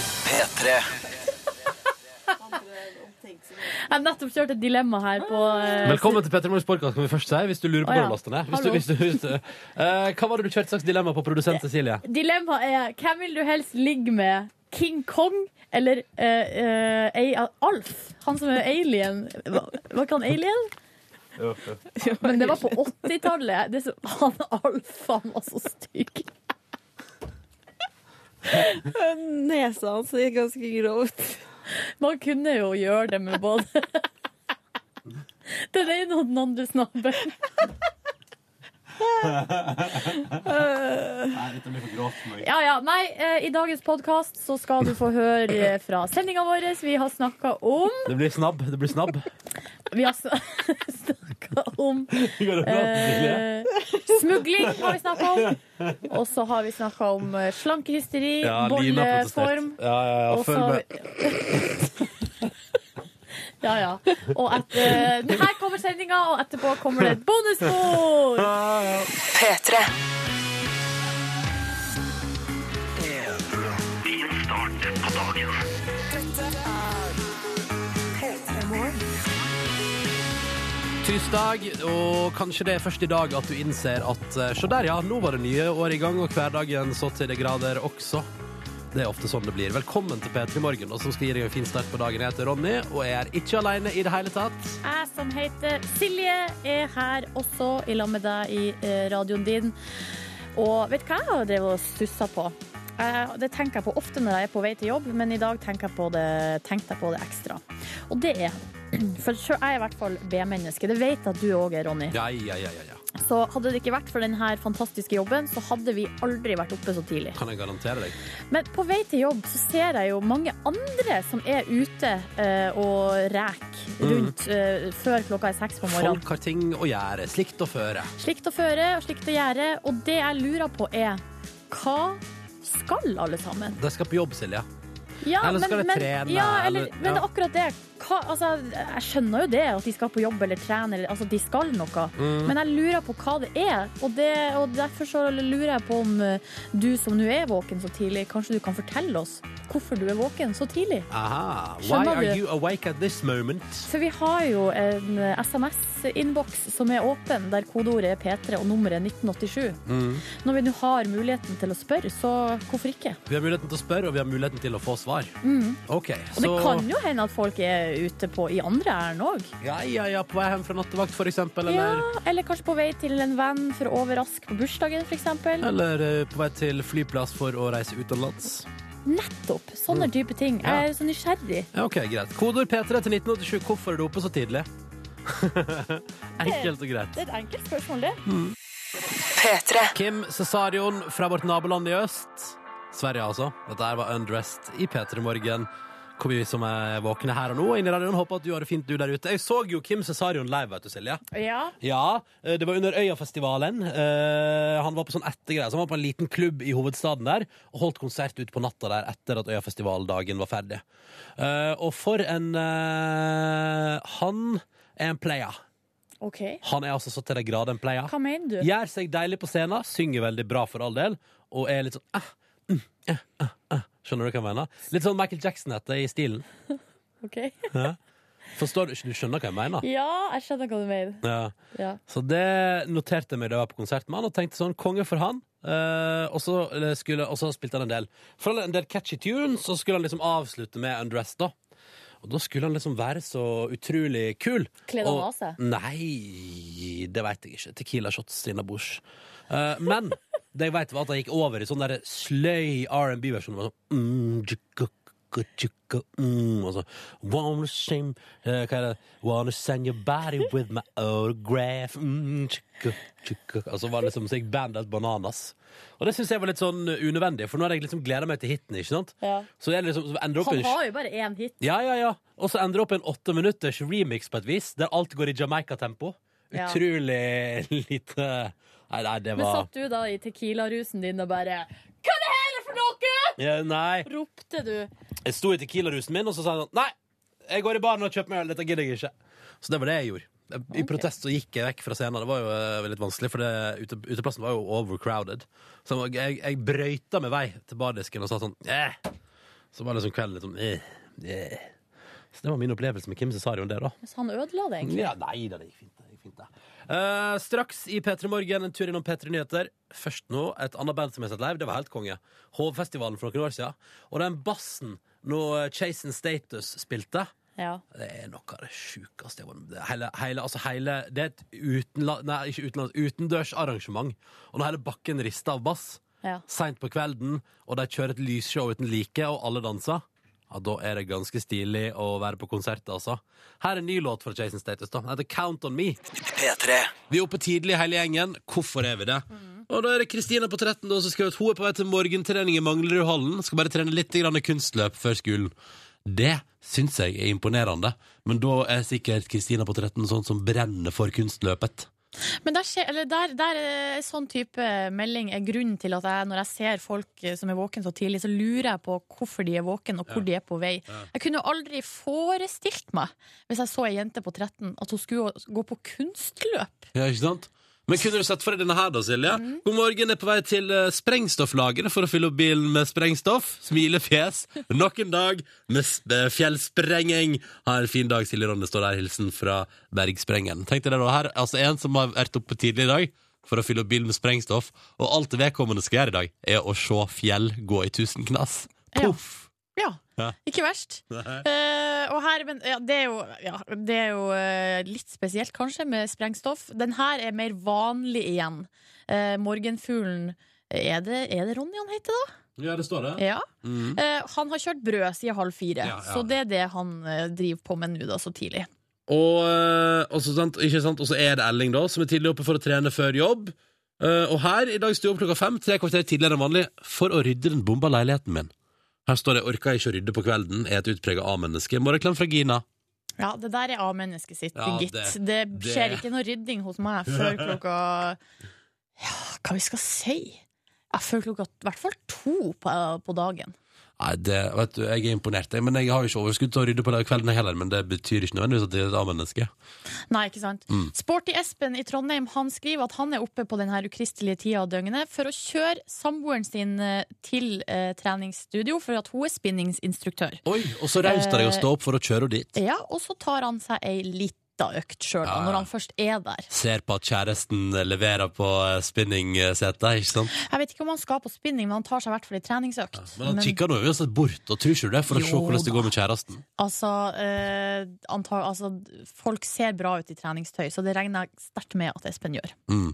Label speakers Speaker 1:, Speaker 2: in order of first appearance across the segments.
Speaker 1: P3.
Speaker 2: Jeg har nettopp kjørt et dilemma her på eh,
Speaker 3: Velkommen til Petter Morgens podcast, kan vi først si, hvis du lurer på
Speaker 2: Å, ja.
Speaker 3: når du laster ned. Hvis du,
Speaker 2: Hallo.
Speaker 3: hvis du, hvis du, Eh, hva var det du kjørte slags dilemma på produsent Cecilie?
Speaker 2: Dilemmaet er hvem vil du helst ligge med? King Kong eller eh, eh, A- Alf? Han som er alien. Var var ikke han alien? Men det var på 80-tallet. Det som- Han Alf han var så stygg.
Speaker 4: Nesa hans er ganske grov ut.
Speaker 2: Man kunne jo gjøre det med både den ene og den andre snabben.
Speaker 3: Nei, dette blir for grovt for meg.
Speaker 2: Ja, ja. Nei, eh, i dagens podkast så skal du få høre fra sendinga vår. Vi har snakka om
Speaker 3: Det blir snabb. Det blir snabb.
Speaker 2: Vi har snakka om
Speaker 3: Går det bra, Cecilie?
Speaker 2: Eh, smugling har vi snakka om. Og så har vi snakka om eh, slankehysteri,
Speaker 3: Ja, Line har
Speaker 2: bolleform.
Speaker 3: protestert. Ja, ja, ja.
Speaker 2: Og
Speaker 3: Følg
Speaker 2: så
Speaker 3: med.
Speaker 2: Ja, ja. Og et, eh, her kommer sendinga, og etterpå kommer det et bonusspor!
Speaker 5: P3.
Speaker 3: Tirsdag, og kanskje det er først i dag at du innser at eh, Se der, ja. Nå var det nye år i gang, og hverdagen så til de grader også. Det er ofte sånn det blir. Velkommen til P3 Morgen, og som skal gi deg en fin start på dagen. Jeg heter Ronny, og jeg er ikke alene i det hele tatt.
Speaker 2: Jeg som heter Silje, er her også i lag med deg i eh, radioen din. Og vet du hva jeg har drevet og stussa på? Eh, Det tenker jeg på ofte når jeg er på vei til jobb, men i dag tenker jeg på det, tenkte jeg på det ekstra. Og det er For selv- jeg er i hvert fall B-menneske. Det vet jeg at du òg er, Ronny.
Speaker 3: Ja, ja, ja, ja, ja.
Speaker 2: Så hadde det ikke vært for denne fantastiske jobben, så hadde vi aldri vært oppe så tidlig.
Speaker 3: Kan jeg garantere deg.
Speaker 2: Men på vei til jobb så ser jeg jo mange andre som er ute eh, og reker rundt eh, før klokka er seks på morgenen.
Speaker 3: Folk har ting å gjøre. Slikt å føre.
Speaker 2: Slikt å føre og slikt å gjøre. Og det jeg lurer på er hva skal alle sammen?
Speaker 3: De skal på jobb, Silje.
Speaker 2: Ja,
Speaker 3: Eller skal de trene,
Speaker 2: Ja, eller,
Speaker 3: eller-
Speaker 2: men
Speaker 3: ja.
Speaker 2: akkurat det. Hva, altså, jeg skjønner jo det, at de skal på jobb eller trene. Eller, altså, de skal noe.
Speaker 3: Mm.
Speaker 2: Men jeg lurer på hva det er. Og, det, og derfor så lurer jeg på om eh, du som nå er våken så tidlig, kanskje du kan fortelle oss hvorfor du er våken så tidlig?
Speaker 3: Aha. Why
Speaker 2: Skjønner
Speaker 3: are
Speaker 2: du?
Speaker 3: you awake at this moment?
Speaker 2: For vi har jo en SMS-innboks som er åpen, der kodeordet er P3 og nummeret er 1987.
Speaker 3: Mm.
Speaker 2: Når vi nå har muligheten til å spørre, så hvorfor ikke?
Speaker 3: Vi har muligheten til å spørre, og vi har muligheten til å få svar. OK,
Speaker 2: Mm. Og det kan jo hende at folk er ute på i andre ærend òg.
Speaker 3: Ja, ja, ja, på vei hjem fra nattevakt, for eksempel,
Speaker 2: Ja,
Speaker 3: eller
Speaker 2: eller kanskje på vei til en venn for å overraske på bursdagen, f.eks.
Speaker 3: Eller eh, på vei til flyplass for å reise utenlands.
Speaker 2: Nettopp. Sånne type ting.
Speaker 3: Mm. Ja.
Speaker 2: Jeg er så nysgjerrig.
Speaker 3: Ja, ok, greit. Kodord P3 til 1987. Hvorfor er du oppe så tidlig? Enkelt og greit.
Speaker 2: Det er et enkelt spørsmål, det.
Speaker 5: P3.
Speaker 3: Kim Cesarion fra vårt naboland i øst. Sverige, altså. Dette her var Undressed i P3 Morgen. Hvor vi som er våkne her og nå, inn i radioen. Håper at du har det fint, du der ute. Jeg så jo Kim Cesarion live, vet du, Silje.
Speaker 2: Ja.
Speaker 3: Ja, eh, det var under Øyafestivalen. Eh, Han var på sånn ettergreie, så han var på en liten klubb i hovedstaden der og holdt konsert ut på natta der etter at Øyafestivaldagen var ferdig. Eh, Og for en eh, Han er en player.
Speaker 2: OK.
Speaker 3: Han er altså så til de grader en player.
Speaker 2: Hva mener du?
Speaker 3: Gjør seg deilig på scenen, synger veldig bra for all del, og er litt sånn eh, mm, eh, eh, eh. Skjønner du hva jeg mener? Litt sånn Michael Jackson heter det i stilen.
Speaker 2: Ok.
Speaker 3: Forstår du? Du skjønner hva jeg mener?
Speaker 2: Ja, jeg skjønner hva du mener.
Speaker 3: Ja.
Speaker 2: Ja.
Speaker 3: Så det noterte jeg meg da jeg var på konsert med han, og tenkte sånn, konge for han. Eh, og, så, eh, skulle, og så spilte han en del. For en del catchy tunes, så skulle han liksom avslutte med Undressed, da. Og da skulle han liksom være så utrolig kul.
Speaker 2: Kledde han
Speaker 3: Og-
Speaker 2: av seg?
Speaker 3: Nei, det veit jeg ikke. Tequila shots innabords. Uh, men det jeg veit, var at han gikk over i sånn der sløy R&B-versjon. Sånn, mm, tjukka, tjukka, tjukka, mm, og så Wanna shame eh, Hva er det? Wanna send your body with my autograph mm, tjukka, tjukka. Og så var det liksom så gikk bandet helt bananas. Og det syns jeg var litt sånn unødvendig, for nå har jeg liksom gleda meg til hiten. ikke sant?
Speaker 2: Ja.
Speaker 3: Så jeg liksom, så ender det opp i
Speaker 2: Han
Speaker 3: en
Speaker 2: har jo bare én hit.
Speaker 3: ja, ja, ja. Og så ender det opp i en åtte minutters remix på et vis, der alt går i Jamaica-tempo.
Speaker 2: Ja.
Speaker 3: Utrolig lite Nei, nei, det
Speaker 2: Men
Speaker 3: var
Speaker 2: satt du da i Tequila-rusen din og bare Hva er det her for noe?!
Speaker 3: ja, Nei.
Speaker 2: ropte du.
Speaker 3: Jeg sto i Tequila-rusen min, og så sa jeg sånn Nei, jeg går i baren og kjøper meg øl. Dette gidder jeg ikke. Så det var det jeg gjorde. I protest så gikk jeg vekk fra scenen. Det var jo eh, litt vanskelig, for det, ute, uteplassen var jo overcrowded. Så jeg, jeg brøyta med vei til bardisken og sa sånn eh, Så var det liksom kvelden litt sånn eh, eh. Så det var min opplevelse med Kim Cesarion der, da.
Speaker 2: Mens han ødela deg.
Speaker 3: Ja, nei da, det gikk fint. Det gikk fint det. Eh, straks i P3 Morgen, en tur innom P3 Nyheter. Først nå et annet band som jeg har sett live. Det var helt konge. Hovfestivalen for noen år siden. Og den bassen når Chase and Status spilte,
Speaker 2: Ja.
Speaker 3: det er noe av det sjukeste jeg har vært med på. hele, hele, altså hele, Det er et utenla, nei, ikke utenlands, utendørs arrangement. Og når hele bakken rister av bass
Speaker 2: ja.
Speaker 3: seint på kvelden, og de kjører et lysshow uten like, og alle danser, ja, da er det ganske stilig å være på konsert, altså. Her er en ny låt fra Jason Status, da. Den heter Count On Me.
Speaker 1: P3.
Speaker 3: Vi er oppe tidlig hele gjengen. Hvorfor er vi det? Og da er det Kristina på 13 da, som skriver at hun er på vei til morgentrening i Manglerudhallen. Skal bare trene litt grann kunstløp før skolen. Det syns jeg er imponerende. Men da er sikkert Kristina på 13 sånn som brenner for kunstløpet.
Speaker 2: Men der, skje- eller der, der er sånn type melding er grunnen til at jeg, når jeg ser folk eh, som er våken så tidlig, så lurer jeg på hvorfor de er våken, og hvor de er på vei. Jeg kunne jo aldri forestilt meg, hvis jeg så ei jente på 13, at hun skulle gå på kunstløp.
Speaker 3: Ja, ikke sant? Men kunne du sett for deg denne her da, Silje?
Speaker 2: Mhm.
Speaker 3: God morgen, er på vei til eh, sprengstofflageret for å fylle opp bilen med sprengstoff. Smilefjes. Nok en dag med sp- fjellsprenging. Ha en fin dag, Silje Ronne står der. Hilsen fra Bergsprengen. Tenk deg det da her. Altså, en som har vært oppe tidlig i dag for å fylle opp bilen med sprengstoff, og alt det vedkommende skal gjøre i dag, er å se fjell gå i tusen knas.
Speaker 2: Ja.
Speaker 3: Poff!
Speaker 2: Ja,
Speaker 3: Ja.
Speaker 2: ikke verst.
Speaker 3: Nei.
Speaker 2: Eh, og her, men, ja, det er jo, ja, det er jo eh, litt spesielt, kanskje, med sprengstoff. Den her er mer vanlig igjen. Eh, morgenfuglen er det, er det Ronny han heter, da?
Speaker 3: Ja, det står det. Mm.
Speaker 2: Ja. Eh, han har kjørt brød siden halv fire,
Speaker 3: Ja, ja.
Speaker 2: så det er det han eh, driver på med nå, da, så tidlig.
Speaker 3: Og, eh, og så sant, ikke sant? og så er det Elling, da, som er tidlig oppe for å trene før jobb. Eh, og her i dag sto jeg opp klokka fem, tre kvarter tidligere enn vanlig, for å rydde den bomba leiligheten min. Her står det 'orka ikke å rydde på kvelden', er et utprega A-menneske. Morgenklem fra Gina.
Speaker 2: Ja, det der er A-mennesket sitt,
Speaker 3: Ja,
Speaker 2: gitt.
Speaker 3: det-
Speaker 2: Det,
Speaker 3: det-
Speaker 2: skjer ikke noe rydding hos meg før klokka Ja, hva vi skal si? Ja, før klokka i hvert fall to på, på dagen.
Speaker 3: Nei, det, vet du, jeg er imponert, jeg, men jeg har jo ikke overskudd til å rydde på den kvelden heller. Men det betyr ikke nødvendigvis at det er et A-menneske.
Speaker 2: Nei, ikke sant.
Speaker 3: Mm.
Speaker 2: Sporty Espen i Trondheim han skriver at han er oppe på denne ukristelige tida av døgnet for å kjøre samboeren sin eh, til eh, treningsstudio, for at hun er spinningsinstruktør.
Speaker 3: Oi, og så raust av deg å
Speaker 2: Eh,
Speaker 3: stå opp for å kjøre henne dit.
Speaker 2: Ja, og så tar han seg ei lita økt sjøl,
Speaker 3: Ja, ja.
Speaker 2: når han først er der.
Speaker 3: Ser på at kjæresten leverer på eh, spinningsetet, ikke sant?
Speaker 2: Jeg vet ikke om han skal på spinning, men han tar seg i hvert fall ei treningsøkt.
Speaker 3: Men han kikker nå uansett bort, og tror ikke du det, for å se
Speaker 2: Jo
Speaker 3: hvordan det
Speaker 2: da.
Speaker 3: går med kjæresten.
Speaker 2: altså, eh, anta- altså, folk ser bra ut i treningstøy, så det regner jeg sterkt med at Espen gjør.
Speaker 3: Mm.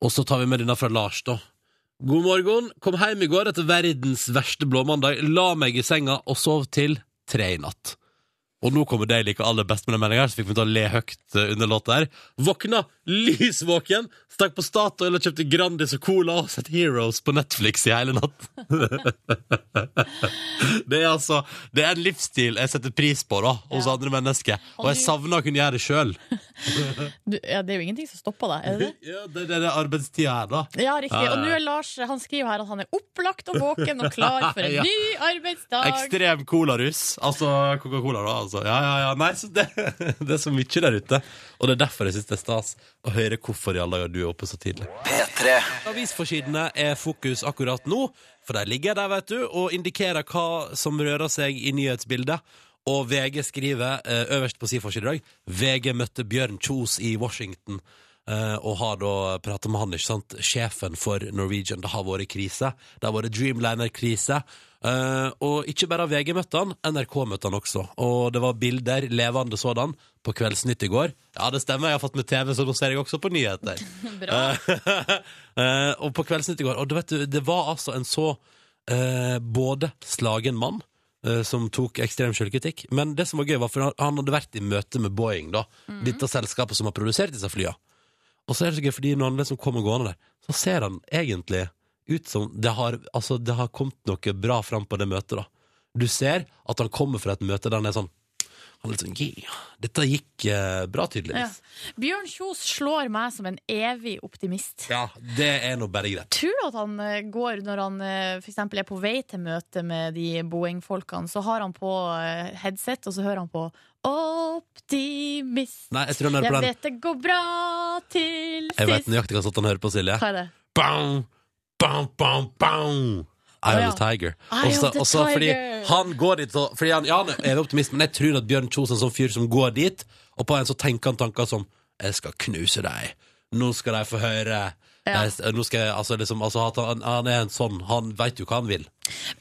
Speaker 3: Og så tar vi med denne fra Lars, da. God morgen. Kom hjem i går etter verdens verste blåmandag. La meg i senga og sov til tre i natt. Og nå kommer det jeg liker aller best med den meldinga, så fikk vi til å le høyt eh, under låta her. Våkna lysvåken, stakk på Statoil og kjøpte Grandis og Cola og sett Heroes på Netflix i hele natt. det er altså Det er en livsstil jeg setter pris på, da, hos
Speaker 2: Ja.
Speaker 3: andre mennesker. Og
Speaker 2: Og
Speaker 3: jeg
Speaker 2: du-
Speaker 3: savner å kunne gjøre det sjøl.
Speaker 2: Du, ja, det er jo ingenting som stopper deg, er det det?
Speaker 3: Ja, det det er det arbeidstida her, da.
Speaker 2: Ja, riktig.
Speaker 3: Ja, ja.
Speaker 2: Og nå er Lars han skriver her at han er opplagt og våken og klar for en
Speaker 3: Ja.
Speaker 2: ny arbeidsdag.
Speaker 3: Ekstrem colarus. Altså Coca-Cola, da. Altså. Ja, ja, ja. Nei, så det, det er så mye der ute. Og det er derfor jeg syns det er stas å høre hvorfor i alle dager du er oppe så tidlig.
Speaker 1: P3.
Speaker 3: Avisforsidene er fokus akkurat nå, for der ligger de, vet du, og indikerer hva som rører seg i nyhetsbildet. Og VG skriver eh, øverst på sin forside i dag VG møtte Bjørn Kjos i Washington. eh, og har da prata med han, ikke sant? sjefen for Norwegian. Det har vært krise. Det har vært Dreamliner-krise. Eh, og ikke bare har VG møtt han, NRK møtte han også. Og det var bilder, levende sådan, på Kveldsnytt i går. Ja, det stemmer, jeg har fått med TV, så nå ser jeg også på nyheter.
Speaker 2: Bra.
Speaker 3: Eh, og på Kveldsnytt i går. Og du vet, du, det var altså en så eh, både slagen mann eh, som tok ekstrem selvkritikk, men det som var gøy, var for han, han hadde vært i møte med Boeing, da. Dette selskapet som har produsert disse flyene. Og så er det så gøy, fordi når han liksom kommer gående der, så ser han egentlig ut som det har, altså, det har kommet noe bra fram på det møtet, da. Du ser at han kommer fra et møte der han er sånn han er litt sånn, yeah, Dette gikk eh, bra,
Speaker 2: Ja.
Speaker 3: tydeligvis.
Speaker 2: Bjørn Kjos slår meg som en evig optimist.
Speaker 3: Ja, det er nå bare greit.
Speaker 2: tror at han eh, går når han eh, for eksempel er på vei til møte med de Boeing-folkene, så har han på eh, headset, og så hører han på Optimist.
Speaker 3: Nei, jeg tror han er på
Speaker 2: Jeg
Speaker 3: den.
Speaker 2: vet det går bra til
Speaker 3: Jeg vet
Speaker 2: sist.
Speaker 3: nøyaktig hva sånn han hører på, Silje.
Speaker 2: Hva er det?
Speaker 3: Bang, bang, bang, bang. Eye
Speaker 2: Ja.
Speaker 3: of the Tiger.
Speaker 2: Eye
Speaker 3: Også-
Speaker 2: of the
Speaker 3: også fordi
Speaker 2: Tiger.
Speaker 3: han går dit så, fordi han, Ja, han er jo optimist, men jeg tror at Bjørn Kjos er en sånn fyr som går dit, og på en så tenker han tanker som 'Jeg skal knuse deg. Nå skal de få høre.'
Speaker 2: Ja.
Speaker 3: Jeg, nå skal jeg, altså, liksom, altså, at han, han er en sånn Han veit jo hva han vil.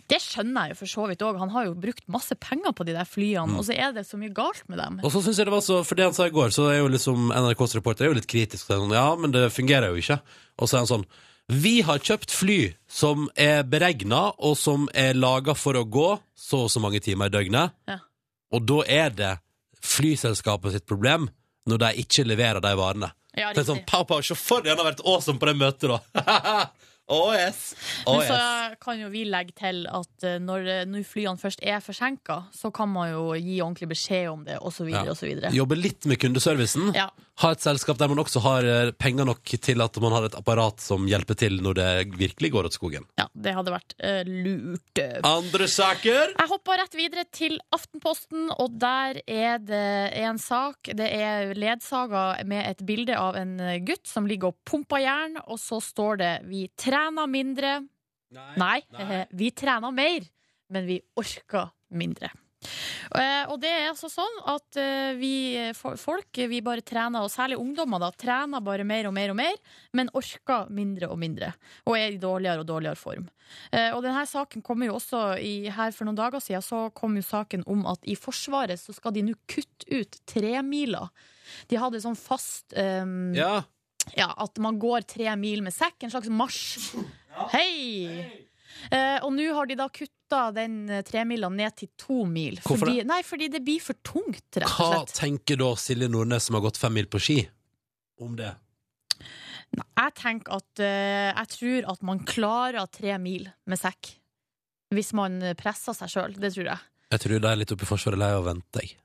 Speaker 2: Det skjønner jeg jo for så vidt òg. Han har jo brukt masse penger på de der
Speaker 3: Mm.
Speaker 2: flyene, og så er det så mye galt med dem.
Speaker 3: Og så synes jeg det var så, for det han sa i går, så er jo liksom NRKs reporter er jo litt kritisk. Så er han Sånn, ja, men det fungerer jo ikke. Og så er han sånn Vi har kjøpt fly som er beregna, og som er laga for å gå så og så mange timer i døgnet.
Speaker 2: Ja.
Speaker 3: Og da er det flyselskapet sitt problem når de ikke leverer de varene.
Speaker 2: Ja,
Speaker 3: det er sånn,
Speaker 2: riktig.
Speaker 3: Pow, pow, sjåføren har vært awesome på det møtet, da! oh yes! Oh,
Speaker 2: Men så
Speaker 3: yes.
Speaker 2: kan jo vi legge til at eh, når, eh, når flyene først er forsinka, så kan man jo gi ordentlig beskjed om det, osv.
Speaker 3: Ja.
Speaker 2: osv.
Speaker 3: Jobbe litt med kundeservicen.
Speaker 2: Ja.
Speaker 3: Ha et selskap der man også har eh, penger nok til at man har et apparat som hjelper til når det virkelig går åt skogen.
Speaker 2: ja, det hadde vært eh, lurt. eh,
Speaker 3: Andre saker?
Speaker 2: Jeg hoppa rett videre til Aftenposten, og der er det en sak. Det er ledsaga med et bilde av en gutt som ligger og pumper jern, og så står det 'Vi trener mindre'. Nei, eh, vi trener mer, men vi orker mindre. Eh, Og det er altså sånn at eh, vi fo- folk, eh, vi bare trener, og særlig ungdommer, da, trener bare mer og mer og mer, men orker mindre og mindre. Og er i dårligere og dårligere form. Eh, Og denne saken kommer jo også i, her for noen dager siden, så kom jo saken om at i Forsvaret så skal de nå kutte ut tremiler. De hadde sånn fast eh,
Speaker 3: Ja.
Speaker 2: ja, at man går tre mil med sekk, en slags marsj. Hei! Eh, og nå har de da kutta den eh, tremila ned til to mil.
Speaker 3: Hvorfor
Speaker 2: fordi, Nei, fordi det blir for tungt, rett og
Speaker 3: Hva
Speaker 2: slett.
Speaker 3: tenker da Silje Nordnes, som har gått fem mil på ski, om det?
Speaker 2: Nei, jeg tenker at eh, jeg tror at man klarer tre mil med sekk. Hvis man presser seg sjøl, det tror jeg.
Speaker 3: Jeg tror de er litt oppe i Forsvaret lei av å vente, jeg.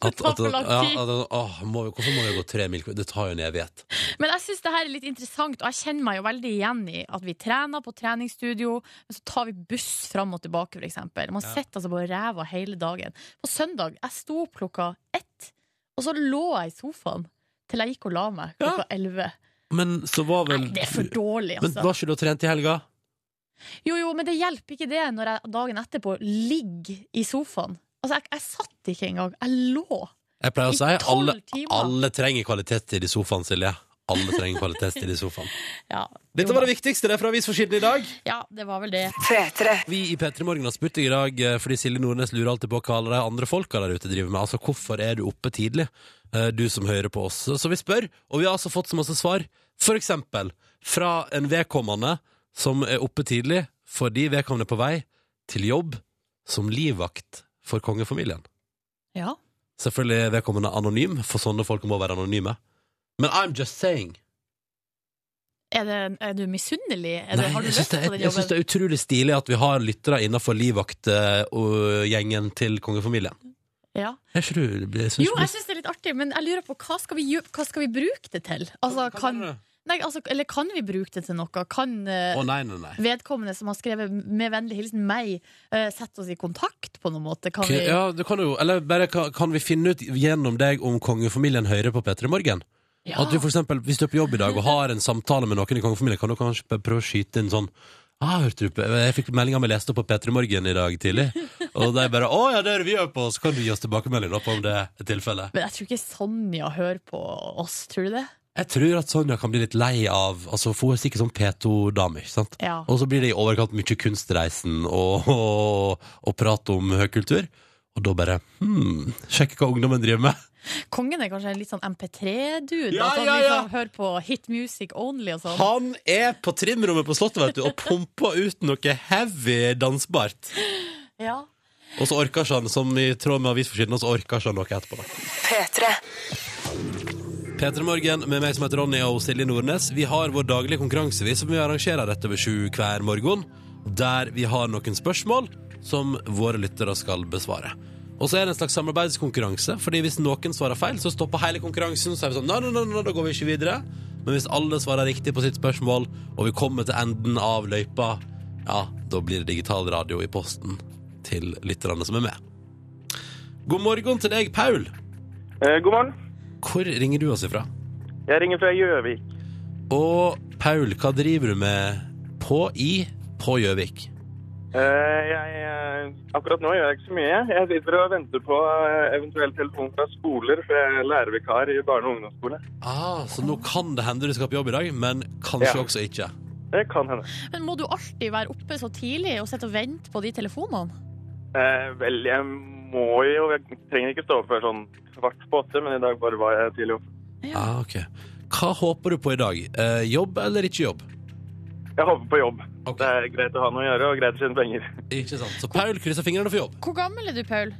Speaker 3: At,
Speaker 2: tar for lang
Speaker 3: ja,
Speaker 2: tid.
Speaker 3: at, åh, må vi, hvorfor må vi gå tre mil? Det tar jo en evighet.
Speaker 2: Men jeg syns det her er litt interessant, og jeg kjenner meg jo veldig igjen i at vi trener på treningsstudio, men så tar vi buss fram og tilbake, f.eks. Man
Speaker 3: Ja.
Speaker 2: sitter altså på ræva hele dagen. På søndag jeg sto opp klokka ett, og så lå jeg i sofaen til jeg gikk og la meg
Speaker 3: Ja.
Speaker 2: klokka elleve.
Speaker 3: Men så var vel
Speaker 2: Nei, det er for dårlig,
Speaker 3: Men
Speaker 2: altså.
Speaker 3: var ikke du og trente i helga?
Speaker 2: Jo, jo, men det hjelper ikke det når jeg dagen etterpå ligger i sofaen. Altså, jeg, jeg satt ikke engang. Jeg lå.
Speaker 3: Altså, Jeg pleier å
Speaker 2: I
Speaker 3: si alle,
Speaker 2: tolv timer.
Speaker 3: alle trenger kvalitetstid i sofaen, Silje. Alle trenger kvalitetstid i sofaen.
Speaker 2: Ja,
Speaker 3: Dette
Speaker 2: jo
Speaker 3: var
Speaker 2: da.
Speaker 3: det viktigste der fra avisforsiden i dag.
Speaker 2: ja, det var vel det.
Speaker 1: P3.
Speaker 3: Vi i P3 Morgen har spurt deg i dag, eh, fordi Silje Nordnes lurer alltid på hva alle de andre folka der ute driver med. Altså, hvorfor er du oppe tidlig, eh, du som hører på oss? Så vi spør, og vi har altså fått så masse svar. For eksempel fra en vedkommende som er oppe tidlig fordi vedkommende er på vei til jobb som livvakt for kongefamilien.
Speaker 2: Ja.
Speaker 3: Selvfølgelig vedkommende anonym, for sånne folk må være anonyme. Men I'm just saying.
Speaker 2: Er, det, er du misunnelig? Er
Speaker 3: Nei,
Speaker 2: det, har du
Speaker 3: jeg
Speaker 2: lyst
Speaker 3: syns det,
Speaker 2: på den
Speaker 3: jeg synes
Speaker 2: jobben?
Speaker 3: det er utrolig stilig at vi har lyttere innenfor livvaktgjengen til kongefamilien. altså,
Speaker 2: Ja.
Speaker 3: Er ikke du jeg synes
Speaker 2: Jo,
Speaker 3: du-
Speaker 2: jeg syns det er litt artig, men jeg lurer på hva skal vi, gjø- hva skal vi bruke det til? Altså, kan, nei, altså, eller kan vi bruke det til noe? Kan eh,
Speaker 3: Å, nei, nei, nei.
Speaker 2: vedkommende som har skrevet 'med vennlig hilsen meg', eh, sette oss i kontakt på noen måte? Kan
Speaker 3: Ok,
Speaker 2: vi,
Speaker 3: Ja, du kan jo Eller bare kan, kan vi finne ut gjennom deg om kongefamilien hører på P3 Morgen?
Speaker 2: Ja.
Speaker 3: At du for eksempel, hvis du er på jobb i dag og har en samtale med noen i kongefamilien, kan du kanskje p- prøve å skyte inn sånn ah, hørte du, på- Jeg fikk meldinga vi leste opp på P3 Morgen i dag tidlig, og de bare 'Å ja, det hører vi jo på', så kan du gi oss tilbakemelding da på om det er tilfellet.
Speaker 2: Men jeg tror ikke Sonja hører på oss, tror du det?
Speaker 3: Jeg tror at Sonja kan bli litt lei av Altså, for hun er sikkert sånn P2-dame, ikke sant?
Speaker 2: Ja.
Speaker 3: Og så blir det i overkant mye kunstreisen og, og, og prat om høykultur. Og da bare hmm, sjekke hva ungdommen driver med.
Speaker 2: Kongen er kanskje en litt sånn MP3-dude?
Speaker 3: Ja,
Speaker 2: at han
Speaker 3: ja, ja.
Speaker 2: liksom hører på hit music only og sånn?
Speaker 3: Han er på trimrommet på Slottet vet du, og pumper ut noe heavy dansbart.
Speaker 2: Ja.
Speaker 3: Og så orker ikke han, som i tråd med avisforsiden, og så orker ikke han noe etterpå. da.
Speaker 1: P3.
Speaker 3: P3 Morgen med meg som heter Ronny og Silje Nordnes. Vi har vår daglige konkurranse vi, som vi arrangerer rett over sju hver morgen, der vi har noen spørsmål som våre lyttere skal besvare. Og så er det en slags samarbeidskonkurranse, fordi hvis noen svarer feil, så stopper hele konkurransen. Så er vi sånn nei, nei, nei, nei, da går vi ikke videre. Men hvis alle svarer riktig på sitt spørsmål, og vi kommer til enden av løypa, ja, da blir det digital radio i posten til lytterne som er med. God morgen til deg, Paul.
Speaker 6: Eh, God morgen.
Speaker 3: Hvor ringer du oss ifra?
Speaker 6: Jeg ringer fra Gjøvik.
Speaker 3: Og Paul, hva driver du med på i på Gjøvik?
Speaker 6: Eh, jeg, eh, akkurat nå gjør jeg ikke så mye. Jeg sitter og venter på eh, eventuell telefon fra skoler, for jeg er lærervikar i barne- og ungdomsskole.
Speaker 3: Ah, så nå kan det hende du skal på jobb i dag, men kanskje
Speaker 6: Ja.
Speaker 3: også ikke.
Speaker 6: Det kan hende.
Speaker 2: Men må du alltid være oppe så tidlig og sitte og vente på de telefonene?
Speaker 6: Eh, vel, jeg må jo Jeg trenger ikke stå opp før sånn kvart på åtte, men i dag bare var jeg tidlig oppe.
Speaker 2: Ja.
Speaker 3: Ah, ok. Hva håper du på i dag? Eh, jobb eller ikke jobb?
Speaker 6: Jeg håper på jobb.
Speaker 3: Ok.
Speaker 6: Det er greit å ha noe å gjøre og greit å tjene penger.
Speaker 3: Ikke sant. Så Paul krysser fingrene for jobb.
Speaker 2: Hvor gammel er du, Paul?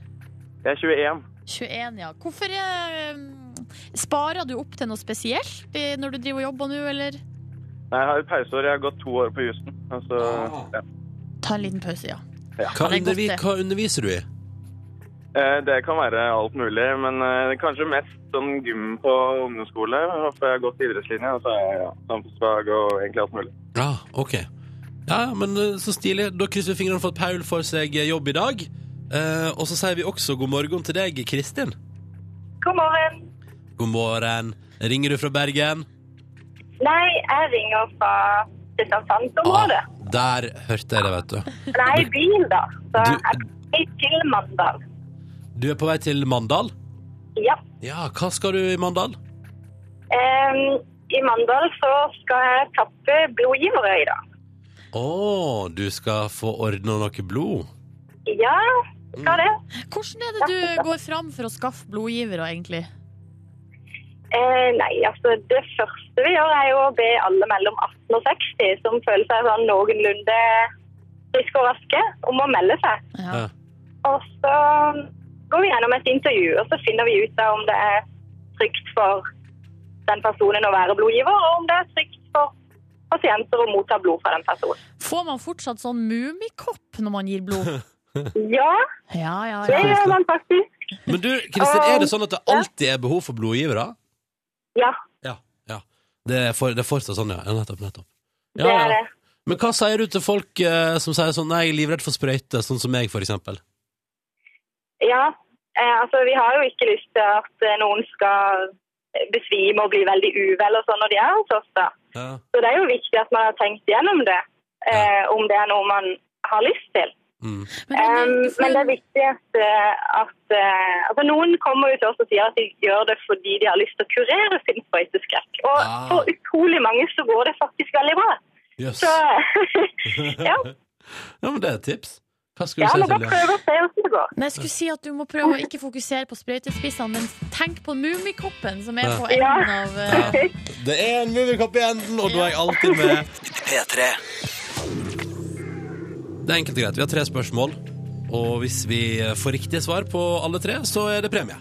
Speaker 6: Jeg er 21.
Speaker 2: 21, ja. Hvorfor eh, sparer du opp til noe spesielt eh, når du driver og jobber nå, eller?
Speaker 6: Nei, jeg har et pauseår. Jeg har gått to år på jussen. Altså,
Speaker 3: Ah.
Speaker 6: ja.
Speaker 2: Ta en liten pause, ja.
Speaker 3: Hva,
Speaker 2: Ja, det er godt,
Speaker 3: undervi
Speaker 2: det.
Speaker 3: hva underviser du i?
Speaker 6: Eh, Det kan være alt mulig, men eh, kanskje mest sånn gym på ungdomsskole. For jeg har gått idrettslinja, og så er jeg ja, samfunnsfag og egentlig alt mulig.
Speaker 3: Ja, Ah, ok. Ja, ja, men eh, så stilig. Da krysser vi fingrene for at Paul får seg eh, jobb i dag. Eh, og så sier vi også god morgen til deg, Kristin.
Speaker 7: God morgen.
Speaker 3: God morgen. Ringer du fra Bergen?
Speaker 7: Nei, jeg ringer fra Kristiansandsområdet.
Speaker 3: Ah, der hørte jeg det, vet du.
Speaker 7: Nei, bil, da. Så
Speaker 3: Du-
Speaker 7: jeg er til Mandal.
Speaker 3: Du er på vei til Mandal?
Speaker 7: Ja.
Speaker 3: Ja, hva skal du i Mandal?
Speaker 7: Em, I Mandal så skal jeg tappe blodgivere i dag.
Speaker 3: Å, du skal få ordna noe blod.
Speaker 7: Ja, skal det.
Speaker 2: Hvordan er det du går fram for å skaffe blodgivere, egentlig?
Speaker 7: Eh, nei, altså det første vi gjør er jo å be alle mellom 18 og 60 som føler seg sånn noenlunde friske og raske, om å melde seg.
Speaker 2: Ja.
Speaker 3: Ja.
Speaker 7: Og så går vi gjennom et intervju, og så finner vi ut av om det er trygt for den personen å være blodgiver, og om det er trygt for pasienter å motta blod fra den personen.
Speaker 2: Får man fortsatt sånn mumikopp når man gir blod?
Speaker 7: Ja,
Speaker 2: Ja, ja,
Speaker 7: det
Speaker 2: ja.
Speaker 7: gjør man faktisk.
Speaker 3: Men du, Kristin, er det sånn at det alltid er behov for blodgivere?
Speaker 7: Ja,
Speaker 3: Ja. ja. Det, er for, det er fortsatt sånn, ja. ja nettopp, nettopp.
Speaker 7: det er det.
Speaker 3: Men hva sier du til folk eh, som sier sånn 'nei, jeg er livredd for sprøyter', sånn som meg, for eksempel?
Speaker 7: Ja, eh, altså vi har jo ikke lyst til at eh, noen skal besvime og bli veldig uvel og sånn når de er hos oss da.
Speaker 3: Ja.
Speaker 7: Så det er jo viktig at man har tenkt gjennom det, eh, om det er noe man har lyst til.
Speaker 3: Mm.
Speaker 2: Men Ronny,
Speaker 7: Um,
Speaker 2: du får
Speaker 7: men det
Speaker 2: jo-
Speaker 7: er viktig at, eh, at eh, altså Noen kommer jo til oss og sier at de gjør det fordi de har lyst til å kurere sin sprøyteskrekk. Og
Speaker 3: Ah.
Speaker 7: for utrolig mange så går det faktisk veldig bra.
Speaker 3: Jøss.
Speaker 7: Så ja,
Speaker 3: Ja, men det er et tips. Hva skulle
Speaker 7: ja
Speaker 3: du
Speaker 7: men
Speaker 3: si
Speaker 7: da
Speaker 3: til det?
Speaker 7: prøver vi å se hvordan det går.
Speaker 2: Nei, jeg skulle si at du må prøve å ikke fokusere på sprøytespissene, men tenk på mumikoppen som er
Speaker 3: Ja.
Speaker 2: på enden
Speaker 7: Ja.
Speaker 2: av eh,
Speaker 3: Det er en mummikopp i enden, og da er jeg alltid med.
Speaker 1: P3.
Speaker 3: Det er enkelt og greit. Vi har tre spørsmål, og hvis vi får riktige svar på alle tre, så er det premie.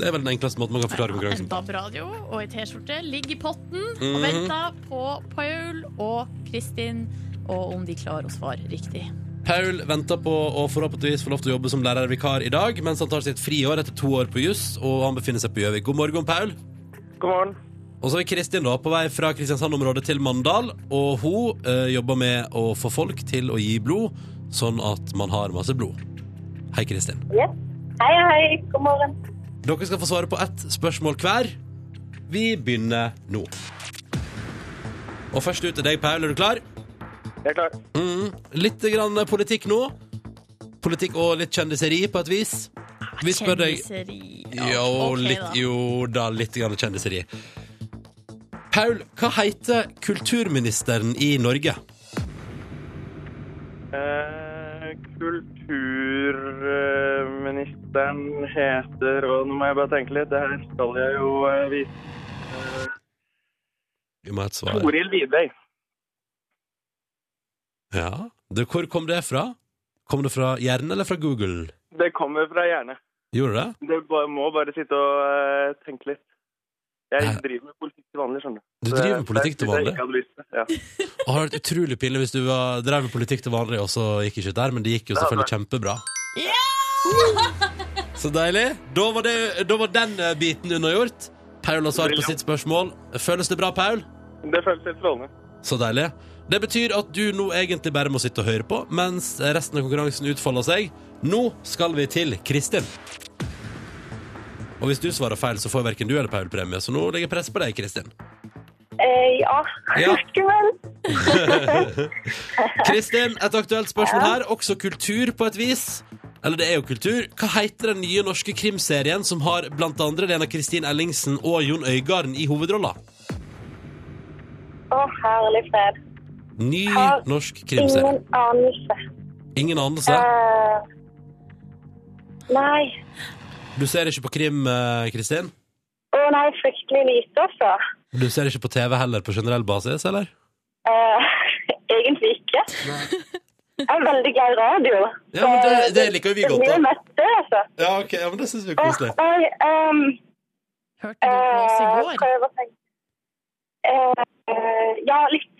Speaker 3: Det er vel den enkleste måten man kan forklare konkurransen
Speaker 2: en
Speaker 3: på.
Speaker 2: DAB-radio og ei T-skjorte. Ligger i potten og
Speaker 3: Mhm.
Speaker 2: venter på Paul og Kristin, og om de klarer å svare riktig.
Speaker 3: Paul venter på å forhåpentligvis få lov til å jobbe som lærervikar i dag, mens han tar sitt friår etter to år på juss, og han befinner seg på Gjøvik. God morgen, Paul.
Speaker 6: God morgen.
Speaker 3: Og så er Kristin da på vei fra Kristiansand-området til Mandal, og hun eh, jobber med å få folk til å gi blod, sånn at man har masse blod. Hei, Kristin.
Speaker 7: Yes. Hei, hei. God morgen.
Speaker 3: Dere skal få svare på ett spørsmål hver. Vi begynner nå. Og først ut til deg, Paul. Er du klar?
Speaker 6: Jeg er klar.
Speaker 3: Mm. Litt grann politikk nå. Politikk og litt kjendiseri, på et vis. Vi spør deg
Speaker 2: Ah, Kjendiseri. Ja,
Speaker 3: Jo,
Speaker 2: ok,
Speaker 3: litt,
Speaker 2: da.
Speaker 3: jo da, litt grann kjendiseri. Paul, hva heter kulturministeren i Norge?
Speaker 6: Eh, kulturministeren heter Og nå må jeg bare tenke litt. Det her skal jeg jo eh, vise.
Speaker 3: Vi må ha et svar.
Speaker 6: Toril Vidvei.
Speaker 3: Ja. Du, hvor kom det fra? Kom det fra hjernen eller fra Google?
Speaker 6: Det kommer fra hjerne.
Speaker 3: Gjorde det?
Speaker 6: Det ba- må bare sitte og eh, tenke litt. Jeg
Speaker 3: Nei.
Speaker 6: driver med politikk til vanlig, skjønner du.
Speaker 3: Du
Speaker 6: Så
Speaker 3: driver
Speaker 6: det-
Speaker 3: med politikk til
Speaker 6: Eh, det er
Speaker 3: vanlig?
Speaker 6: det jeg ikke hadde lyst til. Ja.
Speaker 3: Det hadde vært utrolig pinlig hvis du var, drev med politikk til vanlig, og så gikk ikke ut der, men det gikk jo selvfølgelig kjempebra. Så deilig. Da var, det, da var den eh, biten unnagjort. Paul har svart på sitt spørsmål. Føles det bra, Paul?
Speaker 6: Det føles helt strålende.
Speaker 3: Så deilig. Det betyr at du nå egentlig bare må sitte og høre på, mens resten av konkurransen utfolder seg. Nå skal vi til Kristin. Og hvis du svarer feil, så får verken du eller Paul premie, så nå legger jeg press på deg, Kristin.
Speaker 7: Eh, Eh, ja,
Speaker 3: Ja.
Speaker 7: kanskje vel.
Speaker 3: Kristin, et aktuelt spørsmål her. Også kultur på et vis. Eller det er jo kultur. Hva heter den nye norske krimserien som har blant andre Lena Kristin Ellingsen og Jon Øigarden i hovedrolla?
Speaker 7: Å, herlig fred.
Speaker 3: Ny
Speaker 7: Har
Speaker 3: norsk krimserie.
Speaker 7: Ingen anelse.
Speaker 3: Ingen anelse.
Speaker 7: Eh, nei.
Speaker 3: Du ser ikke på krim, eh, Kristin?
Speaker 7: Å nei, fryktelig lite, altså.
Speaker 3: Du ser ikke på TV heller på generell basis, eller?
Speaker 7: Eh, egentlig ikke. Jeg er veldig glad i radio.
Speaker 3: Ja, men det- det liker jo vi godt, da.
Speaker 7: da. Det, altså.
Speaker 3: Ja, ok, ja, men det syns vi er
Speaker 7: Åh, nei, ehm,
Speaker 2: Hørte du på oss
Speaker 7: eh,
Speaker 2: i går?
Speaker 7: prøv å tenke. Eh, eh, ja, litt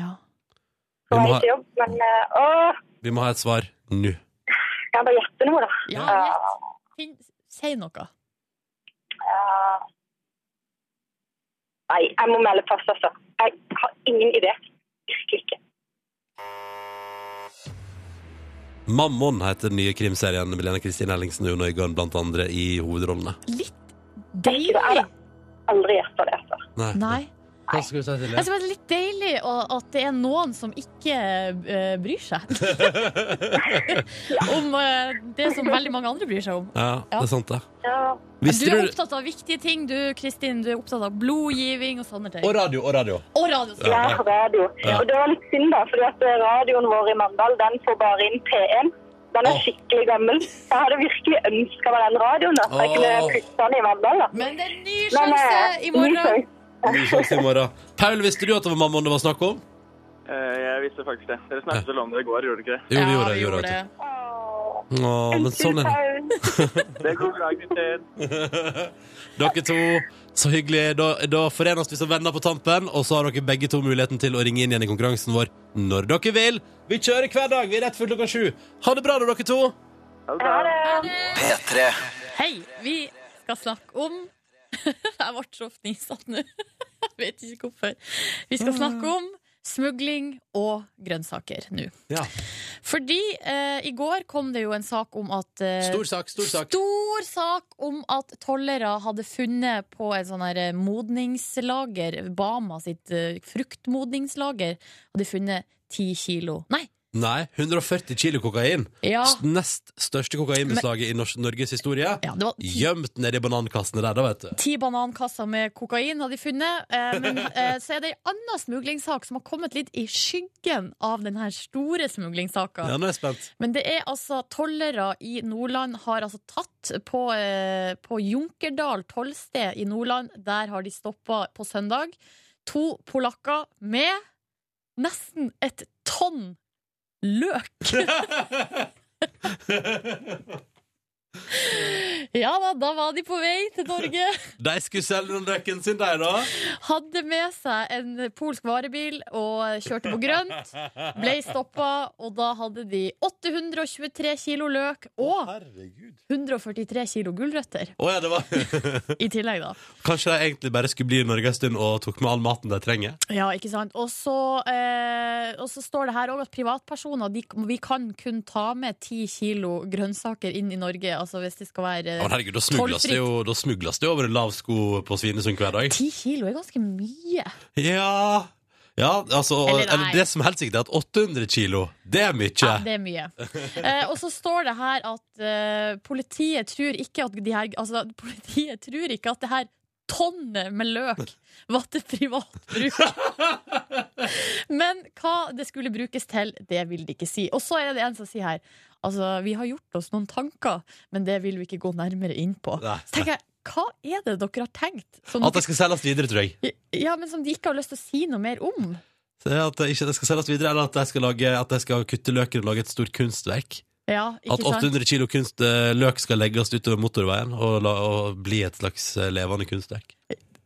Speaker 2: Ja.
Speaker 3: Vi
Speaker 7: på
Speaker 3: må
Speaker 7: vei
Speaker 3: ha-
Speaker 7: til jobb, men eh, åh,
Speaker 3: Vi må ha et svar nå.
Speaker 7: jeg kan bare gjette noe, da.
Speaker 2: ja
Speaker 7: Eh,
Speaker 2: gjett. Finn- Si noe.
Speaker 7: eh, nei, jeg må melde pass, altså. Jeg har ingen idé. Virkelig ikke.
Speaker 3: Mammon heter den nye krimserien med Lena Kristin Ellingsen og Jon Øigarden blant andre i hovedrollene.
Speaker 2: Litt deilig.
Speaker 7: Aldri gjetta det, altså.
Speaker 3: Nei.
Speaker 2: Nei. Altså,
Speaker 8: Hva skal du si til
Speaker 2: Jeg synes det er litt deilig å- at det er noen som ikke eh, bryr seg om eh, det som veldig mange andre bryr seg om.
Speaker 3: Ja, det er sant, det.
Speaker 7: Ja.
Speaker 3: Visste
Speaker 2: du er
Speaker 3: du-
Speaker 2: opptatt av viktige ting, du, Kristin. Du er opptatt av blodgiving og sånne ting.
Speaker 8: Og radio, og radio.
Speaker 2: Og radio.
Speaker 3: Ja.
Speaker 7: Ja, radio.
Speaker 3: Ja.
Speaker 7: Og det var litt synd, da, fordi at eh, radioen vår i Mandal den får bare inn P1. Den er
Speaker 3: Åh.
Speaker 7: skikkelig gammel. Jeg hadde virkelig ønska meg den radioen. da, så jeg kunne
Speaker 3: Åh.
Speaker 7: putte den i Mandal. da.
Speaker 2: Men det er en ny
Speaker 7: Men,
Speaker 2: sjanse
Speaker 7: eh,
Speaker 2: i morgen.
Speaker 7: ny
Speaker 3: Ny sjanse i morgen. Paul, visste du at det var mammon det var snakk om?
Speaker 6: Eh, jeg visste faktisk det. Dere snakket vel om det i går, gjorde dere ikke det?
Speaker 3: Jo, det gjorde
Speaker 2: Ja,
Speaker 3: det.
Speaker 2: vi
Speaker 3: Gjorde det.
Speaker 2: det.
Speaker 7: Åh,
Speaker 3: Åh, men sånn er det.
Speaker 7: Paul.
Speaker 6: Det går bra, gutter.
Speaker 3: Dere to, så hyggelig. Da, da forenes vi som venner på tampen, og så har dere begge to muligheten til å ringe inn igjen i konkurransen vår når dere vil. Vi kjører hver dag. Vi er rett før klokka sju. Ha det bra, da, dere to.
Speaker 6: Ha det bra.
Speaker 9: P3.
Speaker 2: Hei, vi skal snakke om Jeg ble så fnisete nå. Jeg vet ikke hvorfor. Vi
Speaker 3: Mm.
Speaker 2: skal snakke om smugling og grønnsaker nå.
Speaker 3: Ja.
Speaker 2: Fordi eh, i går kom det jo en sak om at eh,
Speaker 3: Stor sak, stor sak.
Speaker 2: Stor sak om at tollere hadde funnet på et sånn her modningslager, Bama sitt eh, fruktmodningslager, hadde funnet ti kilo Nei!
Speaker 3: Nei, 140 kilo kokain.
Speaker 2: Ja.
Speaker 3: S- Nest største kokainbeslaget i nors- Norges historie.
Speaker 2: ja det var ti,
Speaker 3: Gjemt nedi banankassene der, da, vet du.
Speaker 2: ti banankasser med kokain hadde de funnet. Eh, men eh, så er det ei anna smuglingssak som har kommet litt i skyggen av den her store smuglingssaka.
Speaker 3: Ja, nå er jeg spent.
Speaker 2: Men det er altså tollere i Nordland har altså tatt på, eh, på Junkerdal tollsted i Nordland. Der har de stoppa på søndag to polakker med nesten et tonn løk. ja da, da var de på vei til Norge.
Speaker 3: De skulle selge den røkken sin, de, da.
Speaker 2: Hadde med seg en polsk varebil og kjørte på grønt. Ble stoppa, og da hadde de 823 kilo løk og
Speaker 3: Herregud.
Speaker 2: 143 kilo gulrøtter
Speaker 3: Å ja, det var
Speaker 2: i tillegg, da.
Speaker 3: Kanskje de egentlig bare skulle bli i Norge en stund og tok med all maten de trenger?
Speaker 2: Ja, ikke sant. Og så, eh, og så står det her òg at privatpersoner de, vi kan kun ta med ti kilo grønnsaker inn i Norge. Altså hvis det skal være
Speaker 3: Ja, men herregud, Da smugles det jo, da smugles det jo over en lav sko på Svinesund hver dag.
Speaker 2: Ti kilo er ganske mye.
Speaker 3: Ja, ja altså
Speaker 2: Eller
Speaker 3: eller,
Speaker 2: nei.
Speaker 3: Det som er helt sikkert, er at 800 kilo, det er mye.
Speaker 2: Ja, det er mye. Eh, og så står det her at eh, politiet tror ikke at de her Altså, politiet tror ikke at det her tonnet med løk var til privat bruk. Men hva det skulle brukes til, det vil de ikke si. Og så er det en som sier her Altså, vi har gjort oss noen tanker, men det vil vi ikke gå nærmere inn på.
Speaker 3: Nei.
Speaker 2: Så tenker jeg, hva er det dere har tenkt som,
Speaker 3: At det skal selges videre, tror jeg.
Speaker 2: ja, men som de ikke har lyst til å si noe mer om?
Speaker 3: Så At det ikke det skal selges videre, Eller at de skal, lage, at de skal kutte løken og lage et stort kunstverk.
Speaker 2: Ja,
Speaker 3: At
Speaker 2: ikke sant?
Speaker 3: 800 kilo kunst, eh, løk skal legges utover motorveien og, la, og bli et slags eh, levende kunstverk.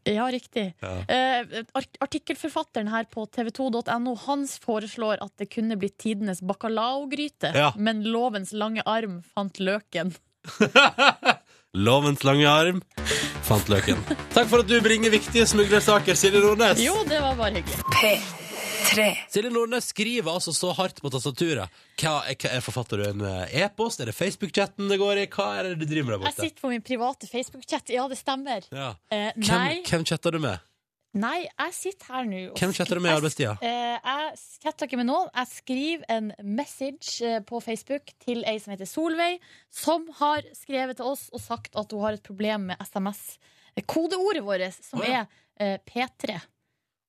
Speaker 2: Ja, riktig.
Speaker 3: Ja.
Speaker 2: Eh, art- Artikkelforfatteren her på tv2.no Han foreslår at det kunne blitt tidenes bacalaogryte,
Speaker 3: Ja.
Speaker 2: men lovens lange arm fant løken.
Speaker 3: Lovens lange arm fant løken. Takk for at du bringer viktige smuglersaker, Silje Nordnes.
Speaker 2: Jo, det var bare hyggelig.
Speaker 1: P3.
Speaker 3: Silje Nordnes skriver altså så hardt på tastaturet. Hva, hva er Forfatter du en eh, e-post? Er det Facebook-chatten det går i? Hva er det du driver med der
Speaker 2: Jeg
Speaker 3: borte?
Speaker 2: sitter på min private Facebook-chat. Ja, det stemmer.
Speaker 3: Ja.
Speaker 2: Eh,
Speaker 3: Hvem,
Speaker 2: nei,
Speaker 3: hvem chatter du med?
Speaker 2: Nei, jeg sitter her nå og
Speaker 3: Hvem chatter du med i arbeidstida?
Speaker 2: Eh, jeg chatter ikke med noen. Jeg skriver en message eh, på Facebook til ei som heter Solveig, som har skrevet til oss og sagt at hun har et problem med SMS. Kodeordet vårt, som
Speaker 3: Å, ja.
Speaker 2: er eh, P3.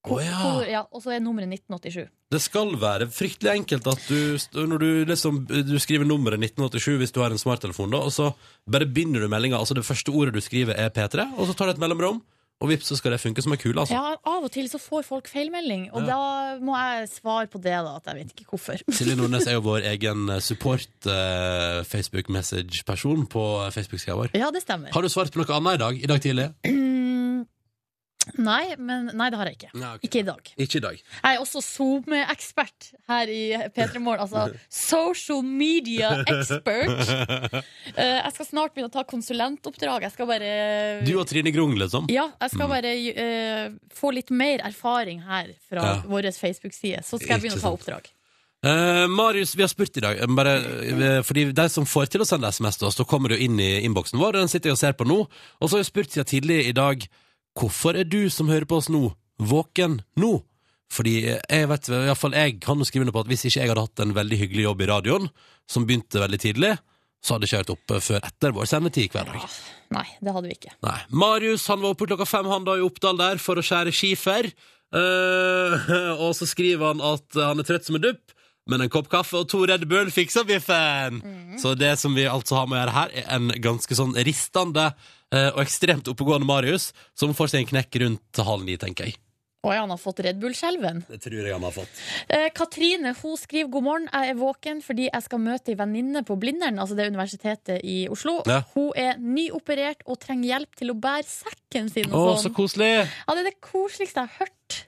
Speaker 3: Å, ja.
Speaker 2: Kodeord- ja, og så er nummeret 1987.
Speaker 3: Det skal være fryktelig enkelt at du, st- når du, liksom, du skriver nummeret 1987 hvis du har en smarttelefon, da, og så bare begynner du meldinga. Altså det første ordet du skriver, er P3, og så tar du et mellomrom, og vips, så skal det funke som en kule. Altså.
Speaker 2: Ja, av og til så får folk feilmelding, og
Speaker 3: Ja.
Speaker 2: da må jeg svare på det, da, at jeg vet ikke hvorfor.
Speaker 3: Silje Nordnes er jo vår egen eh, support-Facebook-message-person på Facebook-sida vår.
Speaker 2: Ja, det stemmer.
Speaker 3: Har du svart på noe annet i dag? I dag tidlig?
Speaker 2: Mm, nei, men Nei, det har jeg ikke.
Speaker 3: Nei, ok.
Speaker 2: Ikke i dag.
Speaker 3: Ikke i dag.
Speaker 2: Jeg er også SoMe-ekspert her i P3 Morgen. Altså social media expert. Eh, Jeg skal snart begynne å ta konsulentoppdrag. Jeg skal bare
Speaker 3: Du og Trine Grung, liksom?
Speaker 2: ja, jeg skal bare eh, få litt mer erfaring her fra
Speaker 3: Ja.
Speaker 2: vår Facebook-side. Så skal jeg
Speaker 3: Ikke
Speaker 2: begynne å ta
Speaker 3: sant.
Speaker 2: oppdrag.
Speaker 3: Eh, Marius, vi har spurt i dag eh, bare, eh, Fordi de som får til å sende sms til oss Da kommer det jo inn i innboksen vår og Den sitter jeg og ser på nå Og så har vi spurt siden tidlig i dag Hvorfor er du som hører på oss nå Våken nå? Fordi eh, jeg vet, i hvert fall jeg kan jo skrive under på at Hvis ikke jeg hadde hatt en veldig hyggelig jobb i radioen Som begynte veldig tidlig Så hadde jeg kjørt opp eh, før etter vår sendetid hver dag
Speaker 2: Nei, det hadde vi ikke.
Speaker 3: Nei. Marius han var oppe klokka fem han da i Oppdal der for å skjære skifer. Eh, og så skriver han at han er trøtt som en dupp, men en kopp kaffe og to Red Bull fikser biffen!
Speaker 2: Mhm.
Speaker 3: Så det som vi altså har med å gjøre her, er en ganske sånn ristende eh, og ekstremt oppegående Marius som får seg en knekk rundt halv ni, tenker jeg.
Speaker 2: Å ja, han har fått Red Bull-skjelven.
Speaker 3: Det tror jeg han har fått.
Speaker 2: Eh, Katrine hun skriver god morgen. Jeg er våken fordi jeg skal møte ei venninne på Blindern, altså det er universitetet i Oslo.
Speaker 3: Ja.
Speaker 2: Hun er nyoperert og trenger hjelp til å bære sekken sin.
Speaker 3: Å,
Speaker 2: og
Speaker 3: så
Speaker 2: sånn.
Speaker 3: koselig!
Speaker 2: Ja, det er det koseligste jeg har hørt.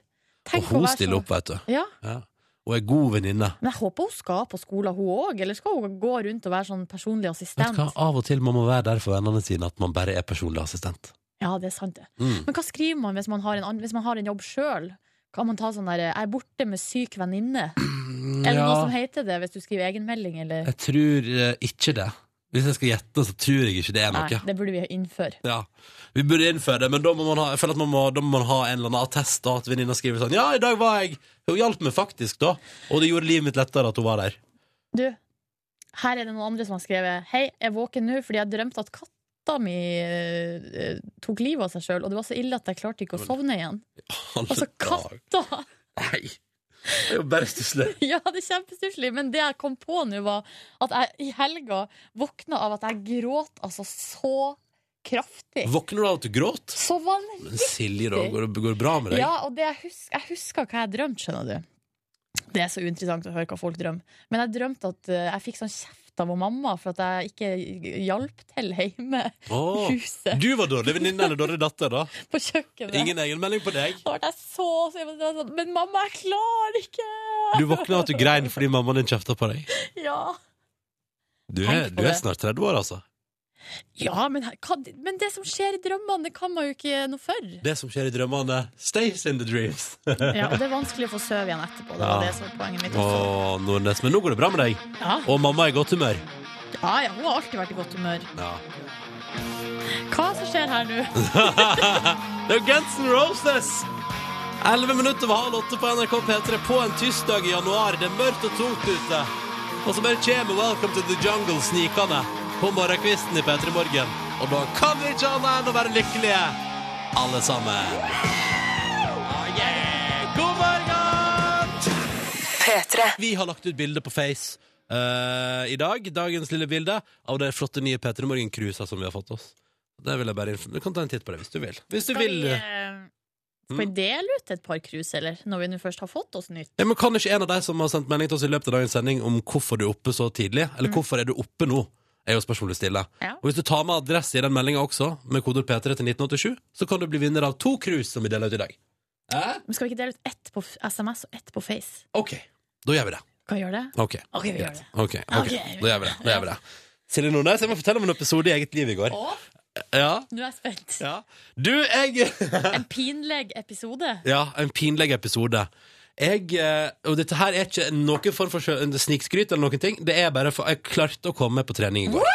Speaker 3: Og
Speaker 2: å
Speaker 3: hun
Speaker 2: være
Speaker 3: stiller
Speaker 2: sånn.
Speaker 3: opp, vet du.
Speaker 2: Ja,
Speaker 3: Ja. Og er god venninne.
Speaker 2: men jeg håper hun skal på skolen, hun òg. Eller skal hun gå rundt og være sånn personlig
Speaker 3: Vet du hva,
Speaker 2: assistent?
Speaker 3: Av og til må man være der for vennene sine at man bare er personlig assistent.
Speaker 2: Ja, det er sant, det.
Speaker 3: Mm.
Speaker 2: Men hva skriver man hvis man har en, ann- hvis man har en jobb sjøl? Kan man ta sånn der 'jeg er borte med syk venninne'? Eller noe som heter det, hvis du skriver egenmelding, eller
Speaker 3: Jeg tror eh, ikke det. Hvis jeg skal gjette, så tror jeg ikke det er
Speaker 2: Nei,
Speaker 3: noe.
Speaker 2: det burde vi innføre.
Speaker 3: Ja. Vi burde innføre det, men da må man ha, jeg føler at man må, da må man ha en eller annen attest. Da, at venninna skriver sånn Ja, i dag var jeg Hun hjalp meg faktisk, da. Og det gjorde livet mitt lettere at hun var der.
Speaker 2: Du, her er det noen andre som har skrevet 'Hei, jeg er våken nå fordi jeg drømte at katta mi eh, eh, tok livet av seg sjøl', og det var så ille at jeg klarte ikke å sovne igjen. Altså, katta!
Speaker 3: Nei. Det er jo bare stusslig.
Speaker 2: Ja, det er kjempestusslig. Men det jeg kom på nå, var at jeg i helga våkna av at jeg gråt altså så kraftig.
Speaker 3: Våkner du av at du gråt?
Speaker 2: Så vanlig.
Speaker 3: Men Silje, da. Går, det- går det bra med deg?
Speaker 2: Ja, og det jeg, hus jeg husker hva jeg drømte, skjønner du. Det er så uinteressant å høre hva folk drømmer. Men jeg drømte at eh, jeg fikk sånn kjeft av mamma for at jeg ikke hjalp til hjemme i
Speaker 3: Åh.
Speaker 2: huset,
Speaker 3: Du var dårlig venninne eller dårlig datter, da.
Speaker 2: på kjøkkenet.
Speaker 3: Ingen egenmelding på deg.
Speaker 2: Da ble jeg så så jeg var sånn, Men mamma, jeg klarer ikke!
Speaker 3: Du våkna av at du grein fordi mammaen din kjefta på deg.
Speaker 2: Ja.
Speaker 3: Du er,
Speaker 2: Tenk på
Speaker 3: du er
Speaker 2: det.
Speaker 3: snart 30 år, altså.
Speaker 2: Ja, men, her- hva- men det som skjer i drømmene, det kan man jo ikke noe for.
Speaker 3: Det som skjer i drømmene, stays in the dreams.
Speaker 2: Ja, og det er vanskelig å få søv igjen etterpå. Det var
Speaker 3: Ja.
Speaker 2: det som var poenget mitt også.
Speaker 3: Åh, Nordnes, men nå går det bra med deg.
Speaker 2: Ja.
Speaker 3: Og mamma er i godt humør.
Speaker 2: ja, ja, hun har alltid vært i godt humør.
Speaker 3: Ja.
Speaker 2: Hva som skjer her nå?
Speaker 3: Det er jo Guns N' Roses! 11 minutter over halv åtte på NRK P3 på en tirsdag i januar. Det er mørkt og tungt ute. Og så bare kommer Welcome to the Jungle snikende på morgenkvisten i P3 Morgen. Og da kan vi ikke annet enn å være lykkelige, alle sammen. Ah, yeah. God morgen!
Speaker 1: P3.
Speaker 3: Vi har lagt ut bilde på Face eh, i dag. Dagens lille bilde av det flotte nye Petter Morgen-cruisa som vi har fått oss. Det vil jeg bare inf- Du kan ta en titt på det hvis du vil. Hvis du
Speaker 2: Skal
Speaker 3: vil. Mm.
Speaker 2: vi, eh, skal vi dele ut et par krus, eller? Når vi nå først har fått oss nytt?
Speaker 3: Ja, men kan ikke en av deg som har sendt melding til oss i løpet av dagens sending om hvorfor du er oppe så tidlig, eller hvorfor er du oppe nå, er jo spørsmålet du stiller.
Speaker 2: Mm. Ja.
Speaker 3: Og hvis du tar med adresse i den meldinga også, med kodeord P3 til 1987, så kan du bli vinner av to cruise som vi deler ut i dag. Eh?
Speaker 2: Men Skal vi ikke dele ut ett på f- SMS og ett på Face?
Speaker 3: OK. Da gjør vi det.
Speaker 2: Kan vi gjøre det?
Speaker 3: OK.
Speaker 2: Ok, vi gjør
Speaker 3: Greit.
Speaker 2: det.
Speaker 3: Ok, ok.
Speaker 2: Ok.
Speaker 3: Da gjør vi det. Da gjør vi det. Silje Nordnes, jeg må fortelle om en episode i eget liv i går.
Speaker 2: Å,
Speaker 3: Ja,
Speaker 2: nå er jeg spent.
Speaker 3: ja. Du, jeg
Speaker 2: En pinlig episode.
Speaker 3: Ja, en pinlig episode. Jeg, eh, og dette her er ikke noen form for sjø- snikskryt eller noen ting. Det er bare for jeg klarte å komme på trening i går.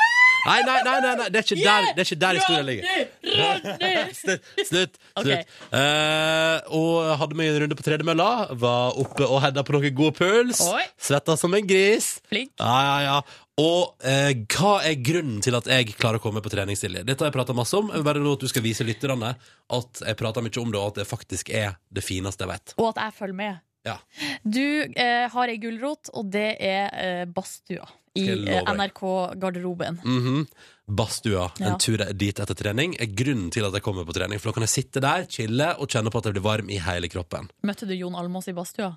Speaker 3: Nei, nei, nei, nei, nei. Det, er ikke der, det er ikke der historien ligger. Slutt. slutt,
Speaker 2: Ok.
Speaker 3: slutt. Eh, og hadde meg en runde på tredemølla. Var oppe og hedda på noe god puls.
Speaker 2: Oi.
Speaker 3: Svetta som en gris.
Speaker 2: Flink.
Speaker 3: Ja, ja, ja. Og eh, hva er grunnen til at jeg klarer å komme på trening, Silje? Dette har jeg prata masse om. Jeg vil Bare nå at du skal vise lytterne at jeg prater mye om det, og at det faktisk er det fineste jeg vet.
Speaker 2: Og at jeg følger med.
Speaker 3: Ja.
Speaker 2: Du eh, har ei gulrot, og det er eh, badstua i
Speaker 3: Skal jeg
Speaker 2: eh,
Speaker 3: love deg.
Speaker 2: NRK-garderoben.
Speaker 3: Mhm. Badstua
Speaker 2: Ja.
Speaker 3: en tur dit etter trening er grunnen til at jeg kommer på trening. For da kan jeg sitte der, chille og kjenne på at jeg blir varm i hele kroppen.
Speaker 2: Møtte du Jon Almaas i badstua?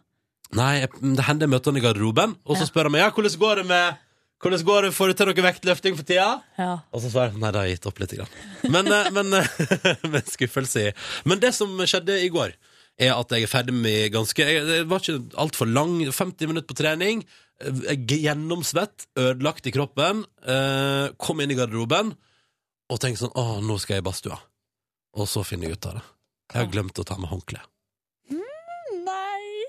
Speaker 3: Nei, jeg- det hender jeg møter han i garderoben, og så
Speaker 2: Ja.
Speaker 3: spør han meg ja, hvordan går det med hvordan går det, Får du til noe vektløfting for tida?
Speaker 2: Ja.
Speaker 3: Og så svarer jeg nei, det har jeg gitt opp litt. Grann. Men, eh, men eh, med skuffelse i. Men det som skjedde i går, er at jeg er ferdig med ganske jeg, Det var ikke altfor lang. 50 minutter på trening. eh, jeg er Gjennomsvett, ødelagt i kroppen. eh, Kom inn i garderoben og tenkte sånn Å, nå skal jeg i badstua. Og så finner jeg ut av det. Jeg har glemt å ta med håndkle.
Speaker 2: Nei!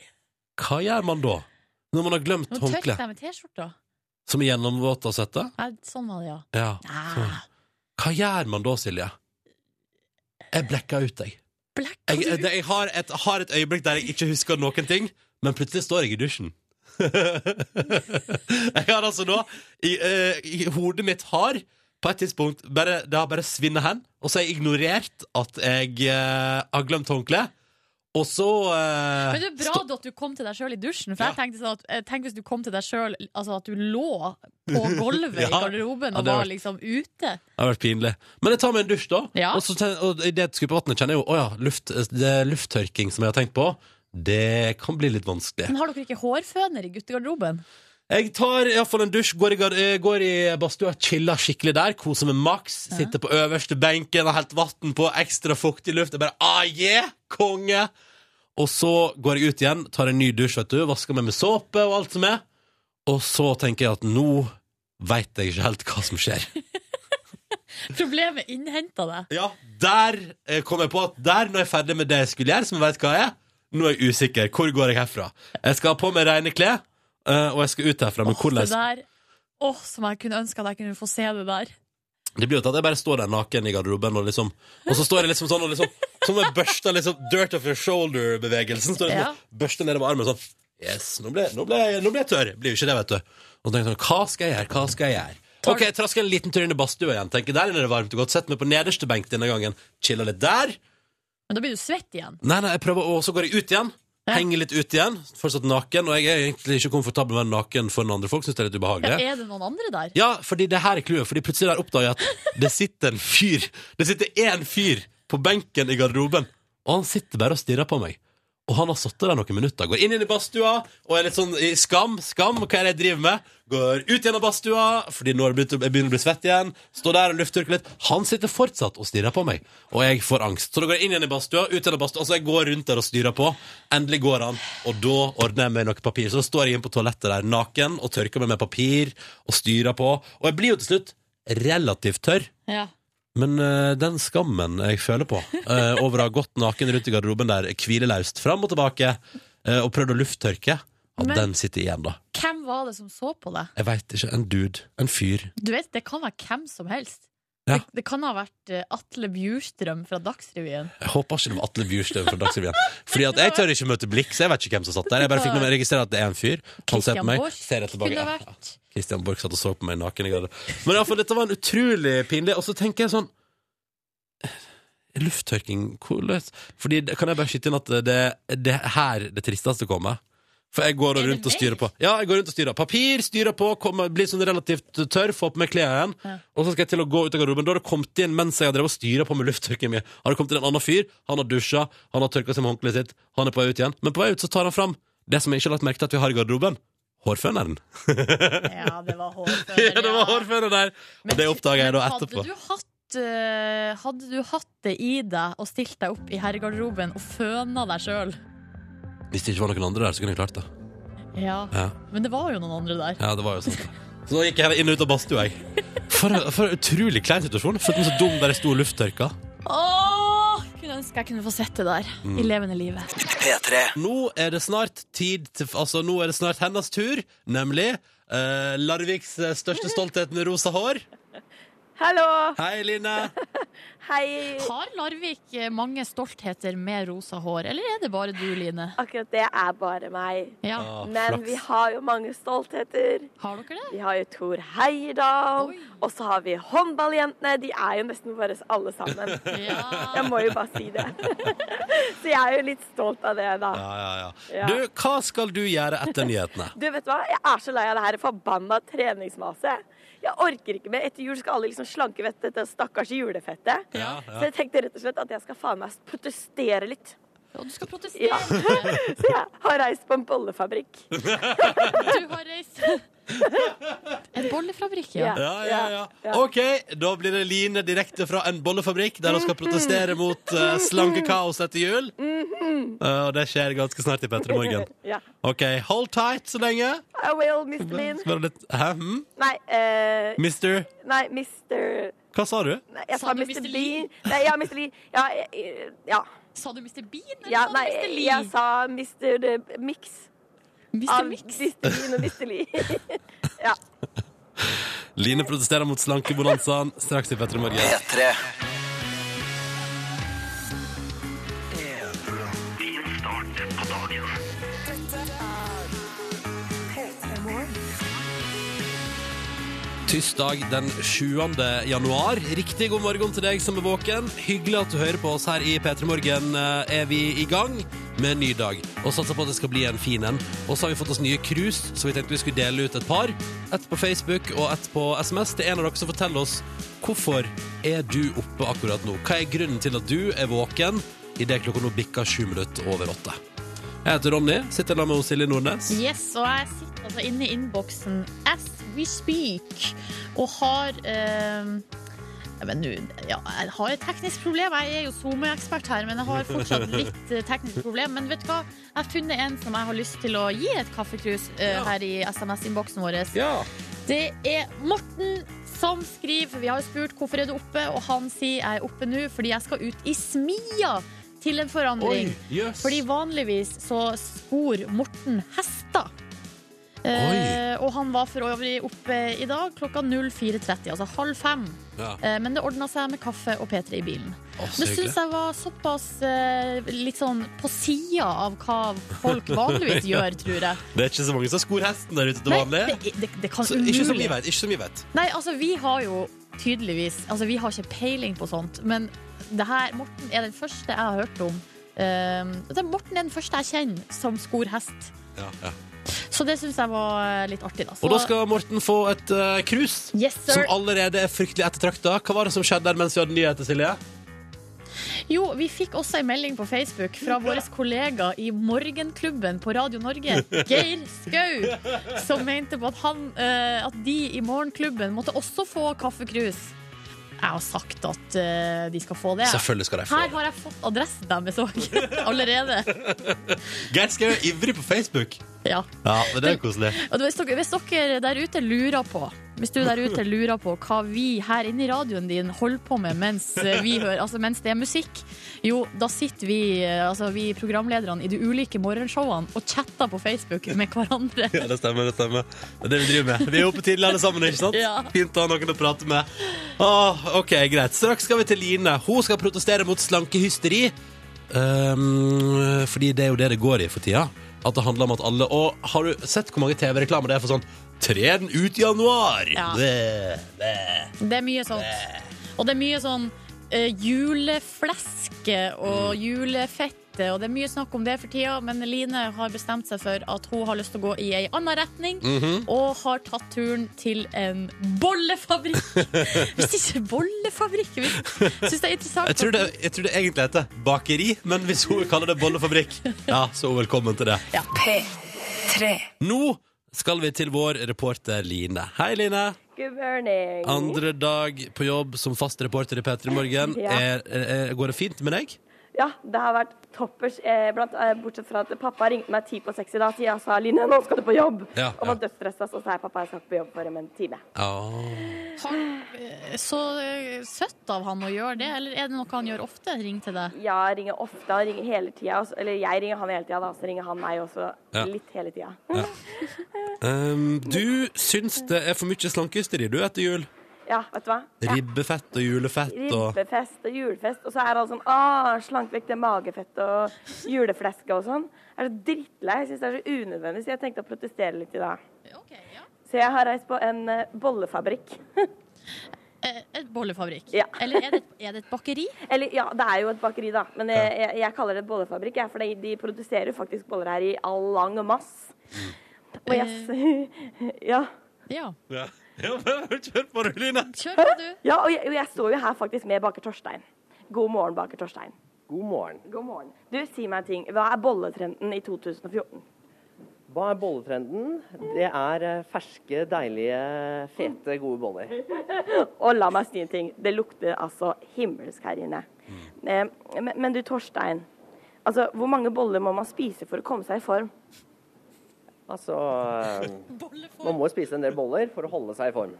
Speaker 3: Hva gjør man da? Når man har glemt
Speaker 2: Nå tørket
Speaker 3: håndkle?
Speaker 2: jeg med T-skjorta.
Speaker 3: Som er gjennomvåt og svette?
Speaker 2: Nei, Sånn var det, ja.
Speaker 3: Ja. Sånn.
Speaker 2: Ah,
Speaker 3: Hva gjør man da, Silje? Jeg blekka ut, jeg.
Speaker 2: Blekka
Speaker 3: Jeg,
Speaker 2: du
Speaker 3: jeg,
Speaker 2: ut?
Speaker 3: jeg har, et, har et øyeblikk der jeg ikke husker noen ting, men plutselig står jeg i dusjen. jeg har altså nå i, eh, i Hodet mitt har på et tidspunkt bare, Det har bare svinnet hen, og så har jeg ignorert at jeg eh, har glemt håndkleet. Og så eh,
Speaker 2: Men det er bra at du kom til deg sjøl i dusjen. For
Speaker 3: Ja.
Speaker 2: jeg tenkte sånn at eh, Tenk hvis du kom til deg sjøl altså at du lå på gulvet i
Speaker 3: Ja.
Speaker 2: garderoben
Speaker 3: Ja,
Speaker 2: og
Speaker 3: det
Speaker 2: var
Speaker 3: var-
Speaker 2: liksom ute.
Speaker 3: Det har vært pinlig. Men jeg tar meg en dusj, da.
Speaker 2: Ja.
Speaker 3: Og, så, ten- og i det jeg skulle på vannet, kjenner jeg jo Å ja, luft, det er lufttørking som jeg har tenkt på. Det kan bli litt vanskelig.
Speaker 2: Men har dere ikke hårføner i guttegarderoben?
Speaker 3: Jeg tar iallfall en dusj, går i, gar- eh, går i badstua, chiller skikkelig der, koser med maks. Sitter på øverste benken, har helt vann på, ekstra fuktig luft. Jeg bare ah, yeah! Konge! Og så går jeg ut igjen, tar en ny dusj, vet du, vasker meg med såpe og alt som er. Og så tenker jeg at nå veit jeg ikke helt hva som skjer.
Speaker 2: Problemet innhenta deg.
Speaker 3: Ja, der eh, kom jeg på at der når jeg er ferdig med det jeg skulle gjøre, som jeg vet hva er, nå er jeg usikker. Hvor går jeg herfra? Jeg skal ha på meg rene klær, eh, og jeg skal ut herfra. Men
Speaker 2: Det
Speaker 3: hvordan
Speaker 2: der Åh, som jeg kunne ønske at jeg kunne få se det der.
Speaker 3: Det blir jo til at jeg bare står der naken i garderoben, og liksom Og så står jeg liksom sånn og liksom Som jeg børster liksom dirt off your shoulder-bevegelsen. Står jeg
Speaker 2: Ja.
Speaker 3: liksom, og børster nede med armen sånn Yes, nå ble, nå ble, jeg- nå ble jeg tørr. Blir jo ikke det, vet du. Og tenker sånn Hva skal jeg gjøre? Hva skal jeg gjøre? Ok, jeg trasker en liten tur inn i badstua igjen. Tenker der inne er det varmt og godt. Sett meg på nederste benk denne gangen. Chiller litt der.
Speaker 2: Men da blir du svett igjen.
Speaker 3: Nei, nei, jeg prøver, og så går jeg ut igjen. Henger litt ut igjen. Fortsatt naken. Og jeg er egentlig ikke komfortabel med å være naken for andre folk. Synes det er litt ubehagelig.
Speaker 2: Er det noen andre der?
Speaker 3: Ja, fordi det her er clouet. Fordi plutselig har jeg oppdaget at det sitter en fyr Det sitter én fyr på benken i garderoben, og han sitter bare og stirrer på meg. Og han har sittet der noen minutter. Går inn igjen i badstua og er litt sånn i skam. Skam, hva er det jeg driver med? Går ut igjen av badstua, fordi nå er det begynt å- jeg begynner å bli svett igjen. Står der og lufttørker litt. Han sitter fortsatt og stirrer på meg, og jeg får angst. Så da går jeg inn igjen i badstua, ut igjen av badstua, altså jeg går rundt der og styrer på. Endelig går han, og da ordner jeg meg noe papir. Så da står jeg inne på toalettet der naken og tørker meg med papir og styrer på. Og jeg blir jo til slutt relativt tørr.
Speaker 2: Ja.
Speaker 3: Men eh, den skammen jeg føler på eh, over å ha gått naken rundt i garderoben der, hvilelaust fram og tilbake, eh, og prøvd å lufttørke, ja,
Speaker 2: Men-
Speaker 3: den sitter igjen, da.
Speaker 2: Hvem var det som så på deg?
Speaker 3: Jeg veit ikke. En dude. En fyr.
Speaker 2: Du vet, Det kan være hvem som helst.
Speaker 3: Ja.
Speaker 2: Det, det kan ha vært eh, Atle Bjurstrøm fra Dagsrevyen.
Speaker 3: Jeg håper ikke det var Atle Bjurstrøm fra Dagsrevyen. Fordi at jeg tør ikke møte blikk, så jeg vet ikke hvem som satt der. Jeg bare fikk noe med å registrere at det er en fyr. Han ser på meg, ser jeg tilbake.
Speaker 2: kunne
Speaker 3: Ja,
Speaker 2: ha
Speaker 3: ja.
Speaker 2: vært.
Speaker 3: Christian Borch satt og så på meg naken i garderoben. Men iallfall, dette var en utrolig pinlig Og så tenker jeg sånn eh, Lufttørking, hvordan Fordi det- Kan jeg bare skyte inn at det det er her det tristeste kommer? For jeg går da
Speaker 2: Er det
Speaker 3: rundt og
Speaker 2: mer?
Speaker 3: styrer på. Ja, jeg går rundt og styrer. Papir, styrer på, kommer, blir sånn relativt tørr, får på meg klærne igjen.
Speaker 2: Ja.
Speaker 3: Og så skal jeg til å gå ut av garderoben. Da har det kommet inn mens jeg har drevet og styra på med lufttørkingen min. Har det kommet inn en annen fyr, han har dusja, han har tørka seg med håndkleet sitt, han er på vei ut igjen. Men på vei ut så tar han fram det som jeg ikke har lagt merke til at vi har i garderoben. Hårføneren.
Speaker 2: Ja, det var hårføner.
Speaker 3: Ja, det var hårføner der. Og det oppdaga jeg da
Speaker 2: Hadde
Speaker 3: etterpå.
Speaker 2: du hatt eh, hadde du hatt det i deg og stilt deg opp i herregarderoben og føna deg sjøl?
Speaker 3: Hvis det ikke var noen andre der, så kunne jeg klart det.
Speaker 2: Ja.
Speaker 3: Ja,
Speaker 2: Men det var jo noen andre der.
Speaker 3: ja det var jo sant. det. Så da gikk jeg inn og ut av badstua, jeg. For, for en utrolig klein situasjon. Følte meg så dum der jeg sto og lufttørka.
Speaker 2: Åh, kunne ønske jeg kunne få sett det der
Speaker 3: Mm.
Speaker 2: i levende livet.
Speaker 3: Nå er det snart tid til Altså, nå er det snart hennes tur, nemlig eh, Larviks eh, største stolthet med rosa hår.
Speaker 4: Hallo!
Speaker 3: Hei, Line.
Speaker 4: Hei!
Speaker 2: Har Larvik eh, mange stoltheter med rosa hår, eller er det bare du, Line?
Speaker 4: Akkurat det er bare meg.
Speaker 2: Ja,
Speaker 3: Å,
Speaker 4: Men vi har jo mange stoltheter.
Speaker 2: Har dere det?
Speaker 4: Vi har jo Tor Heyerdahl.
Speaker 2: Oi.
Speaker 4: Og så har vi håndballjentene. De er jo nesten våre alle sammen.
Speaker 2: Ja.
Speaker 4: Jeg må jo bare si det. Så jeg er jo litt stolt av det, da.
Speaker 3: Ja, ja, ja.
Speaker 4: Ja.
Speaker 3: Du, hva skal du gjøre etter nyhetene?
Speaker 4: Du, vet du hva? Jeg er så lei av det her forbanna treningsmaset. Jeg orker ikke mer. Etter jul skal alle liksom slanke vekk dette stakkars julefettet.
Speaker 3: Ja, ja.
Speaker 4: Så jeg tenkte rett og slett at jeg skal faen meg protestere litt.
Speaker 2: Og du skal
Speaker 4: Ja.
Speaker 2: protestere.
Speaker 4: Så jeg har reist på en bollefabrikk.
Speaker 2: Du har reist En bollefabrikk, ja.
Speaker 4: Ja.
Speaker 3: Ja, ja, ja. OK, da blir det Line direkte fra en bollefabrikk der hun skal protestere mot eh, slankekaos etter jul. Eh, og det skjer ganske snart i P3 Morgen.
Speaker 4: Ja.
Speaker 3: OK, hold tight så lenge.
Speaker 4: I will, Mr. Bean.
Speaker 3: Bare litt Hæ? Hm?
Speaker 4: Nei, eh,
Speaker 3: Mister
Speaker 4: nei, Mr.
Speaker 3: Hva sa du?
Speaker 4: Nei, jeg
Speaker 2: Sa
Speaker 4: sa
Speaker 2: du
Speaker 4: Mr.
Speaker 2: Mr. Lee?
Speaker 4: Bean. Nei, ja, Mr. Lee. Ja, eh, ja.
Speaker 2: Sa du Mr. Bean, eller
Speaker 4: ja
Speaker 2: sa du
Speaker 4: nei,
Speaker 2: Mr. Lee?
Speaker 4: jeg sa Mr. Mix.
Speaker 2: Mr.
Speaker 4: Av
Speaker 2: Mix.
Speaker 4: Mr. Bean og Mr. Lee.
Speaker 3: Line protesterer mot slankebonanzaen straks i P3 Morgen.
Speaker 9: P3.
Speaker 3: Tirsdag den 7. januar. Riktig god morgen til deg som er våken. Hyggelig at du hører på oss her i P3 Morgen. Eh, Er vi i gang med en ny dag og satser på at det skal bli en fin en. Og så har vi fått oss nye krus, så vi tenkte vi skulle dele ut et par. Ett på Facebook og ett på SMS til en av dere som forteller oss hvorfor er du oppe akkurat nå. Hva er grunnen til at du er våken idet klokka nå bikker sju minutter over åtte? Jeg heter Ronny, sitter sammen med Silje Nordnes.
Speaker 2: Yes, og jeg sitter altså inne i innboksen as we speak og har eh, ja, men nå, ja, jeg har et teknisk problem. Jeg er jo SoMe-ekspert her, men jeg har fortsatt litt eh, teknisk problem. Men vet du hva? Jeg har funnet en som jeg har lyst til å gi et kaffekrus eh,
Speaker 3: Ja.
Speaker 2: her i SMS-innboksen vår.
Speaker 3: Ja.
Speaker 2: Det er Morten som skriver, for vi har jo spurt hvorfor er du oppe, og han sier jeg er oppe nå fordi jeg skal ut i smia til en forandring.
Speaker 3: jøss.
Speaker 2: Fordi vanligvis så skor Morten hester. Eh, og han var for øvrig oppe i dag klokka 04.30, altså halv fem.
Speaker 3: Ja.
Speaker 2: Eh, men det ordna seg med kaffe og P3 i bilen.
Speaker 3: Å, så
Speaker 2: Det
Speaker 3: hyggelig.
Speaker 2: syns jeg var såpass eh, litt sånn på sida av hva folk vanligvis gjør, tror jeg.
Speaker 3: Det er ikke så mange som skor hesten der ute til
Speaker 2: Nei,
Speaker 3: vanlig.
Speaker 2: det, det, det kan
Speaker 3: Så, ikke som
Speaker 2: umulig
Speaker 3: vi vet. Ikke som vi vet.
Speaker 2: Nei, altså vi har jo tydeligvis Altså vi har ikke peiling på sånt Men det her, Morten er den første jeg har hørt om Ehm, det er Morten er den første jeg kjenner Som skor hest Så det synes jeg var eh, litt artig da Så,
Speaker 3: Og da skal Morten få et eh, krus.
Speaker 2: Yes,
Speaker 3: Som
Speaker 2: sir.
Speaker 3: allerede er fryktelig ettertrakta. Hva var det som skjedde der mens vi hadde nyheter, Silje?
Speaker 2: Jo, vi fikk også en melding på Facebook Fra våre kollegaer i Morgenklubben På Radio Norge Geir Skau Som mente på at, han, eh, at de i Morgenklubben Måtte også få kaffekrus Jeg har sagt at eh, de skal få det
Speaker 3: Selvfølgelig skal de få
Speaker 2: Her har jeg fått adressen deres òg. Allerede.
Speaker 3: det. Geir Skau er ivrig på Facebook.
Speaker 2: Ja.
Speaker 3: Ja, men det er koselig.
Speaker 2: Og hvis dere, hvis dere der ute lurer på hvis du der ute lurer på hva vi her inne i radioen din holder på med mens, vi hører, altså mens det er musikk, jo, da sitter vi, altså vi programlederne i de ulike morgenshowene og chatter på Facebook med hverandre.
Speaker 3: Ja, det stemmer. Det stemmer Det er det vi driver med. Vi er oppe tidlig alle sammen. ikke sant?
Speaker 2: Ja.
Speaker 3: Fint å ha noen å prate med. Åh, ok, Greit. Straks skal vi til Line. Hun skal protestere mot slankehysteri. Um, fordi det er jo det det går i for tida. At det handler om at alle Og har du sett hvor mange TV-reklamer det er for sånn Tre den ut i januar!
Speaker 2: Ja.
Speaker 3: Bæ, bæ.
Speaker 2: Det er mye sånt. Og det er mye sånn eh, julefleske og
Speaker 3: Mm.
Speaker 2: julefette, og det er mye snakk om det for tida, men Line har bestemt seg for at hun har lyst til å gå i ei anna retning,
Speaker 3: Mhm.
Speaker 2: og har tatt turen til en bollefabrikk. Hvis ikke bollefabrikk hvis- Syns det er interessant.
Speaker 3: Jeg tror, det, jeg tror det egentlig heter bakeri, men hvis hun kaller det bollefabrikk, ja, så velkommen til det.
Speaker 1: P3.
Speaker 3: Nå skal vi til vår reporter Line. Hei, Line.
Speaker 4: Good morning.
Speaker 3: Andre dag på jobb som fast reporter i P3 Morgen.
Speaker 4: Ja.
Speaker 3: Er, er, er, går det fint med deg?
Speaker 4: Ja, det har vært toppers, eh, blant, eh, bortsett fra at pappa ringte meg ti på seks i dag og jeg sa Line, nå skal du på jobb.
Speaker 3: Ja,
Speaker 4: og
Speaker 3: ja.
Speaker 4: var dødsstressa, så sa jeg pappa, jeg skal ikke på jobb for om en time.
Speaker 3: Ja.
Speaker 2: Så eh, søtt av han å gjøre det, eller er det noe han gjør ofte? Ring til deg.
Speaker 4: Ja, jeg ringer ofte, han ringer hele tida. og så- Eller jeg ringer han hele tida, da, så ringer han meg også
Speaker 3: Ja.
Speaker 4: litt hele tida.
Speaker 3: Ehm, Um, du syns det er for mye slankehysteri, du, etter jul.
Speaker 4: Ja, vet du hva? Ja.
Speaker 3: Ribbefett og julefett og
Speaker 4: Ribbefest og julefest. Og så er alle sånn ah, slank vekk det magefettet og julefleske og sånn. Jeg er så drittlei. Jeg syns det er så unødvendig, så jeg tenkte å protestere litt i dag. Så jeg har reist på en eh, bollefabrikk.
Speaker 2: Eh, Et bollefabrikk.
Speaker 4: Ja.
Speaker 2: Eller er det, er det et bakeri?
Speaker 4: Eller ja, det er jo et bakeri, da. Men jeg, jeg, jeg kaller det et bollefabrikk, jeg, for de, de produserer jo faktisk boller her i all lang mass.
Speaker 3: Mm.
Speaker 4: Og jeg s- Ja.
Speaker 2: Ja.
Speaker 3: ja. Ja, men Kjør på, du, Line!
Speaker 2: Kjør på, du.
Speaker 4: ja og, jeg, og jeg står jo her faktisk med baker Torstein. God morgen, baker Torstein.
Speaker 9: God morgen.
Speaker 4: God morgen. Du, si meg en ting. Hva er bolletrenden i 2014?
Speaker 9: Hva er bolletrenden? Det er eh, ferske, deilige, fete, gode boller.
Speaker 4: Og la meg si en ting. Det lukter altså himmelsk her inne.
Speaker 9: Mm.
Speaker 4: Eh, men, men du, Torstein. Altså, hvor mange boller må man spise for å komme seg i form?
Speaker 9: Altså eh, Man må spise en del boller for å holde seg i form.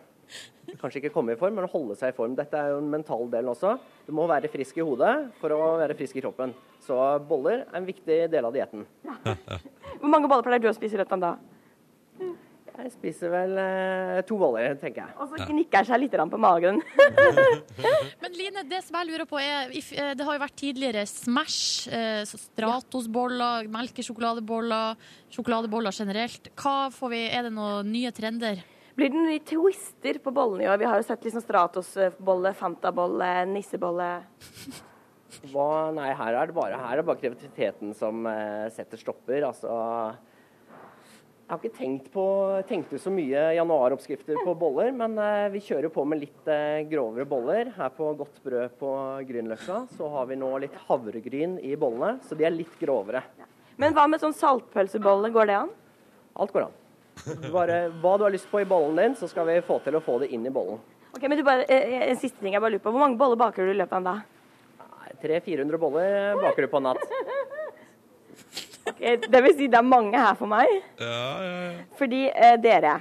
Speaker 9: Kanskje ikke komme i form, men holde seg i form. Dette er jo den mentale delen også. Du må være frisk i hodet for å være frisk i kroppen. Så boller er en viktig del av dietten.
Speaker 4: Hvor mange boller pleier du å spise i løpet av en dag?
Speaker 9: Jeg spiser vel eh, to boller, tenker jeg.
Speaker 4: Og så gnikker jeg seg litt grann på magen.
Speaker 2: Men Line, det som jeg lurer på er if- eh, Det har jo vært tidligere Smash, eh, så Stratos-boller, melkesjokoladeboller, sjokoladeboller generelt. Hva får vi, Er det noen nye trender?
Speaker 4: Blir det nye twister på bollene i år? Vi har jo sett liksom Stratos-bolle, Fanta-bolle, nissebolle.
Speaker 9: Hva, nei, her er det bare, her er det bare kreativiteten som eh, setter stopper. Altså, jeg har ikke tenkt, på, tenkt ut så mye januaroppskrifter på boller, men eh, vi kjører på med litt eh, grovere boller. Her på Godt brød på Grünerløkka så har vi nå litt havregryn i bollene, så de er litt grovere.
Speaker 4: Men hva med sånn saltpølsebolle? Går det an?
Speaker 9: Alt går an. Bare hva du har lyst på i bollen din, så skal vi få til å få det inn i bollen.
Speaker 4: Ok, men du bare, eh, En siste ting jeg bare lurer på. Hvor mange boller baker du i løpet av en dag?
Speaker 9: 300-400 boller baker du på en natt.
Speaker 4: Ok, det vil si det er mange her for meg.
Speaker 3: Ja, ja, ja.
Speaker 4: Fordi eh, dere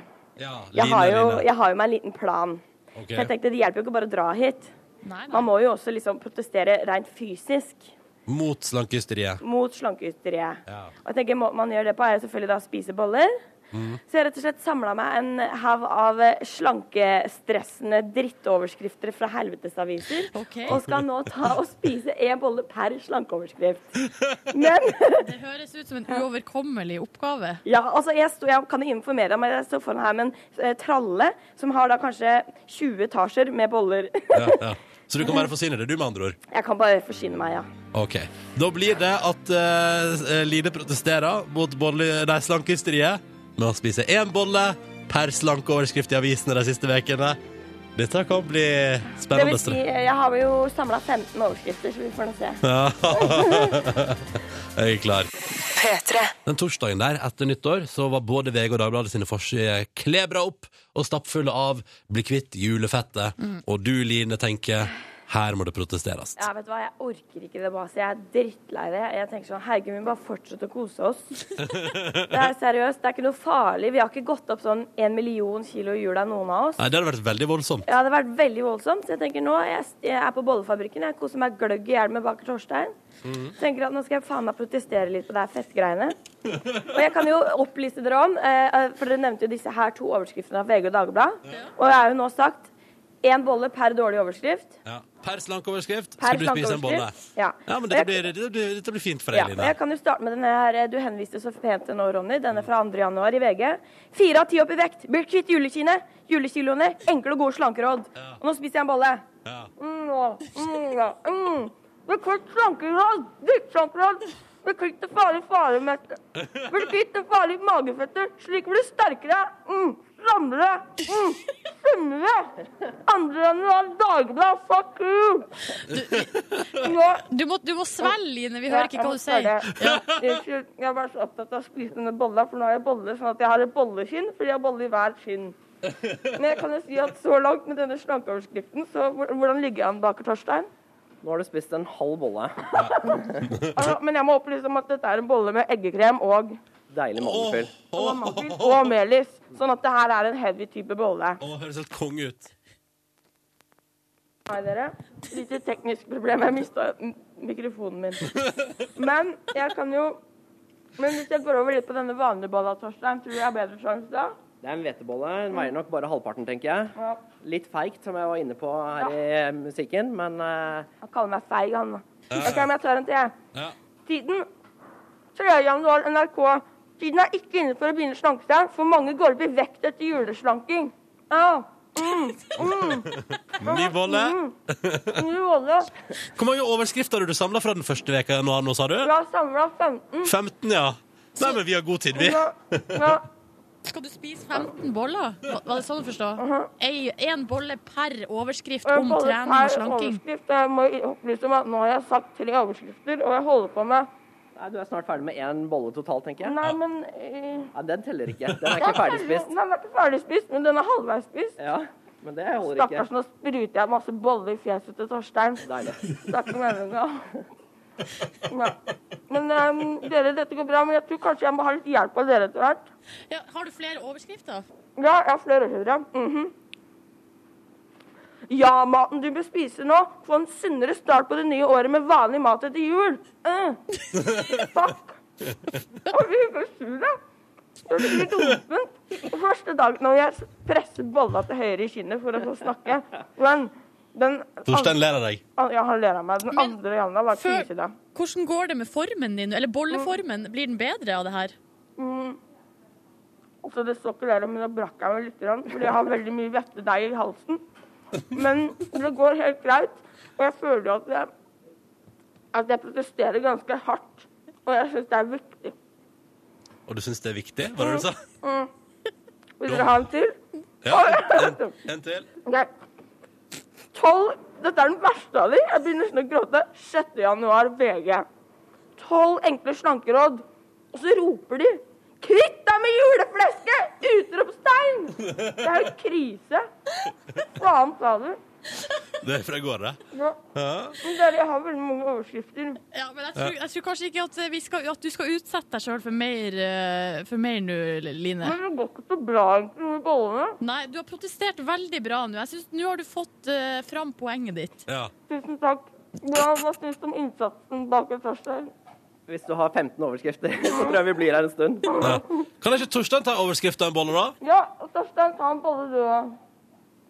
Speaker 3: ja
Speaker 4: jeg
Speaker 3: Line,
Speaker 4: har, jo,
Speaker 3: Line.
Speaker 4: jeg har jo meg en liten plan.
Speaker 3: Ok.
Speaker 4: For jeg tenkte, Det hjelper jo ikke bare å dra hit.
Speaker 2: Nei,
Speaker 4: Man må jo også liksom protestere rent fysisk
Speaker 3: Mot slankehysteriet.
Speaker 4: mot slankehysteriet.
Speaker 3: Ja.
Speaker 4: Og jeg tenker, Måten man gjør det på, er jo selvfølgelig da å spise boller.
Speaker 3: Mm.
Speaker 4: Så jeg har rett og slett samla meg en haug av eh, slankestressende drittoverskrifter fra helvetesaviser.
Speaker 2: Ok.
Speaker 4: Og skal nå ta og spise én bolle per slankeoverskrift. Men
Speaker 2: Det høres ut som en uoverkommelig oppgave.
Speaker 4: Ja, altså jeg, sto, jeg kan jo informere om at jeg står foran her med en eh, tralle som har da kanskje 20 etasjer med boller.
Speaker 3: Ja, ja. Så du kan bare forsyne deg, du, med andre ord.
Speaker 4: jeg kan bare forsyne meg, ja.
Speaker 3: Ok, Da blir det at eh, Line protesterer mot bolle, nei, slankehysteriet med å spise én bolle per slankeoverskrift i avisene de siste ukene. Dette kan bli
Speaker 4: Det vil
Speaker 3: spennende.
Speaker 4: si, eh, jeg har jo samla 15 overskrifter, så vi får nå se.
Speaker 3: Jeg er klar.
Speaker 1: P3.
Speaker 3: Den torsdagen der, etter nyttår, så var både VG og Dagbladet sine forsider klebra opp og stappfulle av 'bli kvitt julefettet'. Og du, Line, tenker 'her må det protesteres'.
Speaker 4: Mm. Ja, vet du hva, jeg orker ikke det maset. Jeg er drittlei det. Jeg tenker sånn, herregud, vi må bare fortsette å kose oss. det er seriøst, det er ikke noe farlig. Vi har ikke gått opp sånn en million kilo i jula, noen av oss.
Speaker 3: Nei, det hadde vært veldig voldsomt.
Speaker 4: Ja, det har vært veldig voldsomt. Så jeg tenker nå, jeg, jeg er på bollefabrikken, jeg koser meg gløgg i hjel med baker Torstein. Tenker at nå skal jeg faen meg protestere litt på det her festgreiene. Og jeg kan jo opplyse dere om, eh, for dere nevnte jo disse her to overskriftene av VG og Dagbladet. Og jeg har jo nå sagt én bolle per dårlig overskrift.
Speaker 3: Ja. Per slankeoverskrift
Speaker 4: Per
Speaker 3: skal du spise en bolle.
Speaker 4: slankeoverskrift, ja.
Speaker 3: ja
Speaker 4: Og
Speaker 3: men
Speaker 4: jeg-
Speaker 3: dette blir, dette, blir, dette blir fint for
Speaker 4: Ja,
Speaker 3: deg,
Speaker 4: og
Speaker 3: Line.
Speaker 4: jeg kan jo starte med denne her eh, du henviste så pent til nå, Ronny. Denne fra 2. januar i VG. Fire av ti opp i vekt. Blir kvitt julekine. Julekiloene. Enkle og gode slankeråd. Og nå spiser jeg en bolle.
Speaker 3: Ja.
Speaker 4: Mm, ja. Mm, ja. Mm. Blir kvitt slankeråd. Drittslankeråd. Blir kvitt det farlige faremette. Blir kvitt det farlige magefettet. Slik blir du sterkere. Mm. Strammere. Mm. Sunnere. 2. januar, Dagbladet, fuck you! Nå
Speaker 2: Du må, du må svelge, Line. Vi
Speaker 4: ja,
Speaker 2: hører ikke hva du
Speaker 4: jeg må
Speaker 2: sier.
Speaker 4: svare. Unnskyld, jeg var så opptatt av å spise denne bolla, for nå har jeg boller sånn at jeg har et bolleskinn, fordi jeg har boller i hver skinn. Men jeg kan jo si at så langt med denne slankeoverskriften, så hvor- hvordan ligger jeg an baker Torstein?
Speaker 9: Nå har du spist en halv bolle.
Speaker 4: Altså, men jeg må opplyse om at dette er en bolle med eggekrem og,
Speaker 9: Deilig mandelfyll.
Speaker 4: og mandelfyll og melis, sånn at det her er en heavy type bolle.
Speaker 3: Å, høres helt konge ut.
Speaker 4: Nei, dere. Lite teknisk problem. Jeg mista mikrofonen min. Men jeg kan jo Men hvis jeg går over litt på denne vanlige bolla, Torstein, tror du jeg har bedre sjanse da?
Speaker 9: Det er en hvetebolle. Den veier nok bare halvparten, tenker jeg.
Speaker 4: Ja.
Speaker 9: Litt feigt, som jeg var inne på her i musikken, men eh,
Speaker 4: Han kaller meg feig, han. da. Ok, men jeg tar en til, jeg.
Speaker 3: Ja.
Speaker 4: Tiden 3. januar NRK. Tiden er ikke inne for å begynne å slanke seg, for mange går opp i vekt etter juleslanking. Ja.
Speaker 3: Ny bolle.
Speaker 4: Mm. Ny rolle.
Speaker 3: Hvor mange overskrifter har du samla fra den første veka i januar nå, sa du?
Speaker 4: Vi har samla 15.
Speaker 3: 15, ja. Nei, men vi har god tid, vi.
Speaker 4: Ja. Ja.
Speaker 2: Skal du spise 15 boller? Var var det sånn å forstå? Ei- En bolle per overskrift
Speaker 4: Jeg
Speaker 2: om
Speaker 4: holder
Speaker 2: trening
Speaker 4: Uh-huh. per
Speaker 2: og slanking.
Speaker 4: overskrift. Jeg må opplyse om at nå har jeg sagt tre overskrifter, og jeg holder på med
Speaker 9: nei, du er snart ferdig med én bolle totalt, tenker jeg.
Speaker 4: Nei, men eh,
Speaker 9: Ja, den teller ikke. Den er ikke ferdigspist.
Speaker 4: Nei, den er ikke ferdigspist, men den er halvveis spist.
Speaker 9: Ja, men det holder ikke.
Speaker 4: Stakkars, nå spruter jeg masse boller i fjeset til Torstein.
Speaker 9: Deilig.
Speaker 4: Snakker meninga. Ja. Men ehm, dere, dette går bra, men jeg tror kanskje jeg må ha litt hjelp av dere etter hvert.
Speaker 2: Ja, har du flere overskrifter?
Speaker 4: Ja, jeg har flere høyre. Mhm. Ja, maten du bør spise nå. Få en sunnere start på det nye året med vanlig mat etter jul. Uh. Fuck. Å, vi er så sure. Det blir litt åpent. Første dagen når jeg presser bolla til høyre i kinnet for å få snakke. Men den
Speaker 3: Torstein ler av deg.
Speaker 4: an- Ja, han ler av meg. Den
Speaker 2: Men
Speaker 4: andre januar var
Speaker 2: før-
Speaker 4: krise, da.
Speaker 2: Hvordan går det med formen din? Eller bolleformen? Blir den bedre av det her?
Speaker 4: Så det står ikke der, men da brakk jeg meg litt, grann, fordi jeg har veldig mye vettedeig i halsen. Men det går helt greit, og jeg føler jo at jeg, at jeg protesterer ganske hardt. Og jeg syns det er viktig. Mm.
Speaker 3: Og du syns det er viktig? Var det du sa?
Speaker 4: Vil dere ha en til?
Speaker 3: Ja. En, en til.
Speaker 4: Ok. 12, dette er den verste av de. Jeg begynner nesten å gråte. 6. januar, VG. 12 enkle slankeråd. Og så roper de 'Kvitt deg med juleflesket!' Utropstegn! Det er jo krise. Faen ta det.
Speaker 3: Det er fra i går, det.
Speaker 4: Ja. Men dere, jeg har veldig mange overskrifter.
Speaker 2: Ja, men jeg tror, jeg tror kanskje ikke at, vi skal, at du skal utsette deg sjøl for mer eh, for mer nå, Line.
Speaker 4: Men det går ikke så bra egentlig med bollene.
Speaker 2: Nei, du har protestert veldig bra nå. Jeg synes, Nå har du fått eh, fram poenget ditt.
Speaker 3: Ja.
Speaker 4: Tusen takk. Bra, Hva syns du om innsatsen bak et torsdag?
Speaker 9: Hvis du har 15 overskrifter, så tror jeg vi blir her en stund.
Speaker 3: ja. Kan ikke Torstein ta overskrifta av en bolle, da?
Speaker 4: Ja, og Torstein, ta en bolle, du òg.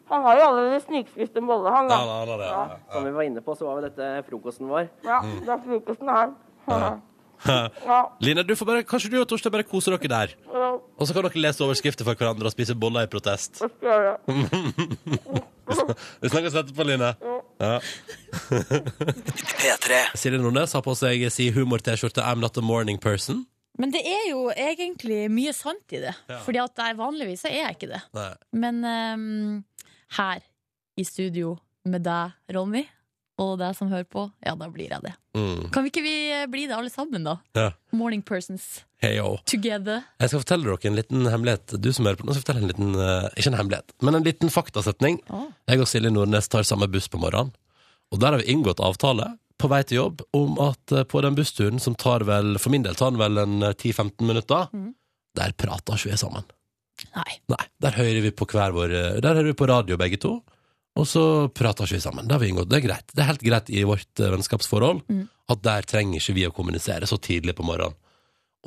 Speaker 4: Han har jo allerede snikspist en bolle, han da.
Speaker 3: Ja, ja, ja, ja, ja.
Speaker 9: Som vi var inne på, så var jo dette frokosten vår.
Speaker 4: Ja,
Speaker 3: Mm.
Speaker 4: det er frokosten her. Ja,
Speaker 3: Line, du får bare, kanskje du og Torstein bare koser dere der?
Speaker 4: ja,
Speaker 3: Og så kan dere lese overskrifter for hverandre og spise boller i protest.
Speaker 4: jeg skal gjøre det.
Speaker 3: Vi snakkes etterpå, Line. Ja.
Speaker 1: P3.
Speaker 3: Silje Nordnes har på seg si humor-T-skjorte I'm not a morning person.
Speaker 2: Men det er jo egentlig mye sant i det.
Speaker 3: Ja.
Speaker 2: Fordi at jeg, vanligvis så er jeg ikke det.
Speaker 3: Nei.
Speaker 2: Men ehm, her i studio med deg, Ronny, og deg som hører på, ja, da blir jeg det.
Speaker 3: Mm.
Speaker 2: Kan vi ikke vi eh, bli det alle sammen, da?
Speaker 3: Ja.
Speaker 2: Morning persons
Speaker 3: Hey, yo.
Speaker 2: together.
Speaker 3: Jeg skal fortelle dere en liten hemmelighet. Du som hører på nå, skal fortelle en liten eh, Ikke en hemmelighet, men en liten faktasetning.
Speaker 2: Å.
Speaker 3: Jeg og Silje Nordnes tar samme buss på morgenen, og der har vi inngått avtale på vei til jobb om at eh, på den bussturen som tar vel, for min del tar den vel en eh, 10-15 minutter,
Speaker 2: Mhm.
Speaker 3: der prater ikke vi sammen.
Speaker 2: Nei.
Speaker 3: Nei, der hører vi på hver vår eh, Der hører vi på radio begge to Og så prater ikke vi sammen Det har vi inngått, det er greit Det er helt greit i vårt eh, vennskapsforhold
Speaker 2: Mm.
Speaker 3: At der trenger ikke vi å kommunisere så tidlig på morgenen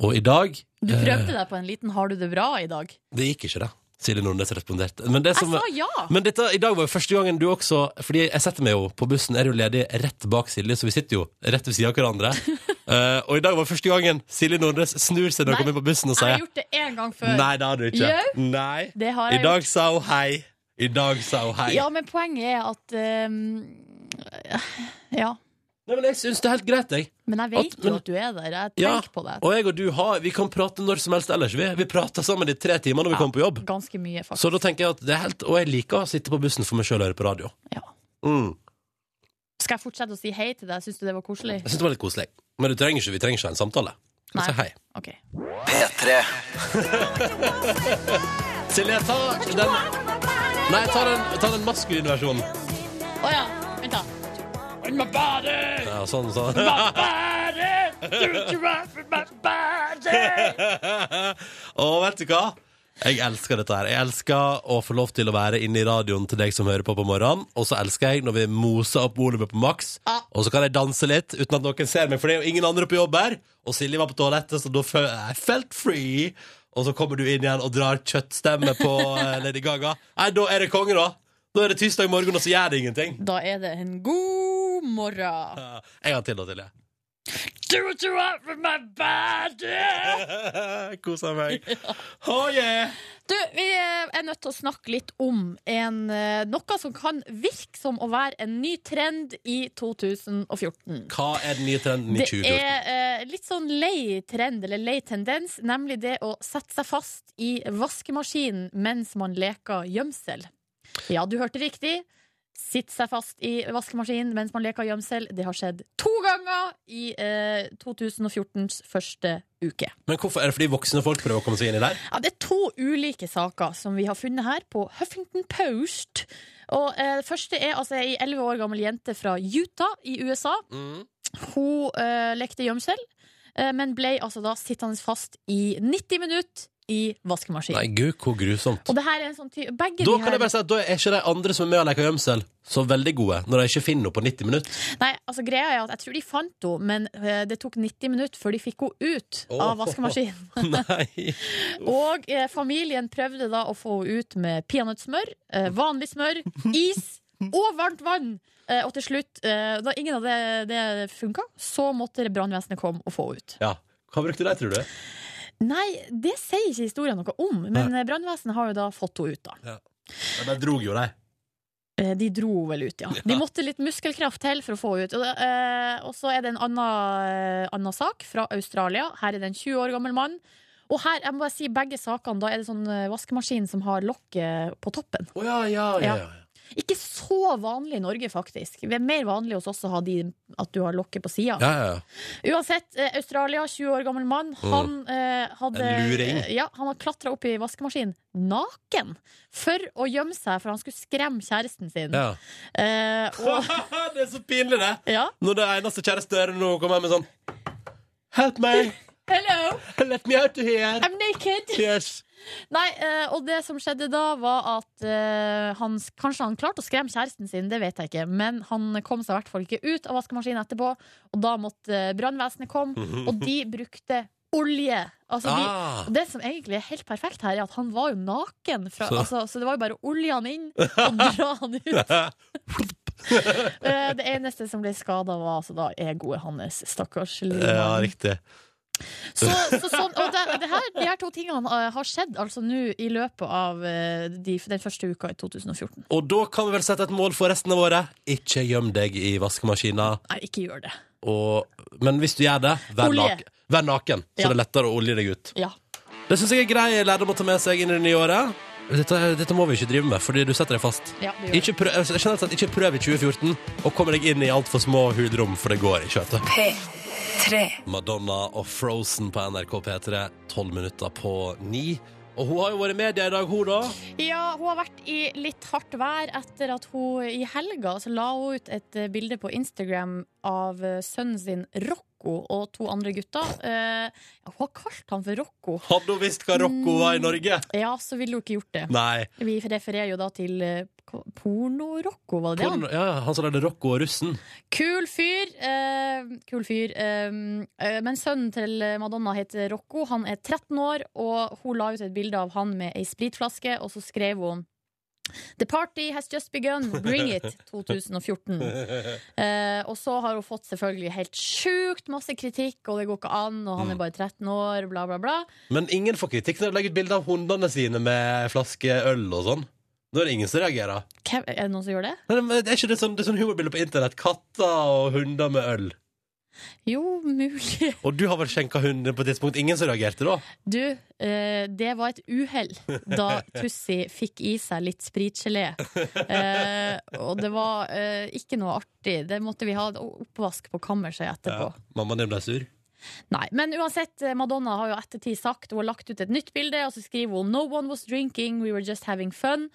Speaker 3: Og i dag
Speaker 2: Du
Speaker 3: eh,
Speaker 2: prøvde deg på en liten 'har du det bra' i dag.
Speaker 3: Det gikk ikke det Silje Nordnes responderte Men, det
Speaker 2: Jeg
Speaker 3: som,
Speaker 2: sa ja!
Speaker 3: men dette, i dag var jo første gangen du også Fordi jeg setter meg jo på bussen Er jo ledig rett bak Silje Så vi sitter jo rett ved siden av hverandre Eh, Og i dag var første gangen Silje Nordnes snur seg når
Speaker 2: Nei,
Speaker 3: hun kommer inn på bussen og
Speaker 2: Jeg har
Speaker 3: sier
Speaker 2: gjort det én gang før.
Speaker 3: Nei, det har du ikke Nei
Speaker 2: Det har
Speaker 3: i
Speaker 2: jeg
Speaker 3: dag sa hun hei. I dag sa hun hei.
Speaker 2: Ja, men poenget er at ehm, Ja.
Speaker 3: Nei, men jeg syns det er helt greit, jeg.
Speaker 2: Men jeg vet
Speaker 3: At- men-
Speaker 2: jo at du er der. Jeg
Speaker 3: Ja,
Speaker 2: tenker på det.
Speaker 3: Og jeg og du har, vi kan prate når som helst ellers. Vi, vi prater sammen i tre timer når vi kommer på jobb.
Speaker 2: Ganske mye, faktisk.
Speaker 3: Så da tenker jeg at det er helt Og jeg liker å sitte på bussen for meg sjøl og høre på radio.
Speaker 2: Ja.
Speaker 3: Mm.
Speaker 2: Skal jeg fortsette å si hei til deg? Syns du det var koselig?
Speaker 3: Jeg syns det var litt koselig. Men du trenger ikke, vi trenger ikke ha en samtale. Skal
Speaker 2: Nei.
Speaker 3: si hei.
Speaker 2: Ok.
Speaker 1: P3.
Speaker 3: Silje, ta den Nei, ta den, ta den maskuline versjonen.
Speaker 2: Å ja, vent, da.
Speaker 3: Ja, sånn, sånn. Og vet du hva? Jeg elsker dette her. Jeg elsker å få lov til å være inne i radioen til deg som hører på på morgenen. Og så elsker jeg når vi moser opp volumet på maks,
Speaker 2: Ja.
Speaker 3: og så kan jeg danse litt uten at noen ser meg, for det er jo ingen andre på jobb her. Og Silje var på toalettet, så da føl- jeg felt free. og så kommer du inn igjen og drar kjøttstemme på eh, Lady Gaga. Nei, da er det konge, da. Da er det tirsdag morgen, og så gjør det ingenting.
Speaker 2: Da er det en god morgen.
Speaker 3: Eh, En gang til, da, Silje.
Speaker 2: Do what you want with my body!
Speaker 3: Kosa meg. Oh, yeah.
Speaker 2: Du, vi er nødt til å snakke litt om en, eh, noe som kan virke som å være en ny trend i 2014.
Speaker 3: Hva er den nye trenden i
Speaker 2: Det
Speaker 3: 2014?
Speaker 2: er eh, litt sånn lei trend, eller lei tendens, nemlig det å sette seg fast i vaskemaskinen mens man leker gjemsel. Ja, du hørte riktig. Sitte seg fast i vaskemaskinen mens man leker gjemsel. Det har skjedd to ganger i eh, 2014s første uke.
Speaker 3: Men hvorfor er det fordi voksne folk prøver å komme seg inn i der?
Speaker 2: Ja, det er to ulike saker som vi har funnet her på Huffington Post. Og eh, Det første er altså ei elleve år gammel jente fra Utah i USA. Hun eh, lekte gjemsel, eh, men ble altså da sittende fast i 90 minutter i vaskemaskinen.
Speaker 3: Nei, gud, hvor grusomt.
Speaker 2: Og det her er en sånn ty begge
Speaker 3: Da
Speaker 2: de
Speaker 3: kan
Speaker 2: her
Speaker 3: jeg bare si at da er ikke de andre som er med og leker gjemsel, så veldig gode, når de ikke finner henne på 90 minutter.
Speaker 2: Nei, altså greia er at Jeg tror de fant henne, men eh, det tok 90 minutter før de fikk henne ut
Speaker 3: Åh.
Speaker 2: av vaskemaskinen.
Speaker 3: Nei.
Speaker 2: Og eh, familien prøvde da å få henne ut med peanøttsmør, eh, vanlig smør, is og varmt vann. Eh, og til slutt, eh, da ingen av det, det funka, så måtte brannvesenet komme og få henne ut.
Speaker 3: Ja. Hva brukte de, tror du?
Speaker 2: Nei, det sier ikke historien noe om, men eh, brannvesenet har jo da fått henne ut, da.
Speaker 3: Ja, de drog jo, de.
Speaker 2: Eh, De dro vel ut, ja. De måtte litt muskelkraft til for å få henne ut. Og, det- eh, og så er det en annen, eh, annen sak fra Australia. Her er det en 20 år gammel mann. Og her, jeg må bare si begge sakene, da er det sånn eh, vaskemaskin som har lokket eh, på toppen.
Speaker 3: Å ja, ja, ja. ja.
Speaker 2: Ikke så vanlig i Norge, faktisk. Det er mer vanlig hos oss å ha de at du har lokket på sida.
Speaker 3: ja, ja, ja.
Speaker 2: Uansett, eh, Australia, 20 år gammel mann, han eh, hadde
Speaker 3: En luring.
Speaker 2: Ja, han hadde klatra opp i vaskemaskinen naken for å gjemme seg, for han skulle skremme kjæresten sin.
Speaker 3: ja.
Speaker 2: Eh, og,
Speaker 3: det er så pinlig, det!
Speaker 2: ja.
Speaker 3: Når det eneste kjæreste er når hun kommer med sånn Help meg!
Speaker 2: Hello,
Speaker 3: Let me out of here!
Speaker 2: I'm naked!
Speaker 3: Yes.
Speaker 2: Nei, eh, og det som skjedde da, var at eh, han Kanskje han klarte å skremme kjæresten sin, det vet jeg ikke, men han kom seg i hvert fall ikke ut av vaskemaskinen etterpå, og da måtte eh, brannvesenet komme, og de brukte olje. Altså, de,
Speaker 3: Mhm. Ah.
Speaker 2: og det som egentlig er helt perfekt her, er at han var jo naken, fra,
Speaker 3: Så-
Speaker 2: så. Altså, så det var jo bare å olje han inn og dra han ut. Eh, det eneste som ble skada, var altså da egoet hans. Stakkars lille
Speaker 3: Ja,
Speaker 2: mann.
Speaker 3: riktig.
Speaker 2: Så, så, sånn, og det, det her, de her to tingene eh, har skjedd altså nå i løpet av eh, de, den første uka i 2014.
Speaker 3: Og da kan vi vel sette et mål for resten av året. Ikke gjem deg i vaskemaskina.
Speaker 2: Nei, ikke gjør det.
Speaker 3: Og... Men hvis du gjør det, vær
Speaker 2: Olje.
Speaker 3: naken. Vær naken, så
Speaker 2: Ja.
Speaker 3: det er lettere å olje deg ut.
Speaker 2: Ja.
Speaker 3: Det syns jeg er grei lærdom å ta med seg inn i det nye året. Dette, dette må vi ikke drive med, fordi du setter deg fast.
Speaker 2: Ja, det gjør
Speaker 3: Ikke prøv, altså, generelt sett, ikke prøv i 2014 å komme deg inn i altfor små hudrom, for det går ikke. vet du.
Speaker 1: P3.
Speaker 3: Madonna og Frozen på NRK P3, tolv minutter på ni. Og hun har jo vært i media i dag, hun, da.
Speaker 2: ja, hun har vært i litt hardt vær etter at hun i helga så la hun ut et eh, bilde på Instagram av eh, sønnen sin Rocco og to andre gutter. Eh, hun har kalt han for Rocco.
Speaker 3: Hadde hun visst hva Rocco var i Norge?
Speaker 2: Ja, så ville hun ikke gjort det.
Speaker 3: Nei.
Speaker 2: Vi refererer jo da til eh, hva- Porno-Rocco, var det det? han-
Speaker 3: Porno, ja, han som lagde Rocco og russen.
Speaker 2: Kul fyr. eh, kul fyr eh, eh, men sønnen til Madonna heter Rocco. Han er 13 år, og hun la ut et bilde av han med ei spritflaske, og så skrev hun The party has just begun. Bring it 2014. Eh, og så har hun fått selvfølgelig helt sjukt masse kritikk, og det går ikke an, og han er bare 13 år, bla, bla, bla.
Speaker 3: Men ingen får kritikk når de legger ut bilde av hundene sine med flaske øl og sånn. Da er det ingen som reagerer.
Speaker 2: Hvem, er det noen som gjør det?
Speaker 3: Nei, men det er ikke det sånn, det er sånn humorbilder på internett. Katter og hunder med øl.
Speaker 2: Jo, mulig.
Speaker 3: Og du har vel skjenka hunden på et tidspunkt? Ingen som reagerte da?
Speaker 2: Du, eh, det var et uhell da Tussi fikk i seg litt spritgelé. Eh, og det var eh, ikke noe artig. Det måtte vi ha oppvask på kammerset etterpå.
Speaker 3: Mammaen din ble sur?
Speaker 2: Nei, Men uansett, eh, Madonna har jo ettertid sagt Hun har lagt ut et nytt bilde, og så skriver hun No one was drinking, we were just having fun.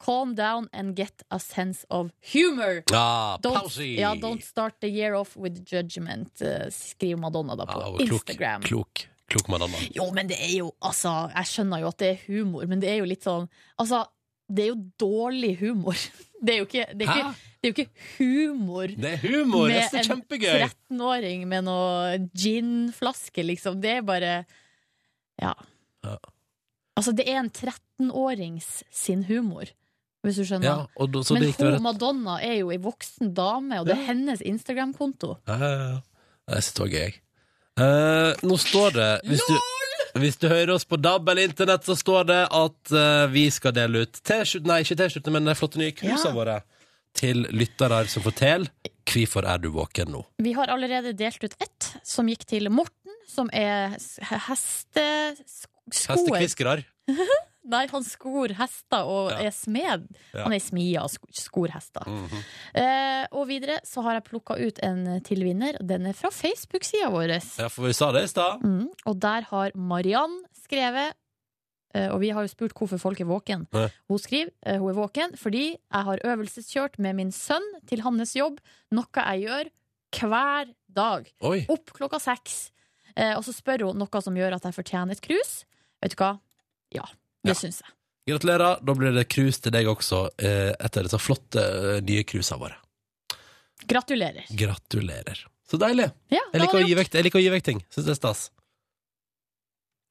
Speaker 2: Calm down and get a sense of humor.
Speaker 3: Ja,
Speaker 2: Don't, ja, don't start the year off with judgment, eh, skriver Madonna da på
Speaker 3: Ah, klok,
Speaker 2: Instagram.
Speaker 3: klok, klok madame.
Speaker 2: Jo, men det er jo Altså, jeg skjønner jo at det er humor, men det er jo litt sånn Altså, det er jo dårlig humor. Det er jo ikke, det er
Speaker 3: Hæ?
Speaker 2: ikke, det er jo ikke humor.
Speaker 3: Det er humor! Det
Speaker 2: med
Speaker 3: er så
Speaker 2: en
Speaker 3: kjempegøy!
Speaker 2: 13-åring med noe ginflaske, liksom. Det er bare Ja. Altså, det er en 13-årings sin humor, hvis du skjønner.
Speaker 3: Ja, og da, så
Speaker 2: Men
Speaker 3: det gikk det
Speaker 2: hun,
Speaker 3: rett.
Speaker 2: Madonna er jo ei voksen dame, og det er hennes Instagram-konto.
Speaker 3: Ja, ja, ja. Det synes det var gøy, jeg. Eh, nå står det hvis du, hvis du hører oss på DAB eller internett, så står det at eh, vi skal dele ut T-skjorte, nei, ikke T-skjorte, men de flotte nye krusene
Speaker 2: Ja.
Speaker 3: våre til lyttere som forteller hvorfor er du våken nå.
Speaker 2: Vi har allerede delt ut ett, som gikk til Morten, som er s- hesteskoer.
Speaker 3: Hestekviskere.
Speaker 2: Nei, han skor hester og
Speaker 3: Ja.
Speaker 2: er smed.
Speaker 3: Ja.
Speaker 2: Han er smie og sk- skor hester.
Speaker 3: Mhm.
Speaker 2: eh, og videre så har jeg plukka ut en til vinner. Den er fra Facebook-sida vår.
Speaker 3: Ja, for vi sa det i stad.
Speaker 2: Mm, og der har Mariann skrevet eh, og vi har jo spurt hvorfor folk er våken.
Speaker 3: Ja.
Speaker 2: Hun skriver eh, hun er våken fordi jeg har øvelseskjørt med min sønn til hans jobb, noe jeg gjør hver dag.
Speaker 3: Oi.
Speaker 2: Opp klokka seks. Eh, og så spør hun noe som gjør at jeg fortjener et krus. Vet du hva? Ja, det
Speaker 3: Ja.
Speaker 2: syns jeg.
Speaker 3: Gratulerer. Da blir det krus til deg også, eh, etter disse flotte eh, nye krusene våre.
Speaker 2: Gratulerer.
Speaker 3: Gratulerer. Så deilig.
Speaker 2: Ja,
Speaker 3: Jeg
Speaker 2: da var
Speaker 3: liker å
Speaker 2: det
Speaker 3: gi
Speaker 2: gjort.
Speaker 3: vekk, jeg liker å gi vekk ting. Syns det er stas.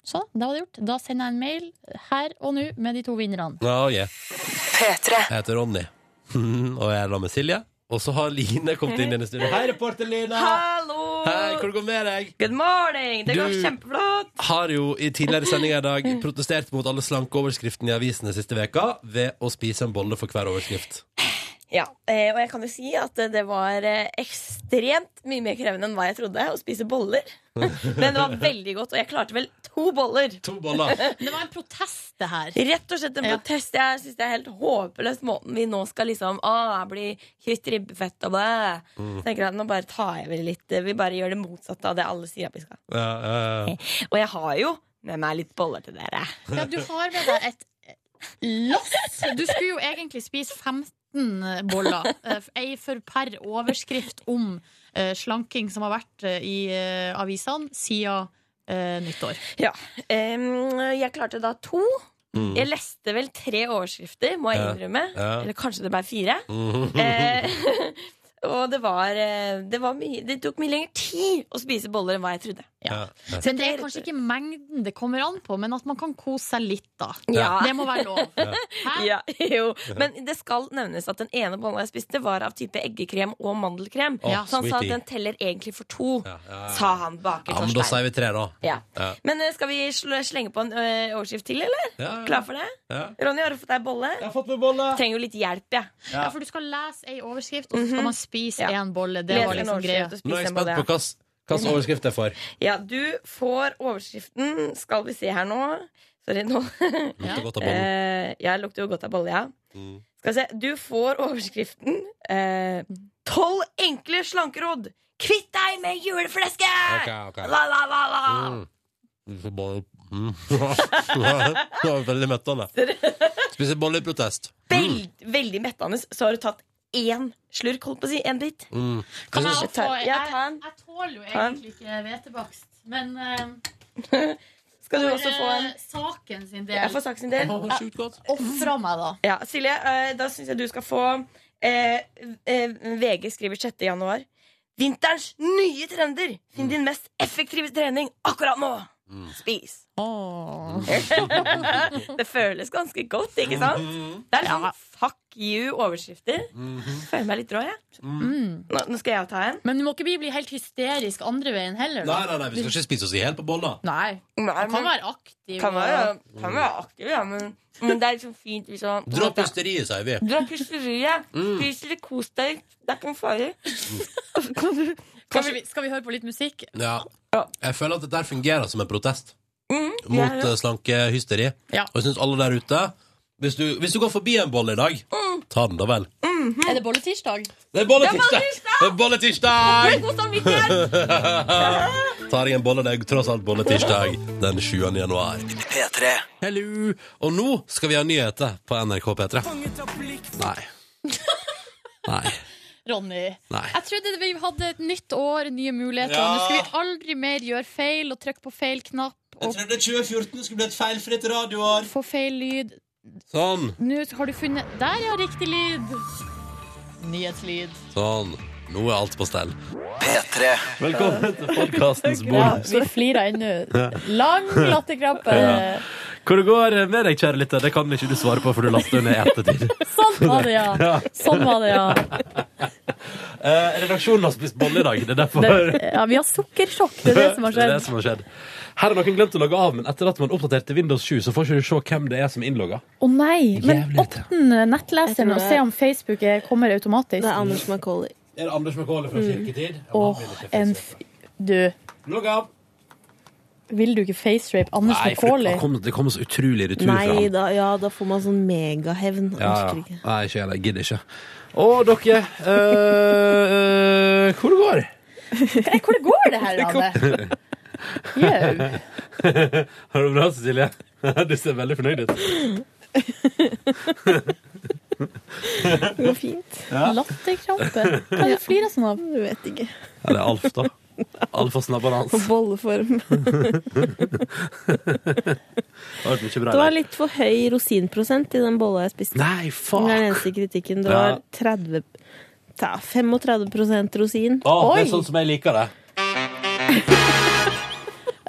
Speaker 2: Sånn, da var det gjort. Da sender jeg en mail her og nå med de to vinnerne.
Speaker 3: Ja, yeah.
Speaker 1: P3.
Speaker 3: Jeg heter Ronny, og jeg er da med Silje. Og så har Line kommet inn i denne studio. Hei, reporter Line!
Speaker 4: Hallo!
Speaker 3: Hei, hvordan går det med deg?
Speaker 4: Good morning! Det går
Speaker 3: Du-
Speaker 4: kjempeflott!
Speaker 3: Har jo i tidligere sendinger i dag protestert mot alle slankeoverskriftene i avisene siste veka ved å spise en bolle for hver overskrift.
Speaker 4: Ja, eh, og jeg kan jo si at eh, det var eh, ekstremt mye mer krevende enn hva jeg trodde å spise boller. Men det var veldig godt, og jeg klarte vel to boller.
Speaker 3: To boller.
Speaker 2: Det var en protest, det her.
Speaker 4: Rett og slett en
Speaker 2: Ja.
Speaker 4: protest. Jeg syns det er helt håpløst måten vi nå skal liksom Å, jeg blir kvitt ribbefett og det.
Speaker 3: Mm.
Speaker 4: Så tenker jeg at nå bare tar jeg vel litt eh, Vi bare gjør det motsatte av det alle sier at vi skal.
Speaker 3: Ja, ja, ja.
Speaker 4: Og jeg har jo med meg litt boller til dere.
Speaker 2: Ja, du har med deg et eh, lass. Du skulle jo egentlig spise 15 boller. eh, Ei for per overskrift om eh, slanking som har vært eh, i eh, avisene siden eh, nyttår.
Speaker 4: Ja. Em, jeg klarte da to.
Speaker 3: Mm.
Speaker 4: Jeg leste vel tre overskrifter, må jeg
Speaker 3: Ja.
Speaker 4: innrømme.
Speaker 3: Ja.
Speaker 4: Eller kanskje det ble fire.
Speaker 3: Mhm.
Speaker 4: Eh, og det var, eh, det var mye Det tok mye lengre tid å spise boller enn hva jeg trodde.
Speaker 3: Ja. ja.
Speaker 2: Men det er kanskje ikke mengden det kommer an på, men at man kan kose seg litt, da.
Speaker 4: Ja.
Speaker 2: Det må være lov. Hæ?
Speaker 4: Ja, jo. Men det skal nevnes at den ene bolla jeg spiste, var av type eggekrem og mandelkrem.
Speaker 3: Å,
Speaker 4: så han sa at
Speaker 3: sweetie.
Speaker 4: den teller egentlig for to,
Speaker 3: Ja, ja, ja.
Speaker 4: sa han baker
Speaker 3: Ja, men da sier vi tre, da.
Speaker 4: Ja.
Speaker 3: Ja.
Speaker 4: Men eh, skal vi sl- slenge på en ø, overskrift til, eller?
Speaker 3: Ja, ja.
Speaker 4: Klar for det?
Speaker 3: Ja.
Speaker 4: Ronny, har du fått deg bolle?
Speaker 3: Jeg har fått med bolle!
Speaker 4: Trenger jo litt hjelp, jeg.
Speaker 2: Ja, for du skal lese ei overskrift, og så skal man spise
Speaker 4: Mhm. Ja.
Speaker 2: én bolle. Det
Speaker 4: Ja.
Speaker 2: var liksom greia.
Speaker 3: Nå er jeg spent på hvilken overskrift jeg får.
Speaker 4: Ja, du får overskriften. Skal vi se her nå. Sorry, nå.
Speaker 3: Lukter godt av bollen.
Speaker 4: Eh, jeg lukter jo godt av bolle, ja.
Speaker 3: Mm.
Speaker 4: Skal vi se. Du får overskriften eh, Tolv enkle slankeråd. Kvitt deg med juleflesket!
Speaker 3: Ok, ok.
Speaker 4: La, la, la, la.
Speaker 3: Mm. Du får bolle mm. Det var veldig mettende. Spiser bolle i protest.
Speaker 4: Veld, Veldig mettende. Så har du tatt én slurk, holdt på å si. En bit.
Speaker 3: Mm.
Speaker 2: Kan jeg,
Speaker 4: Jeg
Speaker 2: få,
Speaker 4: tar-
Speaker 2: jeg,
Speaker 4: ja, ta en.
Speaker 2: jeg tåler jo
Speaker 4: Ta en.
Speaker 2: egentlig ikke hvetebakst, men eh,
Speaker 4: Skal du
Speaker 2: for,
Speaker 4: også få en
Speaker 2: eh, saken sin
Speaker 4: Jeg
Speaker 2: del
Speaker 4: får saken sin del.
Speaker 3: Å, sjukt godt.
Speaker 2: Ofra meg, da.
Speaker 4: Ja, Silje, eh, da syns jeg du skal få eh, eh, VG skriver 6. januar. Vinterens nye trender! Finn din mest effektive trening akkurat nå! Spis. det føles ganske godt, ikke sant?
Speaker 3: Mm.
Speaker 4: Det er litt sånn fuck you-overskrifter.
Speaker 3: Mhm.
Speaker 4: Føler meg litt rå, jeg.
Speaker 3: Mm.
Speaker 4: Mm. Nå, nå skal jeg ta en.
Speaker 2: Men du må ikke bli- bli helt hysterisk andre veien heller.
Speaker 3: Nei,
Speaker 2: Da.
Speaker 3: nei, nei, vi skal ikke spise oss i hjel på bolla.
Speaker 2: Nei,
Speaker 4: Nei,
Speaker 2: Du kan være aktiv.
Speaker 4: kan
Speaker 2: og-
Speaker 4: være, kan være aktiv, ja, men, men det er liksom fint hvis man
Speaker 3: Dra på hysteriet, sier vi.
Speaker 4: Dropp hysteriet.
Speaker 3: Mm.
Speaker 4: Spis litt, kos deg. Det er ikke noe farlig. Kan du- kan
Speaker 2: Kanskje
Speaker 4: vi-
Speaker 2: vi, skal vi høre på litt musikk?
Speaker 3: Ja.
Speaker 4: Ja.
Speaker 3: Jeg føler at dette her fungerer som en protest
Speaker 4: Mhm,
Speaker 3: mot
Speaker 4: ja, ja.
Speaker 3: eh, slankehysteri.
Speaker 2: Ja.
Speaker 3: Og jeg syns alle der ute hvis du, hvis du går forbi en bolle i dag, ta den da vel.
Speaker 4: Mhm.
Speaker 2: Er det bolletirsdag?
Speaker 3: Det er bolletirsdag! Det er bolletirsdag!
Speaker 4: God samvittighet!
Speaker 3: Tar jeg en bolle, det er tross alt bolletirsdag den 7. januar.
Speaker 1: P3.
Speaker 3: Hello. Og nå skal vi ha nyheter på NRK P3. Nei. Nei.
Speaker 2: Ronny.
Speaker 3: Nei.
Speaker 2: Jeg trodde vi hadde et nytt år, nye muligheter.
Speaker 3: Ja.
Speaker 2: Nå skal vi aldri mer gjøre feil og trykke på feil knapp og
Speaker 3: trodde 2014 skulle bli et feilfritt radioår.
Speaker 2: få feil lyd.
Speaker 3: Sånn.
Speaker 2: Nå har du funnet Der, ja, riktig lyd! Nyhetslyd.
Speaker 3: Sånn. Nå er alt på stell.
Speaker 1: P3.
Speaker 3: Velkommen til podkastens
Speaker 2: Ja,
Speaker 3: bonus.
Speaker 2: vi flirer ennå. Lang latterkrampe.
Speaker 3: Hvor det går med deg, kjære lytter, det kan ikke du svare på, for du laster ned i ettertid.
Speaker 2: Sånn var det, ja. Sånn var det, ja.
Speaker 3: Eh, redaksjonen har spist bolle i dag. Det er derfor
Speaker 2: Det, ja, vi har sukkersjokk, det er det som har
Speaker 3: Det er det
Speaker 2: skjedd.
Speaker 3: som har skjedd. Her har noen glemt å logge av, men etter at man oppdaterte Windows 7, så får ikke du se hvem det er som er innlogga.
Speaker 2: Å nei! Men
Speaker 3: Jævlig irriterende.
Speaker 2: åpne
Speaker 10: Jeg tror
Speaker 2: nettleseren
Speaker 10: det
Speaker 2: og se om Facebook er- kommer automatisk.
Speaker 10: Det er Anders Macauley.
Speaker 3: Er det Anders McCauley fra Kirketid?
Speaker 2: Åh, en f... Du,
Speaker 3: Logg av!
Speaker 2: vil du ikke facerape Anders
Speaker 3: Nei, for det
Speaker 2: McCauley?
Speaker 3: kom, det kom så utrolig retur fra
Speaker 10: Nei,
Speaker 3: ham.
Speaker 10: da, ja, da får man sånn megahevn.
Speaker 3: Ja,
Speaker 10: Ja,
Speaker 3: ja. Nei, ikke heller. Jeg gidder ikke. Å, dere eh, eh, Hvor det går
Speaker 2: Nei, Hvor går det her, Anne? Jau.
Speaker 3: Har du det bra, Cecilie? Du ser veldig fornøyd ut.
Speaker 10: Det går fint.
Speaker 2: Latterkrampe. Hva er det du flirer sånn av?
Speaker 10: Du vet ikke.
Speaker 3: Ja, det er Alf, da. Alf og snabben hans.
Speaker 10: På bolleform.
Speaker 3: Det har vært mye bra
Speaker 10: Det
Speaker 3: i
Speaker 10: var
Speaker 3: dag.
Speaker 10: litt for høy rosinprosent i den bolla jeg spiste.
Speaker 3: Nei,
Speaker 10: Det er den
Speaker 3: fuck!
Speaker 10: eneste kritikken. Det
Speaker 3: Ja.
Speaker 10: var 30 ta, 35 rosin.
Speaker 3: Å, det
Speaker 2: Oi!
Speaker 3: er sånn som jeg liker det.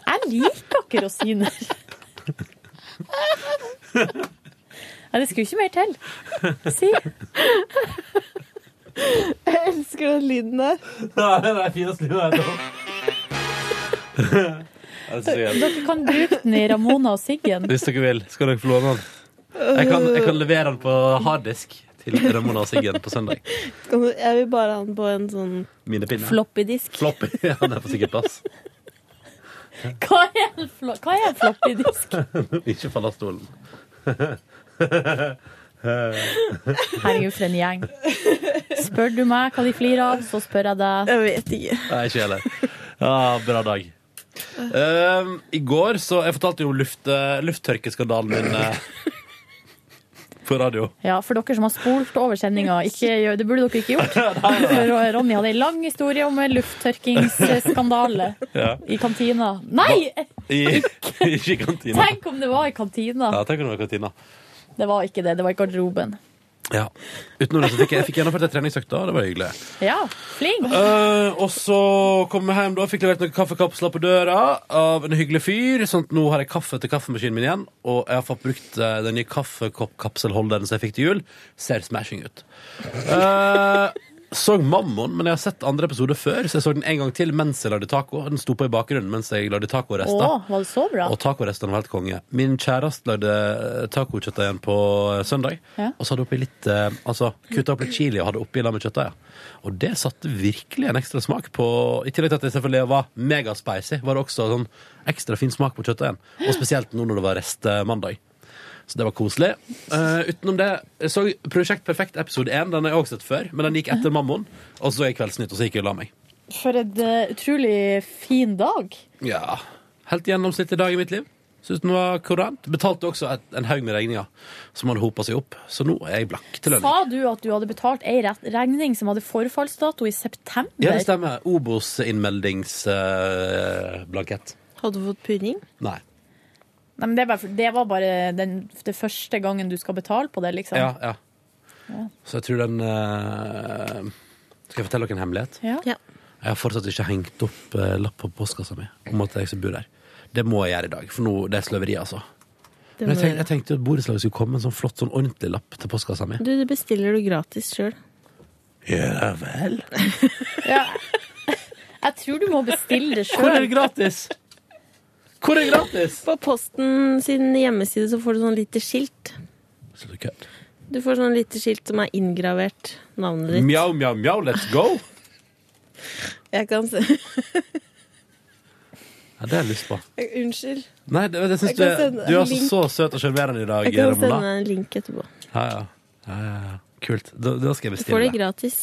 Speaker 2: Jeg liker ikke rosiner. Nei, det skulle ikke mer til. Si.
Speaker 10: Jeg elsker den lyden der.
Speaker 3: Ja, det er det fineste livet jeg har hørt.
Speaker 2: Dere kan bruke den i Ramona og Siggen.
Speaker 3: Hvis dere vil, skal dere få låne den. Jeg kan, jeg kan levere den på harddisk til Ramona og Siggen på søndag.
Speaker 10: Kan du- Jeg vil bare ha den på en sånn
Speaker 3: Mine pinner.
Speaker 10: floppy disk.
Speaker 3: Floppy. Ja, den er på sikkert plass.
Speaker 2: Hva er en, flo Hva er en floppy disk?
Speaker 3: Ikke fall av stolen.
Speaker 2: Herregud, for en gjeng. Spør du meg hva de flirer av, så spør jeg deg.
Speaker 10: Jeg vet ikke.
Speaker 3: Nei, ikke heller. Ja, bra dag. Um, I går så Jeg fortalte jo om luft, eh, lufttørkeskandalen min eh, på radio.
Speaker 2: Ja, for dere som har spolt over sendinga, ikke gjør- det burde dere ikke gjort. For Ronny hadde en lang historie om en lufttørkingsskandale
Speaker 3: Ja.
Speaker 2: i kantina. Nei!
Speaker 3: I, ikke i kantina.
Speaker 2: Tenk om det var i kantina!
Speaker 3: Ja, tenk om det var i kantina.
Speaker 2: Det var ikke det, det var i garderoben.
Speaker 3: Ja. Utenom det så fikk jeg, jeg fikk gjennomført ei treningsøkt, da. og Det var hyggelig.
Speaker 2: Ja, flink!
Speaker 3: Eh, og så kom jeg hjem, da. Fikk levert noen kaffekapsler på døra av en hyggelig fyr. Sånn at nå har jeg kaffe til kaffemaskinen min igjen. Og jeg har fått brukt eh, den nye kaffekoppkapselholderen som jeg fikk til jul. Ser smashing ut. Eh, så Mammon, men jeg har sett andre episoder før, så jeg så den en gang til mens jeg lagde taco. Den sto på i bakgrunnen mens jeg lagde
Speaker 2: Å,
Speaker 3: tacorester.
Speaker 2: var det så bra?
Speaker 3: Og tacorestene var helt konge. Min kjæreste lagde eh, tacokjøttdeig igjen på eh, søndag.
Speaker 2: Ja.
Speaker 3: Og så hadde oppi litt eh, Altså kutta opp litt chili og hadde oppi sammen med kjøttdeigen. Og det satte virkelig en ekstra smak på I tillegg til at det selvfølgelig var megaspicy, var det også sånn ekstra fin smak på kjøttdeigen. Og spesielt nå når det var restemandag. Så det var koselig. Eh, utenom det jeg så Prosjekt Perfekt episode 1. Den har jeg også sett før, men den gikk etter Mammon. Og så gikk Kveldsnytt, og så gikk jeg og la meg.
Speaker 2: For en eh, utrolig fin dag.
Speaker 3: Ja. Helt gjennomsnittlig dag i mitt liv. Syns den var kurant. Betalte også et, en haug med regninger som hadde hopa seg opp, så nå er jeg blakk til lønning.
Speaker 2: Sa du at du hadde betalt ei rett- regning som hadde forfallsdato i september?
Speaker 3: Ja, det stemmer. Obos-innmeldingsblankett.
Speaker 10: Hadde du fått purring?
Speaker 3: Nei.
Speaker 2: Nei, men det, var, det var bare den, det første gangen du skal betale på det, liksom.
Speaker 3: Ja, ja. Så jeg tror den eh, Skal jeg fortelle dere en hemmelighet?
Speaker 2: Ja.
Speaker 10: Ja.
Speaker 3: Jeg har fortsatt ikke hengt opp eh, lapp på postkassa mi om at jeg skal bo der. Det må jeg gjøre i dag, for nå det er sløveri, altså.
Speaker 10: Det
Speaker 3: Men jeg,
Speaker 10: må
Speaker 3: tenk,
Speaker 10: jeg-
Speaker 3: jeg tenkte jo at borettslaget skulle komme med en sånn flott, sånn ordentlig lapp til postkassa mi.
Speaker 10: Du, det bestiller du gratis sjøl.
Speaker 3: Ja vel?
Speaker 2: Ja. Jeg tror du må bestille det
Speaker 3: Hvor er
Speaker 2: sjøl.
Speaker 3: det gratis? Hvor er det gratis?
Speaker 10: På Posten sin hjemmeside så får du sånn lite skilt.
Speaker 3: Slutt å kødde.
Speaker 10: Du får sånn lite skilt som er inngravert navnet ditt.
Speaker 3: Mjau, mjau, mjau, let's go!
Speaker 10: Jeg kan se
Speaker 3: Ja, det har jeg lyst på.
Speaker 10: Unnskyld.
Speaker 3: Nei, det, det syns
Speaker 10: Jeg
Speaker 3: du,
Speaker 10: kan
Speaker 3: er-
Speaker 10: sende
Speaker 3: du er
Speaker 10: en
Speaker 3: altså
Speaker 10: link.
Speaker 3: så søt og sjarmerende i dag,
Speaker 10: Jeg kan sende
Speaker 3: Ramona.
Speaker 10: deg en link etterpå.
Speaker 3: Ja, ja. ja, ja, ja. Kult. Da, da skal jeg
Speaker 10: Du får
Speaker 3: bestille
Speaker 10: det
Speaker 3: det.
Speaker 10: gratis.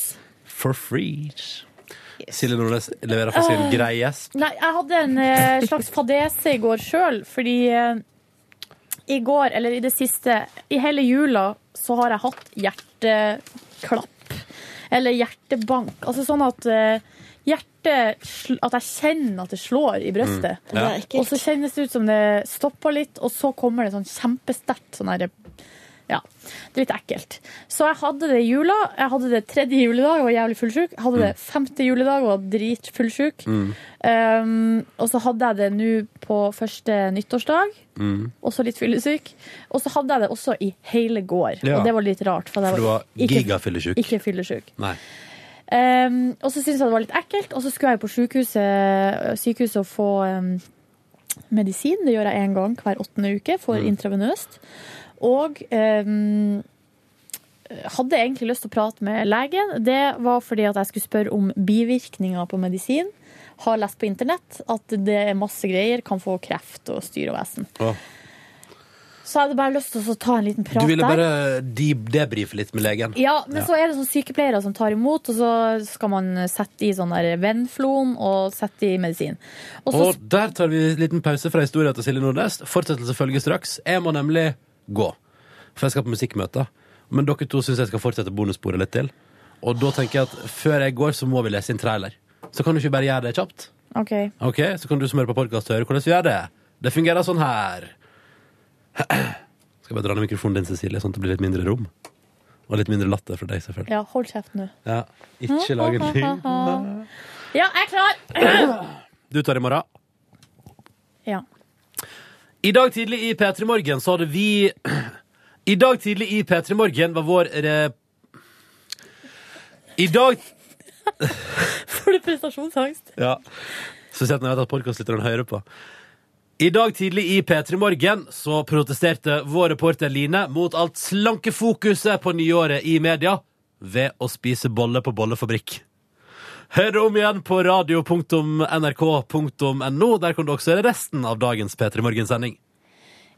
Speaker 3: For free. Silje Nordnes leverer for
Speaker 2: Ah.
Speaker 3: sin greiesp.
Speaker 2: Nei, jeg hadde en eh, slags fadese i går sjøl, fordi eh, i går, eller i det siste, i hele jula, så har jeg hatt hjerteklapp. Eller hjertebank. Altså sånn at eh, hjertet sl- At jeg kjenner at det slår i brøstet.
Speaker 3: Ja.
Speaker 10: Det er
Speaker 2: Og så
Speaker 10: ekkelt.
Speaker 2: kjennes det ut som det stopper litt, og så kommer det sånn kjempesterkt sånn her Ja, det er litt ekkelt. Så jeg hadde det i jula. Jeg hadde det tredje juledag og var jævlig fullsjuk. Jeg hadde det femte juledag og var dritfullsjuk.
Speaker 11: Mm.
Speaker 2: Um, og så hadde jeg det nå på første nyttårsdag,
Speaker 11: Mm.
Speaker 2: også litt fyllesyk. Og så hadde jeg det også i hele går,
Speaker 3: Ja.
Speaker 2: og det var litt rart. For, jeg
Speaker 3: For du var
Speaker 2: ikke-
Speaker 3: gigafyllesyk.
Speaker 2: Ikke fyllesyk.
Speaker 3: Nei.
Speaker 2: Um, og så syntes jeg det var litt ekkelt, og så skulle jeg på sykehuset, sykehuset og få um, medisin. Det gjør jeg én gang hver åttende uke, får
Speaker 3: Mm.
Speaker 2: intravenøst. Og um, hadde egentlig lyst til å prate med legen. Det var fordi at jeg skulle spørre om bivirkninger på medisin. Har lest på internett at det er masse greier, kan få kreft og styr og vesen.
Speaker 3: Åh.
Speaker 2: Så jeg hadde bare lyst til å ta en liten prat
Speaker 3: Du ville
Speaker 2: der.
Speaker 3: bare de debrife litt med legen?
Speaker 2: Ja, men så er det sånn sykepleiere som tar imot, og så skal man sette i sånn der Venflon og sette i medisin. Og så
Speaker 3: Og der tar vi en liten pause fra historien til Silje Nordnes. Fortsettelse følger straks. Jeg må nemlig gå, for jeg skal på musikkmøte. Men dere to syns jeg skal fortsette bonussporet litt til. Og da tenker jeg at før jeg går, så må vi lese inn trailer. Så kan du ikke bare gjøre det kjapt?
Speaker 2: OK.
Speaker 3: Ok, Så kan du som hører på podkast høre hvordan vi gjør det. Det fungerer sånn her. Skal jeg bare dra ned mikrofonen din, Cecilie, sånn at det blir litt mindre rom. Og litt mindre latter fra deg, selvfølgelig.
Speaker 2: Ja, hold kjeft nå.
Speaker 3: Ja, ikke lag en lyd.
Speaker 2: Ja, jeg er klar!
Speaker 3: Du tar i morgen.
Speaker 2: Ja.
Speaker 3: I dag tidlig i P3 Morgen så hadde vi I dag tidlig i P3 Morgen var vår re... I dag
Speaker 2: Får du prestasjonsangst?
Speaker 3: Ja. Spesielt når jeg vet at podkastlytterne hører på. I dag tidlig i P3 Morgen så protesterte vår reporter Line mot alt slankefokuset på nyåret i media ved å spise bolle på bollefabrikk. Hør om igjen på radio.nrk.no. Der kan du også høre resten av dagens P3 Morgen-sending.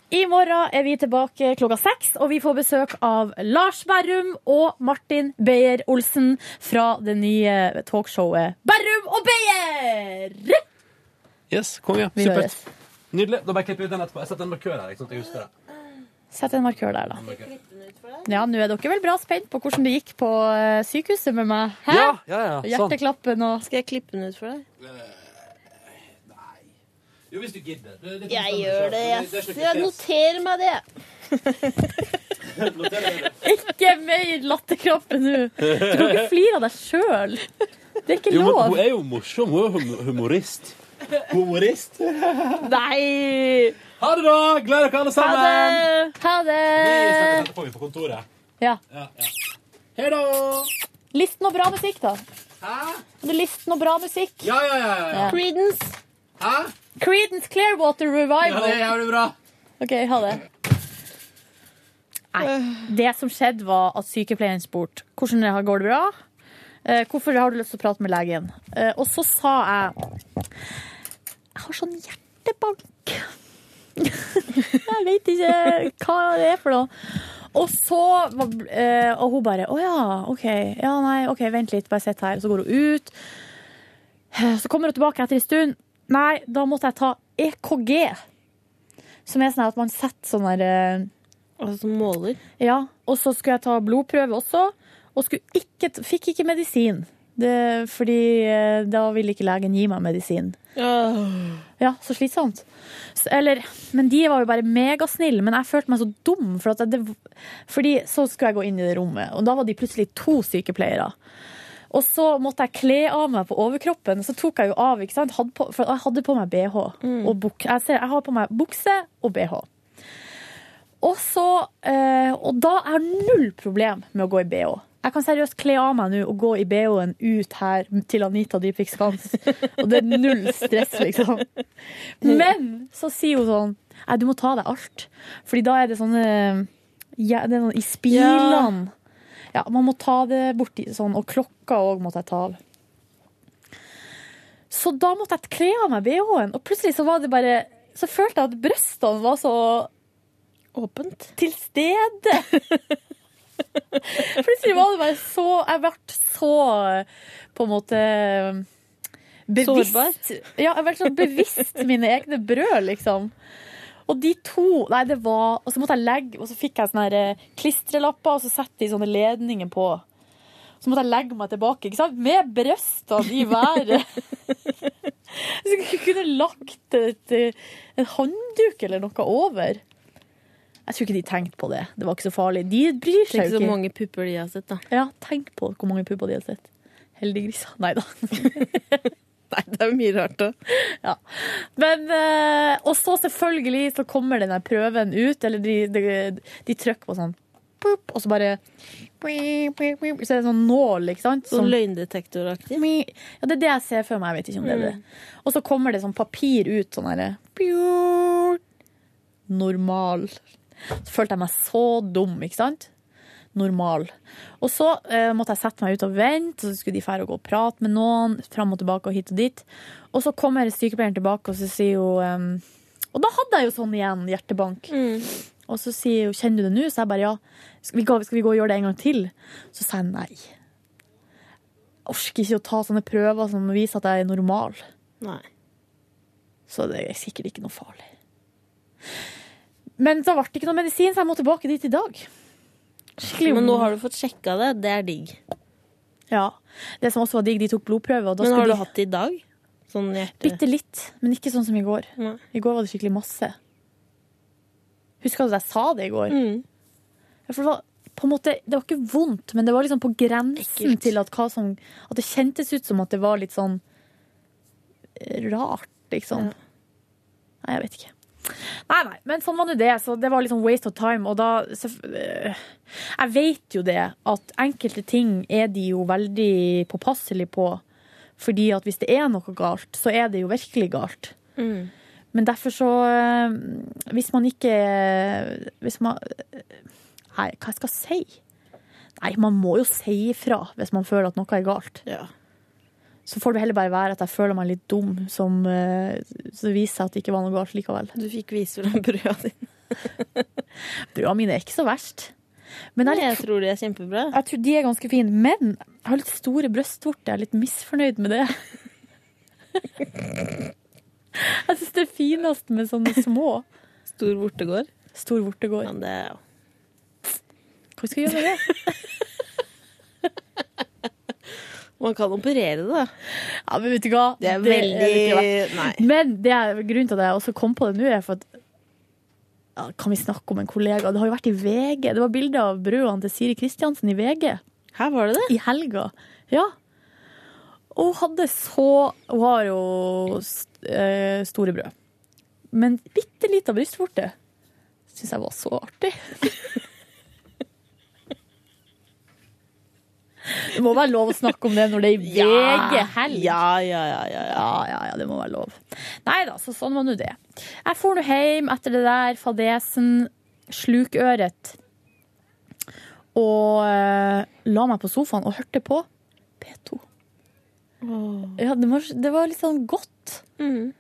Speaker 2: I morgen er vi tilbake klokka seks, og vi får besøk av Lars Berrum og Martin Beyer-Olsen fra det nye talkshowet Berrum og Beyer!
Speaker 3: Yes, konge.
Speaker 2: Vi
Speaker 3: Supert.
Speaker 2: høres.
Speaker 3: Nydelig. Da bare klipper vi ut den etterpå. Jeg setter en markør her. ikke sant? Jeg husker det.
Speaker 2: Sett en markør der, da.
Speaker 3: Markør.
Speaker 2: Ja, nå er dere vel bra spent på hvordan det gikk på eh, sykehuset med meg? Hæ?
Speaker 3: Ja, ja, ja, sånn.
Speaker 2: Hjerteklappen og Skal jeg klippe den ut for deg?
Speaker 3: Jo, hvis du gidder. Det- sånn, det-
Speaker 10: Jeg
Speaker 3: det-
Speaker 10: gjør det.
Speaker 3: det- det er
Speaker 10: Jeg,
Speaker 3: ikke
Speaker 10: jeg
Speaker 3: noe
Speaker 10: noterer meg det.
Speaker 2: Ikke mer latterkrampe nå! Du kan ikke flire av deg sjøl. Det er ikke
Speaker 12: Jo, men
Speaker 2: lov.
Speaker 12: hun er jo morsom. Hun er jo hum- humorist. Humorist.
Speaker 2: Nei!
Speaker 12: Ha det, da! Gleder dere alle sammen.
Speaker 2: Ha det!
Speaker 12: Etterpå vi på kontoret.
Speaker 2: Ja.
Speaker 3: Hei da!
Speaker 2: List noe bra musikk, da. Kan Du list noe bra musikk.
Speaker 3: Ja, ja, ja. ja.
Speaker 2: Creedence.
Speaker 3: Hæ?
Speaker 2: Creedence Clearwater Revival.
Speaker 3: Ja, det er jævlig bra.
Speaker 2: OK, ha det. Nei. Det som skjedde, var at sykepleieren spurte hvordan det har- går det bra. Eh, Hvorfor har du lyst til å prate med legen? Eh, Og så sa jeg Jeg har sånn hjertebank. Jeg vet ikke hva det er for noe. Og så var- eh, Og hun bare Å ja, OK. Ja, nei, OK, vent litt, bare sitt her. Så går hun ut. Eh, Så kommer hun tilbake etter en stund. Nei, da måtte jeg ta E EKG. Som er sånn at man setter sånn der Altså som måler? Ja. Og så skulle jeg ta blodprøve også, og skulle ikke, t- fikk ikke medisin. Det, fordi eh, da ville ikke legen gi meg medisin. Ja, så slitsomt. S- Eller, men de var jo bare megasnille, men jeg følte meg så dum. For at det, fordi så skulle jeg gå inn i det rommet, og da var de plutselig to sykepleiere. Og så måtte jeg kle av meg på overkroppen, så tok jeg jo av, ikke sant? Hadde på, for jeg hadde på meg BH. Og buk, jeg, ser, jeg har på meg bukse og BH. Og, så, eh, og da er null problem med å gå i BH. Jeg kan seriøst kle av meg nå og gå i BH-en ut her til Anita Dybvik Skans. Og det er null stress, liksom. Men så sier hun sånn Nei, du må ta deg alt. Fordi da er det sånne ja, det er sånn, I spilene. Ja, man må ta det borti sånn. Og klokka òg måtte jeg ta av. Så da måtte jeg kle av meg BH-en, og plutselig så var det bare Så følte jeg at brystene var så Åpent? Til stede! plutselig var det bare så Jeg ble så på en måte Bevisst.
Speaker 10: Sårbar?
Speaker 2: Ja, jeg ble så bevisst mine egne brød, liksom. Og de to Nei, det var Og så måtte jeg legge Og så fikk jeg sånne her, eh, klistrelapper, og så setter de sånne ledninger på. Så måtte jeg legge meg tilbake, ikke sant? Med brystene i været. Så jeg kunne lagt et, eh, en håndduk eller noe over. Jeg tror ikke de tenkte på det. Det var ikke så farlig. De bryr seg
Speaker 10: Tenk
Speaker 2: jo
Speaker 10: så
Speaker 2: ikke.
Speaker 10: mange pupper de har sett, da.
Speaker 2: Ja, tenk på hvor mange pupper de har sett. Heldiggriser. Nei da.
Speaker 10: Nei, det er jo mye rart òg.
Speaker 2: Ja. Men, eh, og så selvfølgelig så kommer denne prøven ut, eller de, de, de trykker på sånn boop, og så bare boop, boop, boop, Så er det sånn nål, ikke sant?
Speaker 10: Sånn
Speaker 2: Som-
Speaker 10: løgndetektoraktig.
Speaker 2: ja, det er det jeg ser for meg. Jeg vet ikke om det er det. Og så kommer det sånn papir ut, sånn herre Normal. Så følte jeg meg så dum, ikke sant? Normal. Og så eh, måtte jeg sette meg ut og vente, og så skulle de fære og gå og prate med noen. Fram og tilbake og hit og dit. Og så kommer sykepleieren tilbake, og så sier hun ehm, Og da hadde jeg jo sånn igjen, hjertebank. Og så sier hun 'Kjenner du det nå?' Så jeg bare ja. Skal vi, gå, skal vi gå og gjøre det en gang til? Så sa jeg nei orker ikke å ta sånne prøver som viser at jeg er normal.
Speaker 10: Nei.
Speaker 2: Så det er sikkert ikke noe farlig. Men så ble det ikke noe medisin, så jeg må tilbake dit i dag. Skikkelig
Speaker 10: Men nå har du fått sjekka det. Det er digg.
Speaker 2: Ja. Det som også var digg, de tok blodprøve, og da
Speaker 10: Men har
Speaker 2: skulle
Speaker 10: du
Speaker 2: de
Speaker 10: hatt det i dag? Sånn hjerte...
Speaker 2: bitte litt, men ikke sånn som i går.
Speaker 10: Nei.
Speaker 2: I går var det skikkelig masse. Husker du at jeg sa det i går?
Speaker 10: Mm.
Speaker 2: Ja, For det var på en måte, det var ikke vondt, men det var liksom på grensen
Speaker 10: Ekkelt.
Speaker 2: til at, hva som, at det kjentes ut som at det var litt sånn eh, rart, liksom. Nei, jeg vet ikke. Nei, nei, men sånn var nå det. Så det var liksom waste of time. Og da så, øh, Jeg vet jo det, at enkelte ting er de jo veldig påpasselige på. Fordi at hvis det er noe galt, så er det jo virkelig galt. Men derfor så øh, Hvis man ikke Hvis man Nei, hva jeg skal jeg si? Nei, man må jo si ifra hvis man føler at noe er galt.
Speaker 10: Ja.
Speaker 2: Så får det heller bare være at jeg føler meg litt dum, som eh, så viser seg at det ikke var noe galt likevel.
Speaker 10: Du fikk vise fram brøda dine.
Speaker 2: Brua mine er ikke så verst. Men jeg, er
Speaker 10: Jeg
Speaker 2: litt,
Speaker 10: tror de er kjempebra.
Speaker 2: jeg tror de er ganske fine. Men jeg har litt store brystvorter. Jeg er litt misfornøyd med det. Jeg syns det er finest med sånne små.
Speaker 10: Stor vortegård.
Speaker 2: Stor vortegård.
Speaker 10: Men det er jo
Speaker 2: Hva skal jeg gjøre med det?
Speaker 10: Man kan operere det, da.
Speaker 2: Ja, men vet du hva?
Speaker 10: Det er
Speaker 2: det ikke verdt.
Speaker 10: veldig Nei.
Speaker 2: Men det er grunnen til at jeg også kom på det nå, er for at ja, Kan vi snakke om en kollega? Det har jo vært i VG. Det var bilde av brødene til Siri Kristiansen i VG
Speaker 10: Her var det det.
Speaker 2: i helga. Ja. Og hun hadde så Hun har jo st eh, store brød. Men bitte lita brystvorte syns jeg var så artig. Det må være lov å snakke om det når det er i VG-helg.
Speaker 10: Ja, ja, ja, ja, ja.
Speaker 2: Ja, ja, ja, det må være lov. Nei da, så sånn var nå det. Jeg får nå hjem etter det der fadesen, slukøret, og eh, la meg på sofaen og hørte på P2. Ja, det var, det var litt sånn godt.
Speaker 10: Mm.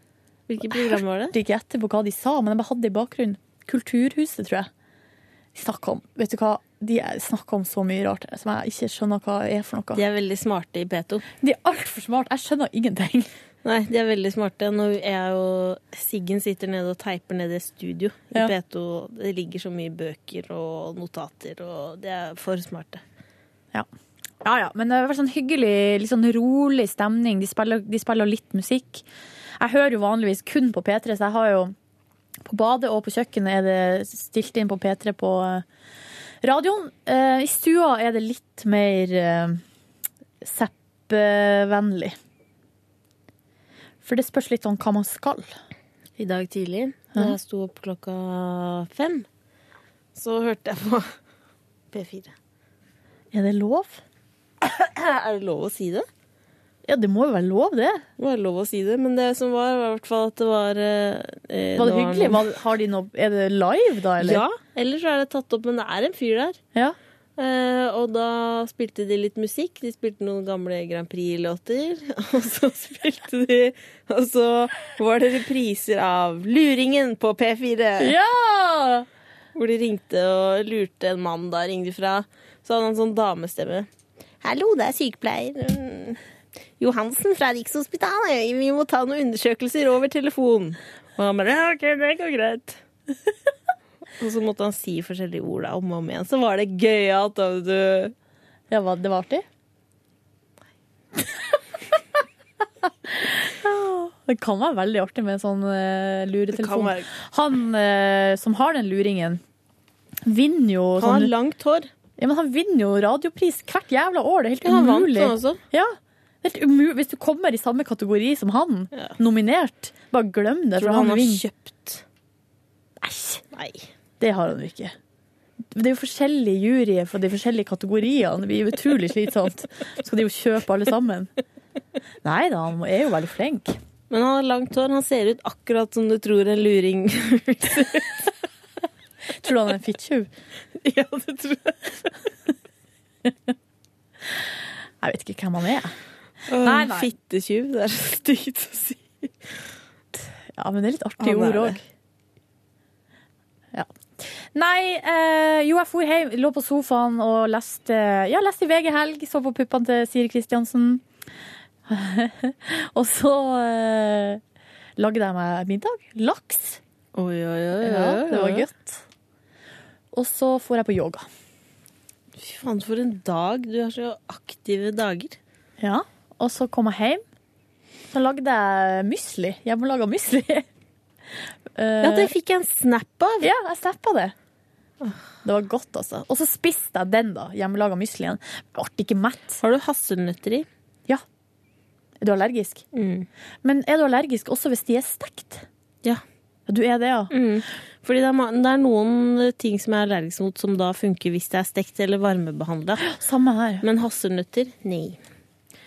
Speaker 10: Hvilket program var det?
Speaker 2: Hørte ikke etter på hva de sa, men jeg bare hadde det i bakgrunnen. Kulturhuset, tror jeg. De snakka om Vet du hva? De snakka om så mye rart som jeg ikke skjønner hva er for noe.
Speaker 10: De er veldig smarte i P2.
Speaker 2: De er altfor smarte. Jeg skjønner ingenting.
Speaker 10: Nei, de er veldig smarte. Nå er jo Siggen sitter nede og teiper nede i studio i
Speaker 2: Ja.
Speaker 10: P2. Det ligger så mye bøker og notater, og de er for smarte.
Speaker 2: Ja, ja, men det har vært sånn hyggelig, litt sånn rolig stemning. De spiller, de spiller litt musikk. Jeg hører jo vanligvis kun på P3, så jeg har jo På badet og på kjøkkenet er det stilt inn på P3 på eh, radioen. Eh, I stua er det litt mer eh, Zapp-vennlig. For det spørs litt sånn hva man skal.
Speaker 10: I dag tidlig, da jeg sto opp klokka fem, så hørte jeg på P4.
Speaker 2: Er det lov?
Speaker 10: Er det lov å si det?
Speaker 2: Ja, det må jo være lov, det.
Speaker 10: Det var lov å si det, men det som var, var i hvert fall at det var eh,
Speaker 2: Var det
Speaker 10: noen-
Speaker 2: hyggelig? Var, har de noe, er det live, da, eller?
Speaker 10: Ja, ellers så er det tatt opp, men det er en fyr der.
Speaker 2: Ja.
Speaker 10: Eh, og da spilte de litt musikk. De spilte noen gamle Grand Prix-låter. Og så spilte de Og så var det repriser av Luringen på P4.
Speaker 2: ja!
Speaker 10: Hvor de ringte og lurte en mann da ringte de fra. Så hadde han sånn damestemme. Hallo, det er sykepleier mm, Johansen fra Rikshospitalet. Vi må ta noen undersøkelser over telefon. Og han bare ja, OK, det går greit. og så måtte han si forskjellige ord da, om og om igjen. Så var det gøyalt, da, vet du.
Speaker 2: Ja, hva- det var artig? det kan være veldig artig med en sånn eh,
Speaker 10: Det kan
Speaker 2: luretelefon.
Speaker 10: være-
Speaker 2: Han eh, som har den luringen, vinner jo
Speaker 10: Han har
Speaker 2: sånn-
Speaker 10: langt hår.
Speaker 2: Ja, men han vinner jo radiopris hvert jævla år. Det er helt
Speaker 10: Ja, han vant
Speaker 2: umulig.
Speaker 10: sånn også.
Speaker 2: Ja, det er helt umulig. Hvis du kommer i samme kategori som han, nominert, bare glem det.
Speaker 10: Tror du
Speaker 2: For
Speaker 10: han
Speaker 2: han
Speaker 10: har
Speaker 2: vinner.
Speaker 10: kjøpt
Speaker 2: Nei, det har han jo ikke. Det er jo forskjellige juryer for de forskjellige kategoriene. Det blir utrolig slitsomt. Skal de jo kjøpe alle sammen? Nei da, han er jo veldig flink.
Speaker 10: Men han har langt hår. Han ser ut akkurat som du tror en luring
Speaker 2: Tror du han er en fittjuv?
Speaker 10: Ja, det tror jeg.
Speaker 2: Jeg vet ikke hvem han er. Nei, nei.
Speaker 10: Fittetjuv. Det er så stygt å si.
Speaker 2: Ja, men det er litt artige
Speaker 10: Han er
Speaker 2: ord
Speaker 10: det.
Speaker 2: òg. Ja. Nei, eh, jo, jeg for hjem, lå på sofaen og leste, ja, leste i VG helg. Så på puppene til Siri Kristiansen. og så eh, lagde jeg meg middag. Laks.
Speaker 10: Oi, oi, oi.
Speaker 2: Ja, det var
Speaker 10: oi.
Speaker 2: godt. Og så får jeg på yoga.
Speaker 10: Fy faen, for en dag. Du har så aktive dager.
Speaker 2: Ja, og så kom jeg hjem. Så lagde jeg mysli. Hjemmelaga mysli. Eh,
Speaker 10: Ja, det fikk jeg en snap av.
Speaker 2: Ja, jeg snappa det. Det var godt, altså. Og så spiste jeg den, da. Hjemmelaga muslien. Jeg ble ikke mett.
Speaker 10: Har du hasselnøtter i?
Speaker 2: Er du allergisk?
Speaker 10: Mm.
Speaker 2: Men er du allergisk også hvis de er stekt?
Speaker 10: Ja.
Speaker 2: Du er det, ja?
Speaker 10: Mm. Fordi det er, ma- det er noen eh, ting som jeg er allergisk mot, som da funker hvis det er stekt eller varmebehandla.
Speaker 2: Samme her.
Speaker 10: Men hasselnøtter, nei.